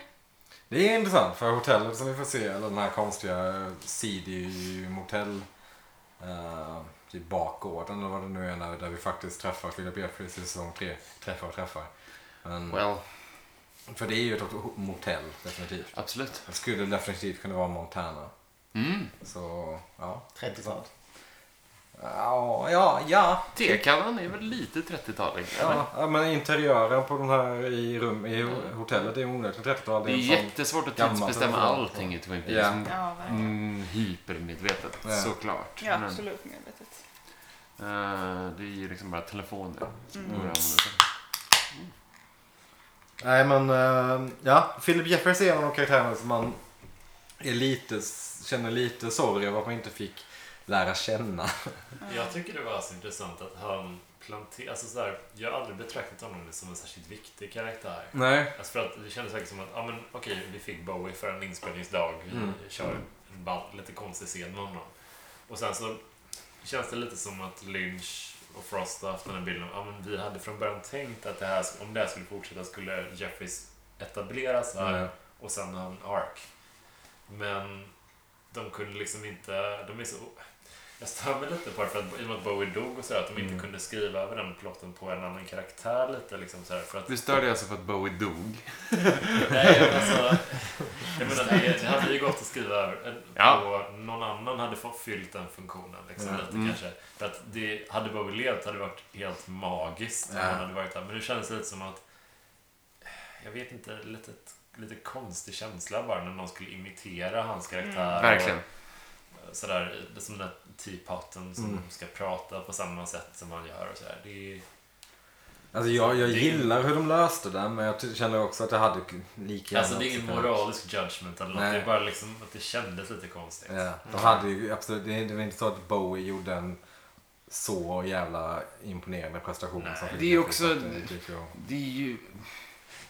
Det är intressant för hotellet som vi får se, eller den här konstiga CD motell eh, typ bakgården eller vad det nu är när- där vi faktiskt träffar Philip Jeffries i säsong 3. Träffar och träffar. Men, Well, för det är ju ett ho- motell definitivt. absolut. Det skulle definitivt kunna vara Montana. Mm. Så ja. 30-tal. Ja, ja, ja. Tekannan är väl lite 30-talig? eller? Ja, ja, men interiören på den här i, rum, i hotellet är ju onekligen 30-tal. Det är en sån- jättesvårt att gammalt tidsbestämma referat. allting i Twin Ja. Peaks. Ja, verkligen. Mm, hypermedvetet, Ja. såklart. Ja, Men, absolut medvetet. eh, det är ju liksom bara telefoner. Mm. Nej men eh, ja, Philip Jeffers är en av de karaktärerna som man är lite, känner lite sorg över att man inte fick lära känna. Jag tycker det var så intressant att han planterade... Alltså sådär, jag har aldrig betraktat honom som en särskilt viktig karaktär. Nej. Alltså för att det kändes säkert som att, ja men okej, vi fick Bowie för en inspelningsdag. Vi kör en ball, lite konstig scen med honom. Och sen så känns det lite som att Lynch och Frost har haft den här bilden av, ja men vi hade från början tänkt att det här, om det här skulle fortsätta skulle Jeffries etableras här Ja. och sen ha en ark. Men de kunde liksom inte, de är så... Jag stör mig lite på det för att i och med att Bowie dog och sådär, att de inte kunde skriva över den plotten på en annan karaktär lite liksom sådär. För att Du stör dig alltså för att Bowie dog? Nej, men alltså, jag menar, det, det hade ju gått att skriva över. En- Ja. på- Någon annan hade fått fyllt den funktionen liksom, lite Mm. kanske. För att det hade bara levt hade det varit helt magiskt. om Ja. Han hade varit där. Men det kändes lite som att, jag vet inte, lite, lite konstig känsla bara när någon skulle imitera hans karaktär. Mm. Verkligen. Och, eh, sådär, det är som den där teapotten som Mm. ska prata på samma sätt som han gör och sådär. Det är, Alltså jag, jag gillar hur de löste det men jag ty- känner också att det hade k- lika gärna alltså det är ingen också kunnat- moralisk judgment eller något. typ- Nej. Det är bara liksom att det kändes lite konstigt. Ja, Eh, de hade ju absolut, det, det var inte så att Bowie gjorde en så jävla imponerande prestation. Nej. som Philip Det är Jeffries också- att det gick att- Det är ju...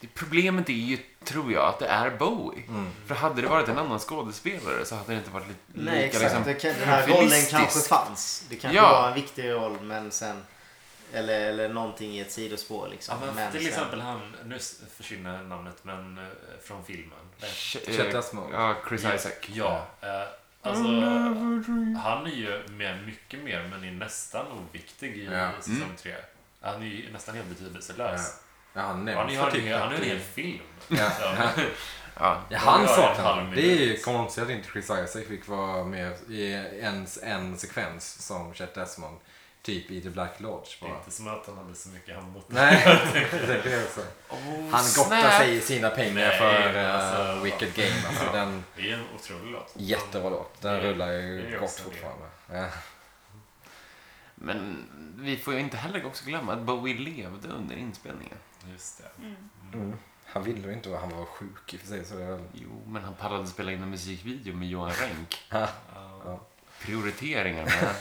Det problemet är ju, tror jag, att det är Bowie. Mm. För hade det varit en annan skådespelare så hade det inte varit li- Nej lika exakt, liksom... Det kan, den här rollen profilistisk. kanske fanns. Det kanske Ja. var en viktig roll men sen... Eller, eller någonting i ett sidospår liksom. Ja, men men till sen- exempel han, nu s- försvinner namnet, men eh, från filmen. Ch- eh, Chet Small. Ja, Chris Isaac. Ja, eh, alltså, han är ju med mycket mer, men är nästan oviktig i Ja. Mm. säsong 3. Han är ju nästan helt betydelselös. Ja, han Han, nämns är, han, för är, han är en knappt i- hel film. Ja. Så, Ja. Ja, Ja, han ja, saknar halv man. minut. Det är ju konstigt att inte Chris Isaac fick vara med i ens en sekvens som Chet Desmond. Typ i The Black Lodge bara. Inte som att han hade så mycket hand mot Nej, jag tänker det också. Han gottar sig i sina pengar Oh, Nej, för eh, alltså. Wicked Game. Alltså, den, Det är en otrolig låt. jättebra låt. Den Det- rullar det är ju ju gott också det. fortfarande. Ja. Men vi får ju inte heller också glömma att Bowie levde under inspelningen. Just det. Mm. Han ville ju inte vara, han var sjuk i och för sig. Så det är väl... Jo, men han pallade spela in en musikvideo med Johan Renck. Ja. Prioriteringar. va?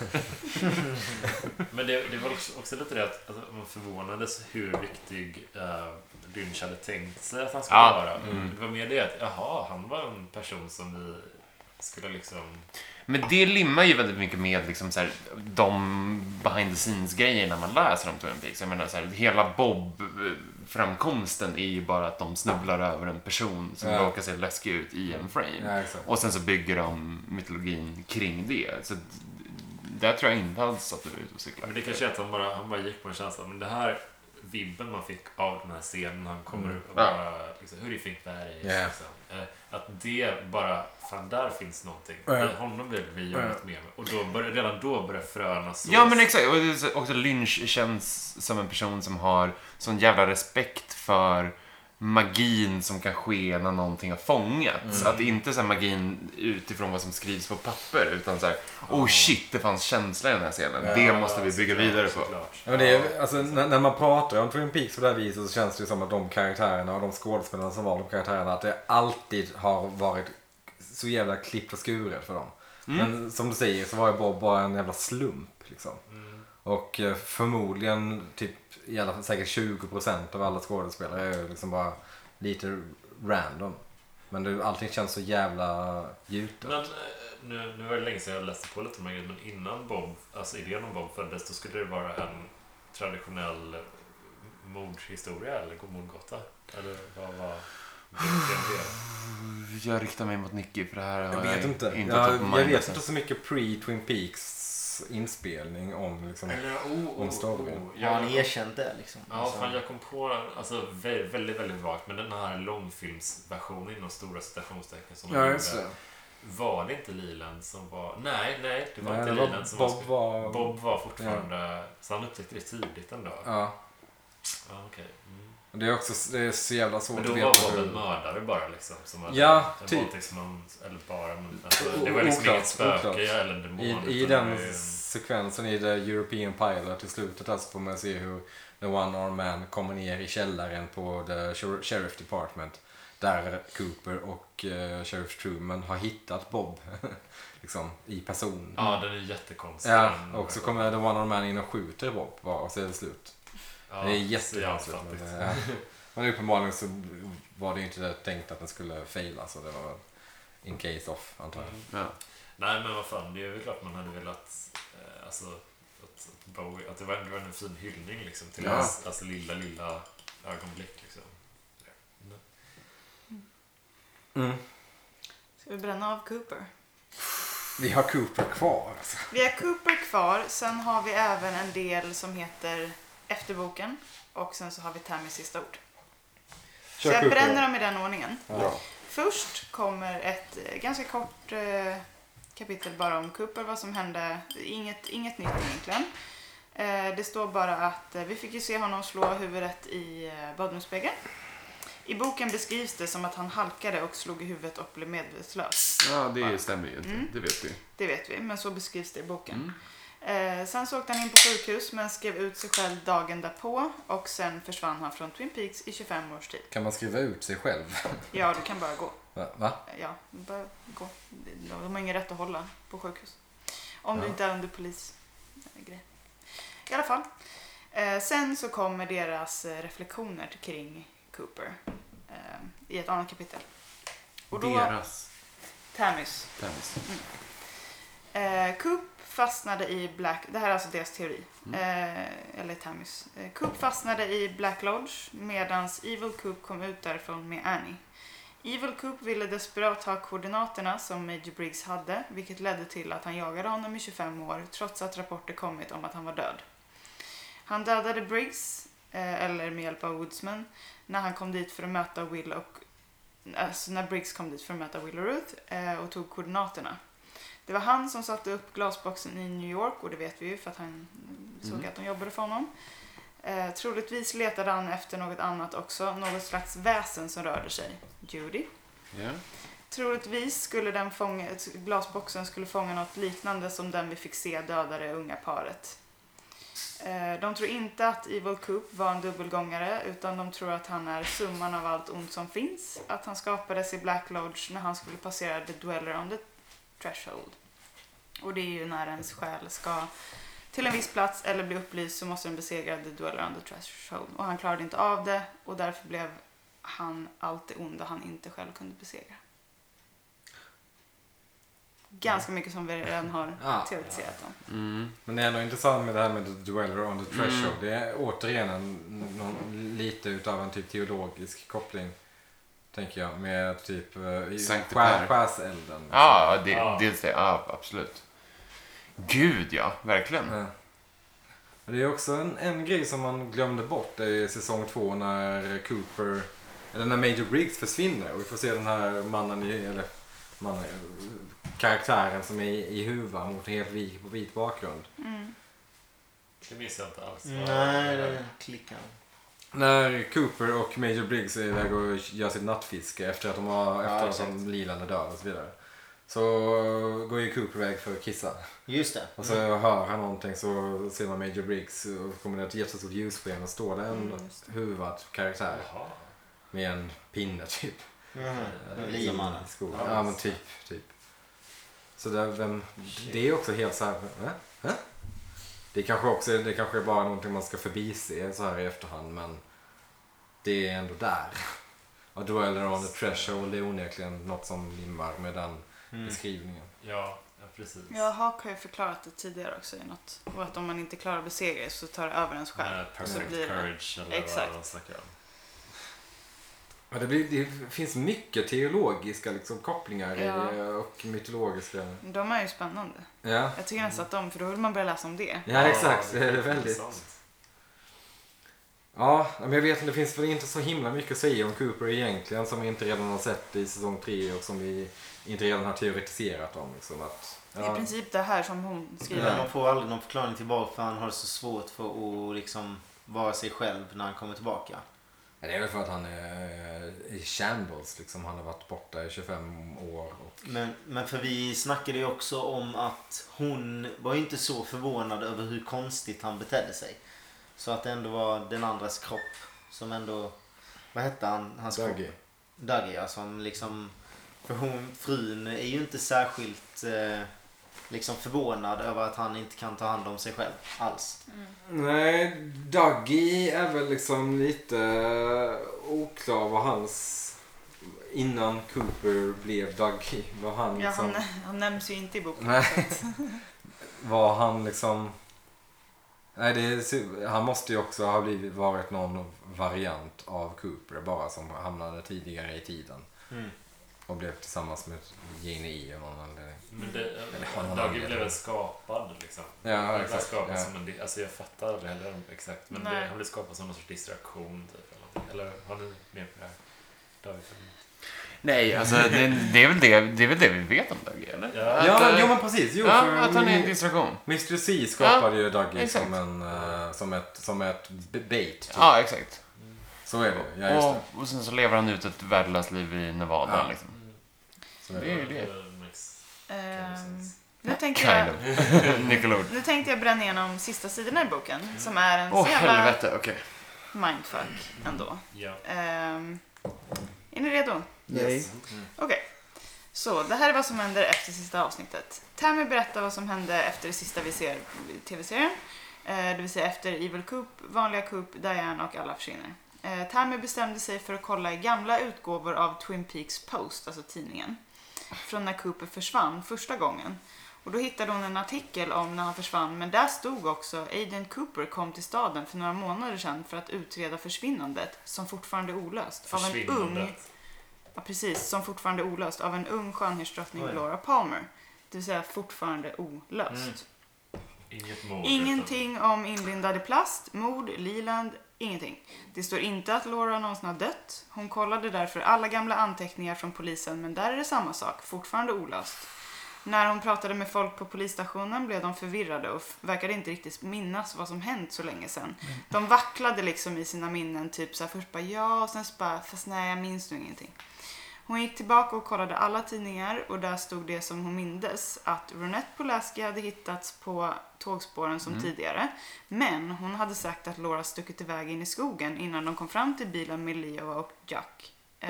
Men det, det var också, också lite det att alltså, man förvånades hur viktig eh, Lynch hade tänkt sig att han skulle Ja, Mm. vara. Det var mer det att, jaha, han var en person som vi skulle liksom... Men det limmar ju väldigt mycket med liksom så här, de behind the scenes-grejerna man läser om Twin Peaks. Jag menar, så här, hela Bob-framkomsten är ju bara att de snubblar över en person som Ja. råkar se läskig ut i en frame. Ja, exakt. Och sen så bygger de mytologin kring det. Så d- där tror jag inte alls att du är ute och cyklar. Men det kanske är att han bara, han bara gick på en känsla, men det här vibben man fick av den här scenen, han kommer upp och Mm. Ja. bara, liksom, hur do you think that is? Ja. Liksom. Eh, att det bara, fan där finns någonting. Ja. I honom vill vi göra något mer med. Och då börjar, redan då börjar fröna sås. Ja men exakt, och det är så- också Lynch känns som en person som har sån jävla respekt för magin som kan ske när någonting har fångats. Att inte så här magin utifrån vad som skrivs på papper utan så här, oh shit det fanns känsla i den här scenen. det måste vi bygga vidare på. Såklart. Ja, men det är, alltså, när, när man pratar om Twin Peaks på det här viset så känns det ju som att de karaktärerna och de skådespelarna som var de karaktärerna att det alltid har varit så jävla klippt och skuret för dem. Men som du säger så var ju Bob bara en jävla slump liksom. Och eh, förmodligen typ i alla fall säkert 20% av alla skådespelare är ju liksom bara lite random. Men det, allting känns så jävla gjutet. Men eh, nu, nu var det länge sedan jag läste på lite om de här grejerna, men innan Bob, alltså idén om Bob föddes, då skulle det vara en traditionell mordhistoria eller mordgåta. Eller vad var det? Jag riktar mig mot Nicky för det här har Jag vet inte. inte jag, jag top of mind. alltså. vet inte så mycket pre-Twin Peaks inspelning om liksom... Eller oh, oh, Om storyn. oh. Har han Jag, erkänt det liksom? ja, Alltså, fan jag kom på, alltså vä- väldigt, väldigt vagt, men den här långfilmsversionen inom stora citationstecken som de gjorde, Var det inte Liland som var... Nej, nej, det var Nej, inte det var- Liland som Bob var- var... Bob var fortfarande... Så han upptäckte det tidigt ändå? Ja. Ja, okej. Mm. Och Det är också det är så jävla svårt Men att då veta var Bob en hur... mördare bara liksom? Som hade Ja, en typ. våldtäktsman, eller bara... Men, alltså, det var liksom Oklart, inget spöke oklart. eller en demon. utan I, I det var den ju en- sekvensen i The European Pilot i slutet alltså får man se hur The One Arm Man kommer ner i källaren på The Sher- Sheriff Department. Där Cooper och eh, Sheriff Truman har hittat Bob. liksom i person. Ja, den är jättekonstig. Ja, den- och så kommer The One Arm Man in och skjuter Bob bara och så är det slut. Ja, det är så jättekonstigt. jävla Men, eh, fattigt. det- ja. men uppenbarligen så var det ju inte tänkt att den skulle faila så det var väl in case of antar jag. Ja. Nej, men vad fan, det är väl klart man hade velat... eh, Alltså, att, att, Bowie, att det, var, det var en fin hyllning liksom till Ja. hans alltså, lilla, lilla ögonblick. Liksom. Nej. Mm. Ska vi bränna av Cooper? Vi har Cooper kvar. Alltså. Vi har Cooper kvar, sen har vi även en del som heter Efterboken och sen så har vi Tammys sista ord. Så jag bränner dem i den ordningen. Ja. Först kommer ett eh, ganska kort eh, kapitel bara om Cooper, vad som hände. Inget, inget nytt egentligen. Eh, det står bara att eh, vi fick ju se honom slå huvudet i eh, badrumsspegeln. I boken beskrivs det som att han halkade och slog i huvudet och blev medvetslös. ja, Mm. det stämmer ju inte. Det vet vi. Det vet vi, men så beskrivs det i boken. Eh, sen så åkte han in på sjukhus men skrev ut sig själv dagen därpå och sen försvann han från Twin Peaks i 25 års tid. Kan man skriva ut sig själv? Ja, du kan bara gå. Va? Va? Ja, bara gå. De har ingen rätt att hålla på sjukhus. Om du Ja. inte är under polisgrej. I alla fall. Eh, sen så kommer deras eh, reflektioner kring Cooper eh, i ett annat kapitel. Och då, Deras Tammys tennis. Eh, Coop fastnade i Black... Det här är alltså deras teori. Eh, eller Tammys. Eh, Coop fastnade i Black Lodge medan Evil Coop kom ut därifrån med Annie. Evil Coop ville desperat ha koordinaterna som Major Briggs hade vilket ledde till att han jagade honom i 25 år trots att rapporter kommit om att han var död. Han dödade Briggs, eh, eller med hjälp av Woodsman, när han kom dit för att möta Will och... Alltså när Briggs kom dit för att möta Will och Ruth eh, och tog koordinaterna. Det var han som satte upp glasboxen i New York och det vet vi ju för att han såg att de jobbade för honom. Eh, troligtvis letade han efter något annat också, något slags väsen som rörde sig. Judy. Ja. Troligtvis skulle den fånga, glasboxen skulle fånga något liknande som den vi fick se döda det unga paret. Eh, De tror inte att Evil Coop var en dubbelgångare utan de tror att han är summan av allt ont som finns. Att han skapades i Black Lodge när han skulle passera The Dweller on the Threshold. Och det är ju när ens själ ska till en viss plats eller bli upplyst så måste den besegra The Dweller on the Threshold. Och han klarade inte av det och därför blev han allt det onda han inte själv kunde besegra. Ganska mycket som vi redan har Ja. teoretiserat om. Men det är ändå intressant med det här med the dweller on the threshold. Det är återigen en, någon, lite utav en typ teologisk koppling. Tänker jag med typ eh, i Sankte skär, Per. skärselden. Ja, det, Ja. dels det. Ja, absolut. Gud, ja. Verkligen. Ja. Men Det är också en, en grej som man glömde bort det är i säsong två när Cooper, eller när Major Briggs försvinner och vi får se den här mannen, i, eller mannen, karaktären som är i, i huvan mot en helt vit, vit bakgrund. Det minns jag inte alls. Nej, det klickar. När Cooper och Major Briggs är iväg och gör sitt nattfiske efter att de har, efter att exakt. de lilande dör och så vidare. Så går ju Cooper iväg för att kissa. Just det. Och så hör han någonting så ser man Major Briggs och så kommer det ett jättestort ljussken och står där en huvad karaktär Jaha. med en pinne typ. Mm. eh, Limannen. I skogen. Ja men typ, typ. Så där, vem, det är också helt så här, va? Va? Det kanske också det kanske är bara någonting man ska förbise så här i efterhand men det är ändå där. Och Dweller on the Threshold är onekligen något som limmar med den beskrivningen. Ja, ja, precis. Ja, Hawk har ju förklarat det tidigare också i något. Och att om man inte klarar att besegra så tar det över ens själ. Med perfect blir det- courage eller Exakt. vad de snackar om. Ja, det, blir, det finns mycket teologiska liksom, kopplingar i- Ja. och mytologiska. De är ju spännande. Ja, Jag tycker nästan att de, för då vill man börja läsa om det. ja exakt. Det är väldigt... intressant. Ja, men jag vet inte. Det finns väl inte så himla mycket att säga om Cooper egentligen som vi inte redan har sett i säsong 3 och som vi inte redan har teoretiserat om. Liksom, att, I ja, princip det här som hon Men skriver. Man får aldrig någon förklaring tillbaka för han har så svårt för att liksom vara sig själv när han kommer tillbaka. det är väl för att han är eh, i shambles. Liksom. Han har varit borta i 25 år. Och, Men, men för vi snackade ju också om att hon var ju inte så förvånad över hur konstigt han betedde sig. Så att det ändå var den andras kropp som ändå... Vad hette han? Hans Dougie. kropp? Dougie, ja. Som liksom... För hon, frun är ju inte särskilt eh, liksom förvånad över att han inte kan ta hand om sig själv alls. Nej, Dougie är väl liksom lite eh, oklar vad hans... Innan Cooper blev Dougie. Vad han Ja, liksom... han, han nämns ju inte i boken. Nej. Vad han liksom... Nej, det är, su- han måste ju också ha blivit, varit någon variant av Cooper bara som hamnade tidigare i tiden. Mm. Och blev tillsammans med Gene E av någon anledning. Men det, han har Dagi med blev det. väl skapad liksom. Ja, han blev exakt, skapad ja. som en, di- alltså jag fattar aldrig heller exakt. Men Nej. det, han blev skapad som någon sorts distraktion typ. Eller, någonting. eller har ni med på det här? Dagi? Nej, alltså det, det, är väl det, det är väl det vi vet om Dougie, eller? Ja. Att, Ja, men, eh, jo men precis. Jo, ja, för att han är en mi- distraktion. Mr. C skapade ju Dougie exakt. som, en, eh, som, ett, som ett b- bait. Typ. Ja, exakt. Så är det ju. Ja, just det. Och, och sen så lever han ut ett värdelöst liv i Nevada. Ja. Liksom. Så är Det är det. ju det. Alltså, makes kind of Ehm, sense. nu, tänkte Kind jag, of. Nyckelord. nu tänkte jag bränna igenom sista sidorna i boken som är en Åh, så jävla helvete. Okej. mindfuck ändå. Ja. Ehm, är ni redo? Yes. Okej. Så, det här är vad som händer efter sista avsnittet. Tammy berättar vad som hände efter det sista vi ser i tv-serien. Eh, Det vill säga efter Evil Coop, vanliga Coop, Diane och alla försvinner. Eh, Tammy bestämde sig för att kolla i gamla utgåvor av Twin Peaks Post, alltså tidningen. Från när Cooper försvann första gången. Och då hittade hon en artikel om när han försvann, men där stod också Agent Cooper kom till staden för några månader sedan för att utreda försvinnandet, som fortfarande är olöst, av en ung Försvinnandet. Ja, precis. Som fortfarande är olöst av en ung skönhetsdrottning, Oj. Laura Palmer. Det vill säga fortfarande olöst. Inget mord. Ingenting om inlindad i plast, mord, Liland, ingenting. Det står inte att Laura någonsin har dött. Hon kollade därför alla gamla anteckningar från polisen, men där är det samma sak. Fortfarande olöst. När hon pratade med folk på polisstationen blev de förvirrade och f- verkade inte riktigt minnas vad som hänt så länge sedan. De vacklade liksom i sina minnen, typ så här, först bara ja och sen så bara fast nej jag minns nu ingenting. Hon gick tillbaka och kollade alla tidningar och där stod det som hon mindes att Ronette Polaski hade hittats på tågspåren som tidigare. Men hon hade sagt att Laura stuckit iväg in i skogen innan de kom fram till bilen med Leo och Jack. Eh,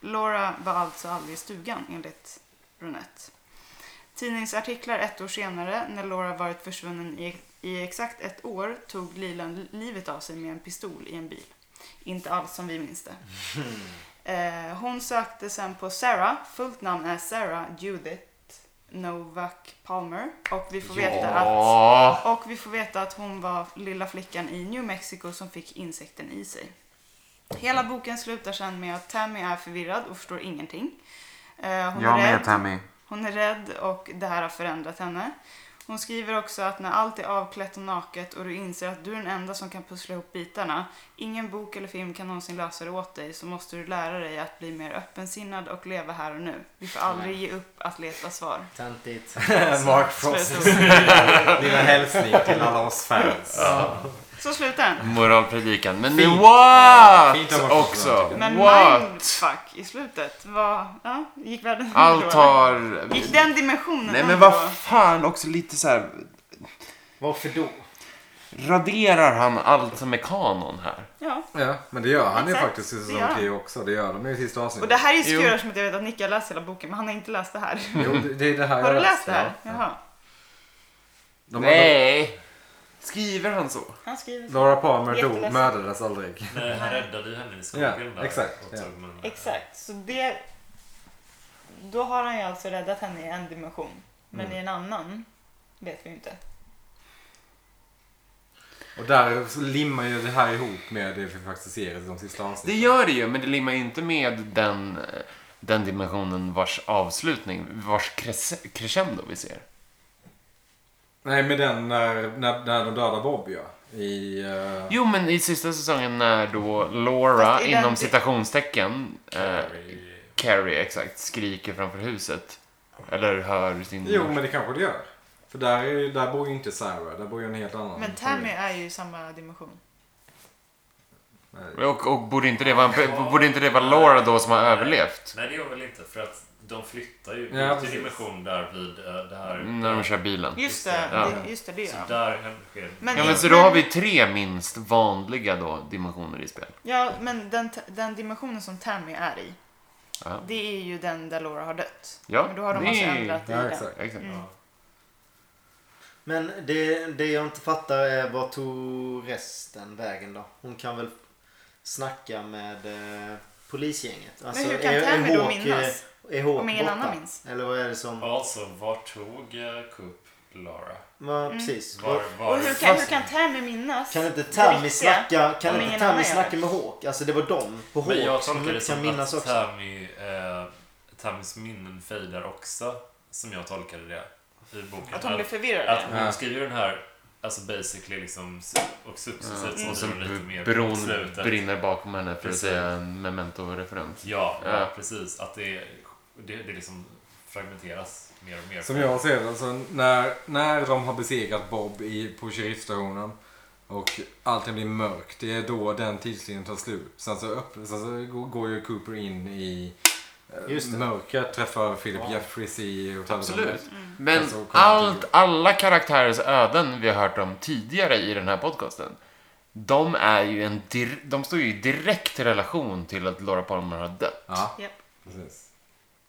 Laura var alltså aldrig i stugan enligt Ronette. Tidningsartiklar ett år senare, när Laura varit försvunnen i, i exakt ett år, tog Lilan livet av sig med en pistol i en bil. Inte alls som vi minns det. Eh, hon sökte sen på Sarah, fullt namn är Sarah Judith Novak Palmer. Och vi får veta att Åh, och vi får veta att hon var lilla flickan i New Mexico som fick insekten i sig. Hela boken slutar sen med att Tammy är förvirrad och förstår ingenting. Eh, Hon jag är med rädd. Tammy. Hon är rädd och det här har förändrat henne. Hon skriver också att när allt är avklätt och naket och du inser att du är den enda som kan pussla ihop bitarna, ingen bok eller film kan någonsin lösa det åt dig, så måste du lära dig att bli mer öppensinnad och leva här och nu. Vi får aldrig ge upp att leta svar. Töntigt. Mark Frost. Slutord. Lilla hälsning till alla oss fans. Så slutar den. Moralpredikan. Men Fint. Fint av what? oss Också. Men What? mindfuck i slutet, vad, ja, gick världen Allt har... Gick den dimensionen Nej men under vad fan också lite så här. Varför då? Raderar han allt som är kanon här? Ja. Ja, men det gör han ju Exakt, faktiskt i det säsong gör han. tre också. Det gör de ju i sista Och avsnittet. det här är ju Jo. skurar som att jag vet att Nick har läst hela boken, men han har inte läst det här. Jo, det, det är det här Har du jag läst det här? Ja. Jaha. De, de, Nej! Skriver han så? Han skriver Laura Palmer dog, Jätteledsen. mördades aldrig. Nej, han räddade ju henne i skogen Ja, där. exakt, och ja. tog med henne. Exakt, så det... Då har han ju alltså räddat henne i en dimension. Men Mm. i en annan vet vi ju inte. Och där så limmar ju det här ihop med det vi faktiskt ser i de sista Det avsnitten. gör det ju, men det limmar ju inte med den, eh, den dimensionen vars avslutning, vars cres- crescendo vi ser. Nej, men den när, när, när de dödar Bob ja. I... eh, Jo, men i sista säsongen när då Laura, Fast i den- inom citationstecken, eh, Harry- Carrie exakt, skriker framför huset. Eller hör sin... Jo, men det kanske det gör. För där, är- där bor ju inte Sarah, där bor ju en helt annan Men Tammy är ju i samma dimension. familj. Och, och borde, inte det vara, borde inte det vara Laura då som har överlevt? Nej, det gör väl inte. För att de flyttar ju Ja, ut till precis. dimension där vid eh, det här. Mm, När de kör bilen. Just det, Ja. det, just det, det Så gör han. där händer- sker Men- Ja, men så då har vi tre minst vanliga då dimensioner i spel. Ja, men den, t- den dimensionen som Tammy är i, Ja. det är ju den där Laura har dött. Ja, men då har de det alltså är- ändrat i Ja, den. exakt. Exakt. Men det, det jag inte fattar är vad tog resten vägen då? Hon kan väl snacka med eh, polisgänget? Alltså, Men hur kan Tammy då minnas? Är Hawk Om ingen borta? annan minns. Eller vad är det som... Alltså, var tog eh, Coop Lara? Ja, Mm. precis. Var, var... Och hur kan, hur kan Tammy minnas Kan inte det Tammy riktiga snacka, kan om inte ingen Tammy annan gör det? snacka med Hawk? Alltså det var de på Hawk Men jag som tolkar det inte kan som minnas att också. Tammy, eh, Tammys minnen fejdar också. Som jag tolkade det i boken. Att hon blev förvirrad? Att igen? hon skriver den här, alltså basically liksom, och successivt så Och så Mm. blir det lite mer bron på slutet. brinner bakom henne för att Precis. säga en memento-referens. Ja, ja. Ja. precis. Att det, det, det liksom fragmenteras mer och mer. Som jag ser det, alltså, när, när de har besegrat Bob i, på sheriffstationen och allting blir mörkt, det är då den tidslinjen tar slut. Sen så, upp, sen så går- går ju Cooper in i eh, Just det. mörkret, träffar Philip Jeffries i hotellet. Absolut. Mm. Men Alltså, kommer allt, till- alla karaktärers öden vi har hört om tidigare i den här podcasten, de, är ju en dir- de står ju i direkt relation till att Laura Palmer har dött. Ja, Japp. precis.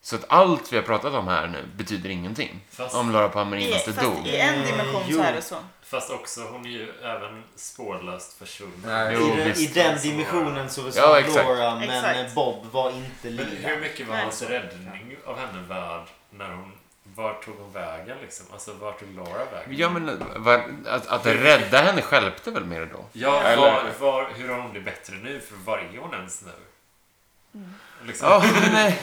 Så att allt vi har pratat om här nu betyder ingenting. Fast- Om Laura Palmer I, inte fast dog. i en dimension så jo. är det så. Fast också, hon är ju även spårlöst försvunnen. Nej. I, Jo, den- I visst. den dimensionen så försvann Ja, exakt. Laura men Exakt. Bob var inte Men hur lila. mycket var Nej. hans räddning av henne värd när hon... Vart tog hon vägen liksom? Alltså vart tog Laura vägen? Ja, men va- att, att rädda henne stjälpte väl mer då? Ja, Eller- var, var, hur har hon det bättre nu? För var är hon ens nu? Liksom. Åh, nej.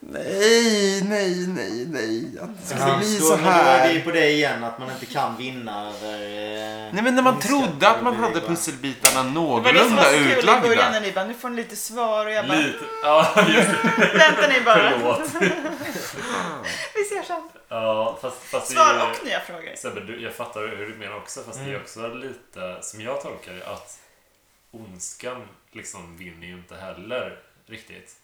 nej, nej, nej, nej. Att det skulle Ja, bli då- så men då är här. det ju på det igen att man inte kan vinna över... eh, Nej men när man ondska, trodde att man blir det hade bara- pusselbitarna Det var det som var någorlunda så kul i början utlagda. när ni bara, nu får ni lite svar och jag bara, Lite, ja just det, vänta ni bara. förlåt. Vi ser sen. Ja, fast, fast det Svar är och nya frågor. Sebbe, du, jag fattar hur du menar också, fast Mm. det är också lite, som jag tolkar det, att ondskan liksom vinner ju inte heller riktigt.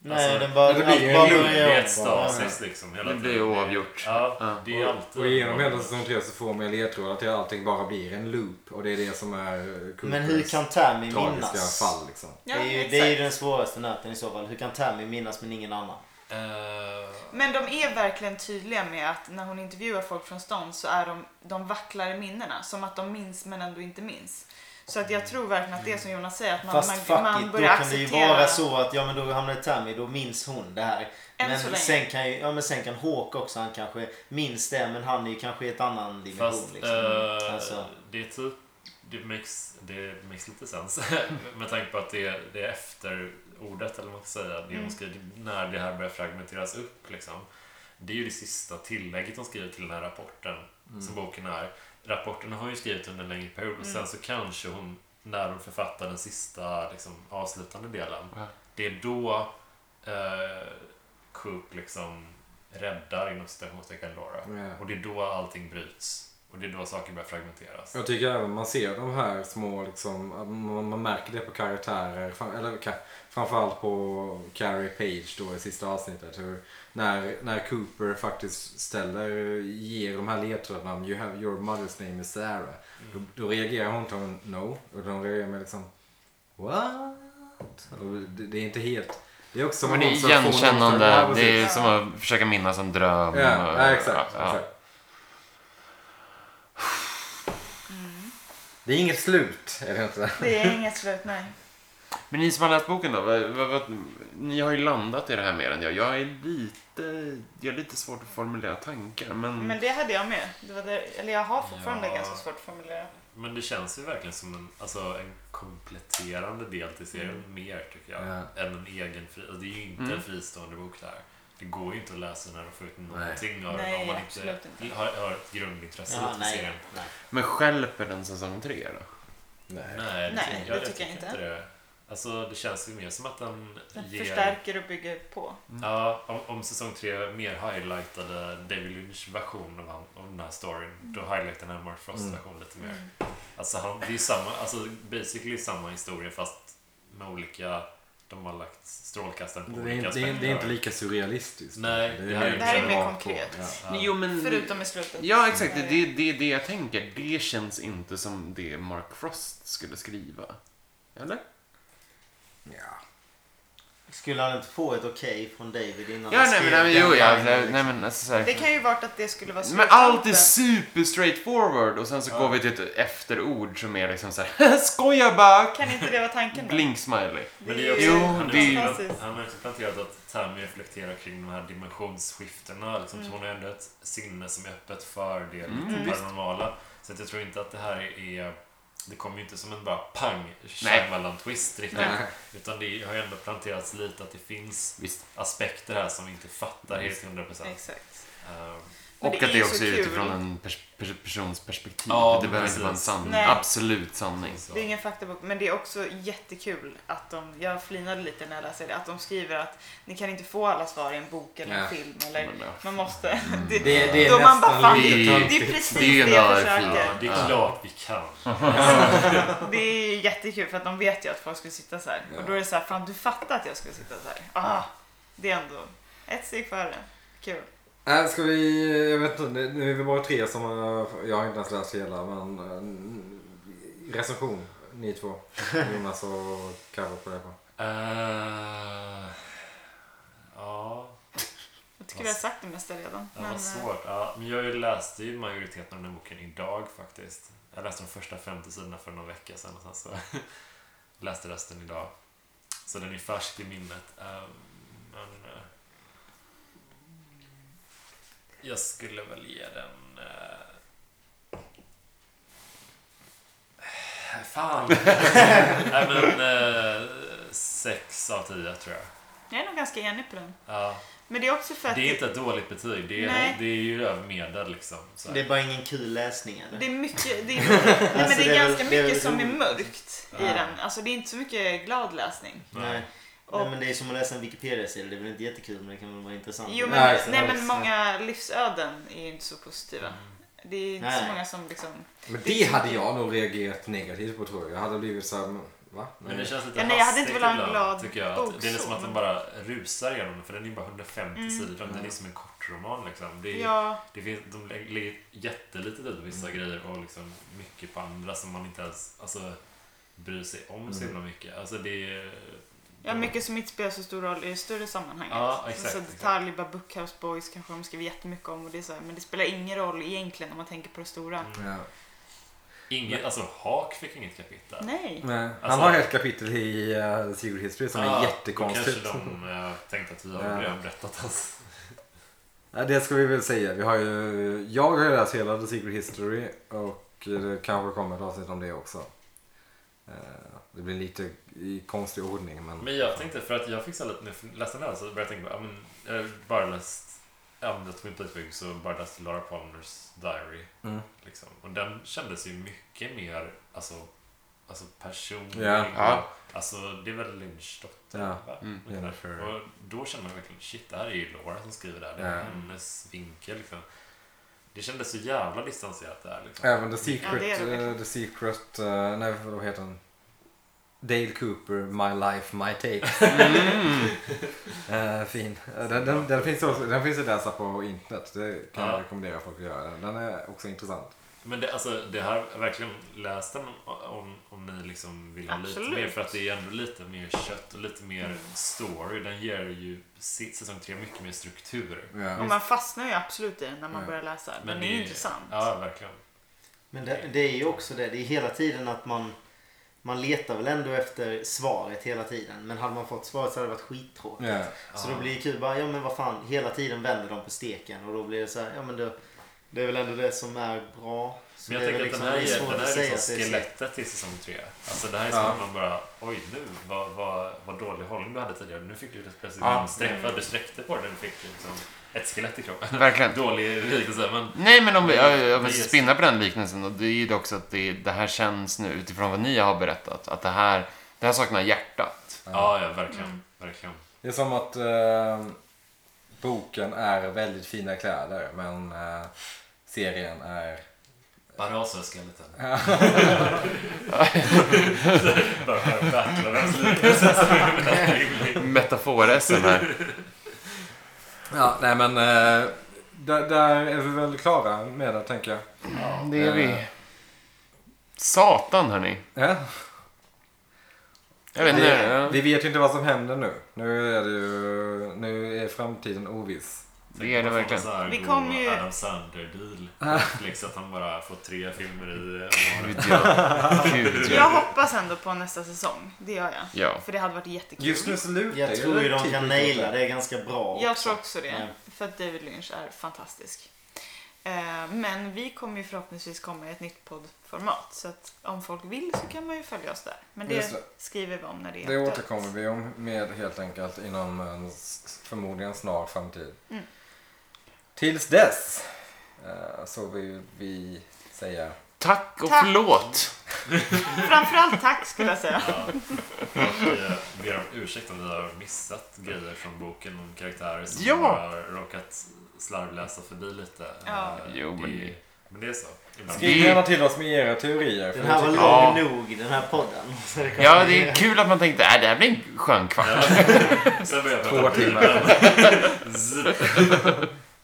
Nej, Alltså, den bara... det blir allt ju en bara lugn, Det börjar är om. ett stasis liksom hela Det tiden. blir oavgjort. Ja, det är Och- alltid Och genom hela säsong 3 så får man ju ledtrådar till att allting bara blir en loop. Och det är det som eh, är Coopers Men hur kan Tammy tragiska minnas? fall liksom. Det Ja, är, ju, det är ju exakt. den svåraste nöten i så fall. Hur kan Tammy minnas men ingen annan? Eh, Men de är verkligen tydliga med att när hon intervjuar folk från stan så är de, de vacklar i minnena. Som att de minns men ändå inte minns. Så att jag tror verkligen att det är som Jonas säger, att man, Fast fuck man, man it, då kan börjar det ju acceptera. vara så att ja men då hamnar Tammy, då minns hon det här. Än men, så länge. sen kan ju, ja, men sen kan Hawk också, han kanske minns det men han är ju kanske i ett annan dimension. Fast liksom. eh, Alltså. det är typ, det makes, det makes lite sens. Med tanke på att det, är- det är efter ordet eller vad man ska säga. Det hon skriver, när det här börjar fragmenteras upp liksom. Det är ju det sista tillägget hon skriver till den här rapporten. Mm. Som boken är. Rapporten har hon ju skrivit under en längre period. Och sen så kanske hon, när hon författar den sista liksom, avslutande delen. Det är då eh, Coop liksom räddar inom citationstecken Laura. Ja. Och det är då allting bryts. Och det är då saker börjar fragmenteras. Jag tycker även man ser de här små, liksom, att man, man märker det på karaktärer, fram- eller ka- framförallt på Carrie Page då i sista avsnittet. Hur, när, när Cooper faktiskt ställer, ger de här ledtrådarna, you have, your mother's name is Sarah. Då, då reagerar hon till no, och de reagerar med liksom what? Och det, det är inte helt, det är också som Men det hon är som får någon för- Ja, igenkännande. precis. Det är som att försöka minnas en dröm. Ja, ja, Ja, exakt. ja. exakt. Det är inget slut, är det inte? Det är inget slut, nej. Men ni som har läst boken då? Vad, vad, vad, ni har ju landat i det här mer än jag. Jag är lite, jag är lite svårt att formulera tankar. Men, Men det hade jag med. Det var där, eller jag har fortfarande Ja. ganska svårt att formulera. Men det känns ju verkligen som en, alltså, en kompletterande del till serien Mm. mer tycker jag. Ja. Än en egen fri, alltså, Det är ju inte en fristående bok där. Det går ju inte att läsa den och få ut någonting av den Nej, om man absolut inte. har, har ett grundintresse Ja, för nej, serien. nej. men skälper den säsong tre då? Nej. Nej, Nej, det jag, tycker jag inte. det. Alltså det känns ju mer som att den, Den ger... förstärker och bygger på. Ja, om, om säsong tre mer highlightade David Lynch version av, han, av den här storyn, då highlightade den Mark Mm. Frost version lite mer. Alltså, han, det är ju samma, alltså basically samma historia fast med olika, de har lagt strålkastaren på Det är, olika det, är, det är inte lika surrealistiskt. Nej, det här är- Det här är mer liksom rakt på. konkret. Ja. Jo, men... Förutom i slutet. Ja, exakt. Det, det, det är det jag tänker. Det känns inte som det Mark Frost skulle skriva. Eller? Ja. Skulle han inte få ett okej från David innan Ja, han nej, men, skrev nej, men, jo, den ja, linjen, nej, liksom? nej, men alltså, så här. Det kan ju varit att det skulle vara Men allt är sluttampen. super straightforward och sen så går vi till ett efterord som är liksom så här. Skoja bara! Kan inte det vara tanken då? Blink smiley. Men det är också, Jo, han, det är ju- har också, Precis. han har också planterat att Tammy reflekterar kring de här dimensionsskiftena. Liksom, Så hon har ändå ett sinne som är öppet för det lite paranormala. Så att jag tror inte att det här är... Det kommer ju inte som en bara pang Shyamalan-twist riktigt. Utan det har ju ändå planterats lite att det finns Visst. aspekter här som vi inte fattar helt till 100%. procent. Exakt. Men Ehm, Och det att är det ju också så är kul. utifrån en pers pers persons perspektiv. Ja, det behöver inte precis. vara en sanning. Nej. Absolut sanning. Det är ingen faktabok, men det är också jättekul att de, jag flinade lite när jag läste det, att de skriver att ni kan inte få alla svar i en bok eller en Ja. film eller Men, ja. man måste. Det, Det, det är då man bara nästan fan, lite det är töntigt. precis Det är ju det jag en försöker. örfil. det är klart vi kan. Det är ju jättekul för att de vet ju att folk skulle sitta så här. Och då är det så här, fan du fattar att jag skulle sitta så här. Ah, det är ändå ett steg före. Kul. Äh, ska vi, jag vet inte, nu är vi bara tre som har, jag har inte ens läst hela, men eh, recension, ni två. Jonas och Carro på det. Eh, ja... Jag tycker vi har sagt det mesta redan. Ja, vad eh, svårt. Ja, men jag läste ju majoriteten av den här boken idag faktiskt. Jag läste de första 50 sidorna för någon vecka sedan och sen så läste resten idag. Så den är färsk i minnet. Ehm, Men eh, jag skulle väl ge den... eh, Fan! Nej men eh, sex 6 av 10 tror jag. Jag är nog ganska enig på den. Ja. Men det är också för att Det är inte ett dåligt betyg. Det Nej. är, det är ju över medel liksom. Så här. Det är bara ingen kul läsning eller? det är mycket, det är, nej, men Alltså, det det är är väl- ganska det är väl mycket som är roligt. mörkt i den. Alltså det är inte så mycket glad läsning. Nej. Och- Nej, men det är som att läsa en Wikipedia-sida. Det är väl inte jättekul men det kan väl vara intressant. Jo, men, Nej, nej, så- men många livsöden är ju inte så positiva. Det är inte så Nej. många som liksom... Men det hade jag nog reagerat negativt på tror jag. Jag hade blivit såhär, va? Men det Nej. känns lite Ja, nej, jag hade inte hastigt velat ha en ibland, glad tycker jag. Att bok Det är så, som att den men- Mm. bara rusar igenom den, för den är bara 150 sidor. Den är som en kortroman liksom. Det är, Ja, det finns, de lä- lägger jättelite tid på vissa Mm. grejer och liksom mycket på andra som man inte ens alltså, bryr sig om så Mm. himla mycket. Alltså det är... ja, mycket som inte spelar så stor roll i det större Alltså, sammanhanget. Ja, exakt, så exakt. detaljer, bara Bookhouse Boys kanske de skriver jättemycket om och det är så här, men det spelar ingen roll egentligen om man tänker på det stora. Ja. Inget, alltså Haak fick inget kapitel. Nej. Nej. Han Alltså- har ett kapitel i uh, Sigurd Hidsby som är jättekonstigt. Då kanske de eh, tänkte att vi har Ja. redan berättat hans... Ja, det ska vi väl säga. Vi har ju, jag har ju läst hela The Secret History och eh, det kanske kommer ett avsnitt om det också. Eh, Det blir lite i konstig ordning men... Men jag tänkte, för att jag fick så här lite, när jag läste den här så började jag tänka på, ja, men, jag har bara läst, även Twin Peaks så bara läst Laura Palmers Diary. Mm. Liksom. Och den kändes ju mycket mer, alltså, alltså personlig. Ja. Ja. Alltså, det är väl Lynch dotter, Ja. va? Mm. Ungefär. Jennifer. Och då kände man verkligen, shit, det här är ju Laura som skriver det här. Det är Ja. hennes vinkel liksom. Det kändes så jävla distanserat det här liksom. Även The Secret, Ja, det är det eh, verkligen. The Secret, eh, nej vad heter den? Dale Cooper, My Life, My Take. Eh, fin. Eh, Den, den, den, finns också, den finns att läsa på internet. Det kan Ja. jag rekommendera folk att göra. Den är också intressant. Men det, alltså, det här, verkligen läs den om, om ni liksom vill ha lite Absolut. Mm. mer. För att det är ändå lite mer kött och lite mer story. Den ger ju sitt säsong tre mycket mer struktur. Och Ja. man fastnar ju absolut i den när man Ja. börjar läsa. Men, det är ju intressant. Ja, verkligen. Men det, det är ju också det. Det är hela tiden att man... Man letar väl ändå efter svaret hela tiden. Men hade man fått svaret så hade det varit skittråkigt. Ja. Så då blir det kul. Bara, ja men vad fan. Hela tiden vänder de på steken. Och då blir det så här. Ja men det, det är väl ändå det som är bra. Så Men jag det är tänker väl att den här det är, svårt att den här är säga att liksom det är så. skelettet till säsong tre. Alltså det här är som att man bara, oj nu, vad, vad, vad dålig hållning du hade tidigare. Nu fick du plötsligt Ja. en sträck, Mm. för att du sträckte på den. Du fick liksom ett skelett i kroppen. Verkligen. Dålig liknelse, men Nej, men om vi, jag, jag vill Just- spinna på den liknelsen. Och det är ju det också att det, det här känns nu, utifrån vad ni har berättat, att det här, det här saknar hjärtat. ja, ja verkligen. Mm. verkligen. Det är som att eh, boken är väldigt fina kläder men eh, serien är... Bara avslöja-skeletten. Bara för battlarens liknelse som är mest rimlig. Metafor-SM här. Ja, nej men eh, där, där är vi väl klara med det tänker jag. Det är vi. Eh. Satan, hörni. Ja. Jag vet inte. ja. Vi vet ju inte vad som händer nu. Nu är, det ju, nu är framtiden oviss. Det är det verkligen. Så Alltså, här Vi går kom ju- Adam Sandler-deal. Netflix, att han bara får tre filmer i år. Gud, ja. Gud, Jag ja. hoppas ändå på nästa säsong. Det gör jag. Ja. För det hade varit jättekul. Just nu så lutar Jag det tror ju de typ kan åt naila det ganska bra. Jag tror också det. Ja. För att David Lynch är fantastisk. Eh, Men vi kommer ju förhoppningsvis komma i ett nytt poddformat. Så att om folk vill så kan man ju följa oss där. Men Just det det. skriver vi om när det är Det aktuellt. återkommer vi om med helt enkelt inom en s- förmodligen snar framtid. Tills dess eh, så vill vi säga Tack och Tack. förlåt. Framförallt tack skulle jag säga. Vi ber om ursäkt om vi har missat grejer från boken om karaktärer som Ja. vi bara har råkat slarvläsa förbi lite. Ja. Eh, Jo, men det, men det är så. Ibland. Skriv gärna till oss med era teorier. för Den vi här var tycker- lång Ja. nog den här podden. Så det kommer Ja, bli- det är kul att man tänkte äh, det här blir en skön kvart. Sen börjar jag Två prata timmar.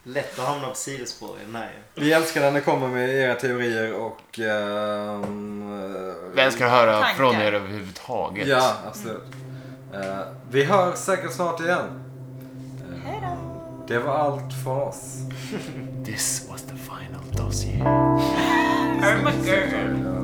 Lätt att hamna på sidospår i den här ju. Vi älskar när ni kommer med era teorier och... ehm, Vem ska höra Tankar. från er överhuvudtaget? Ja, absolut. Eh, vi hörs säkert snart igen. Hej då! Det var allt från oss. This was the final dossier. Irma Girl. Ja.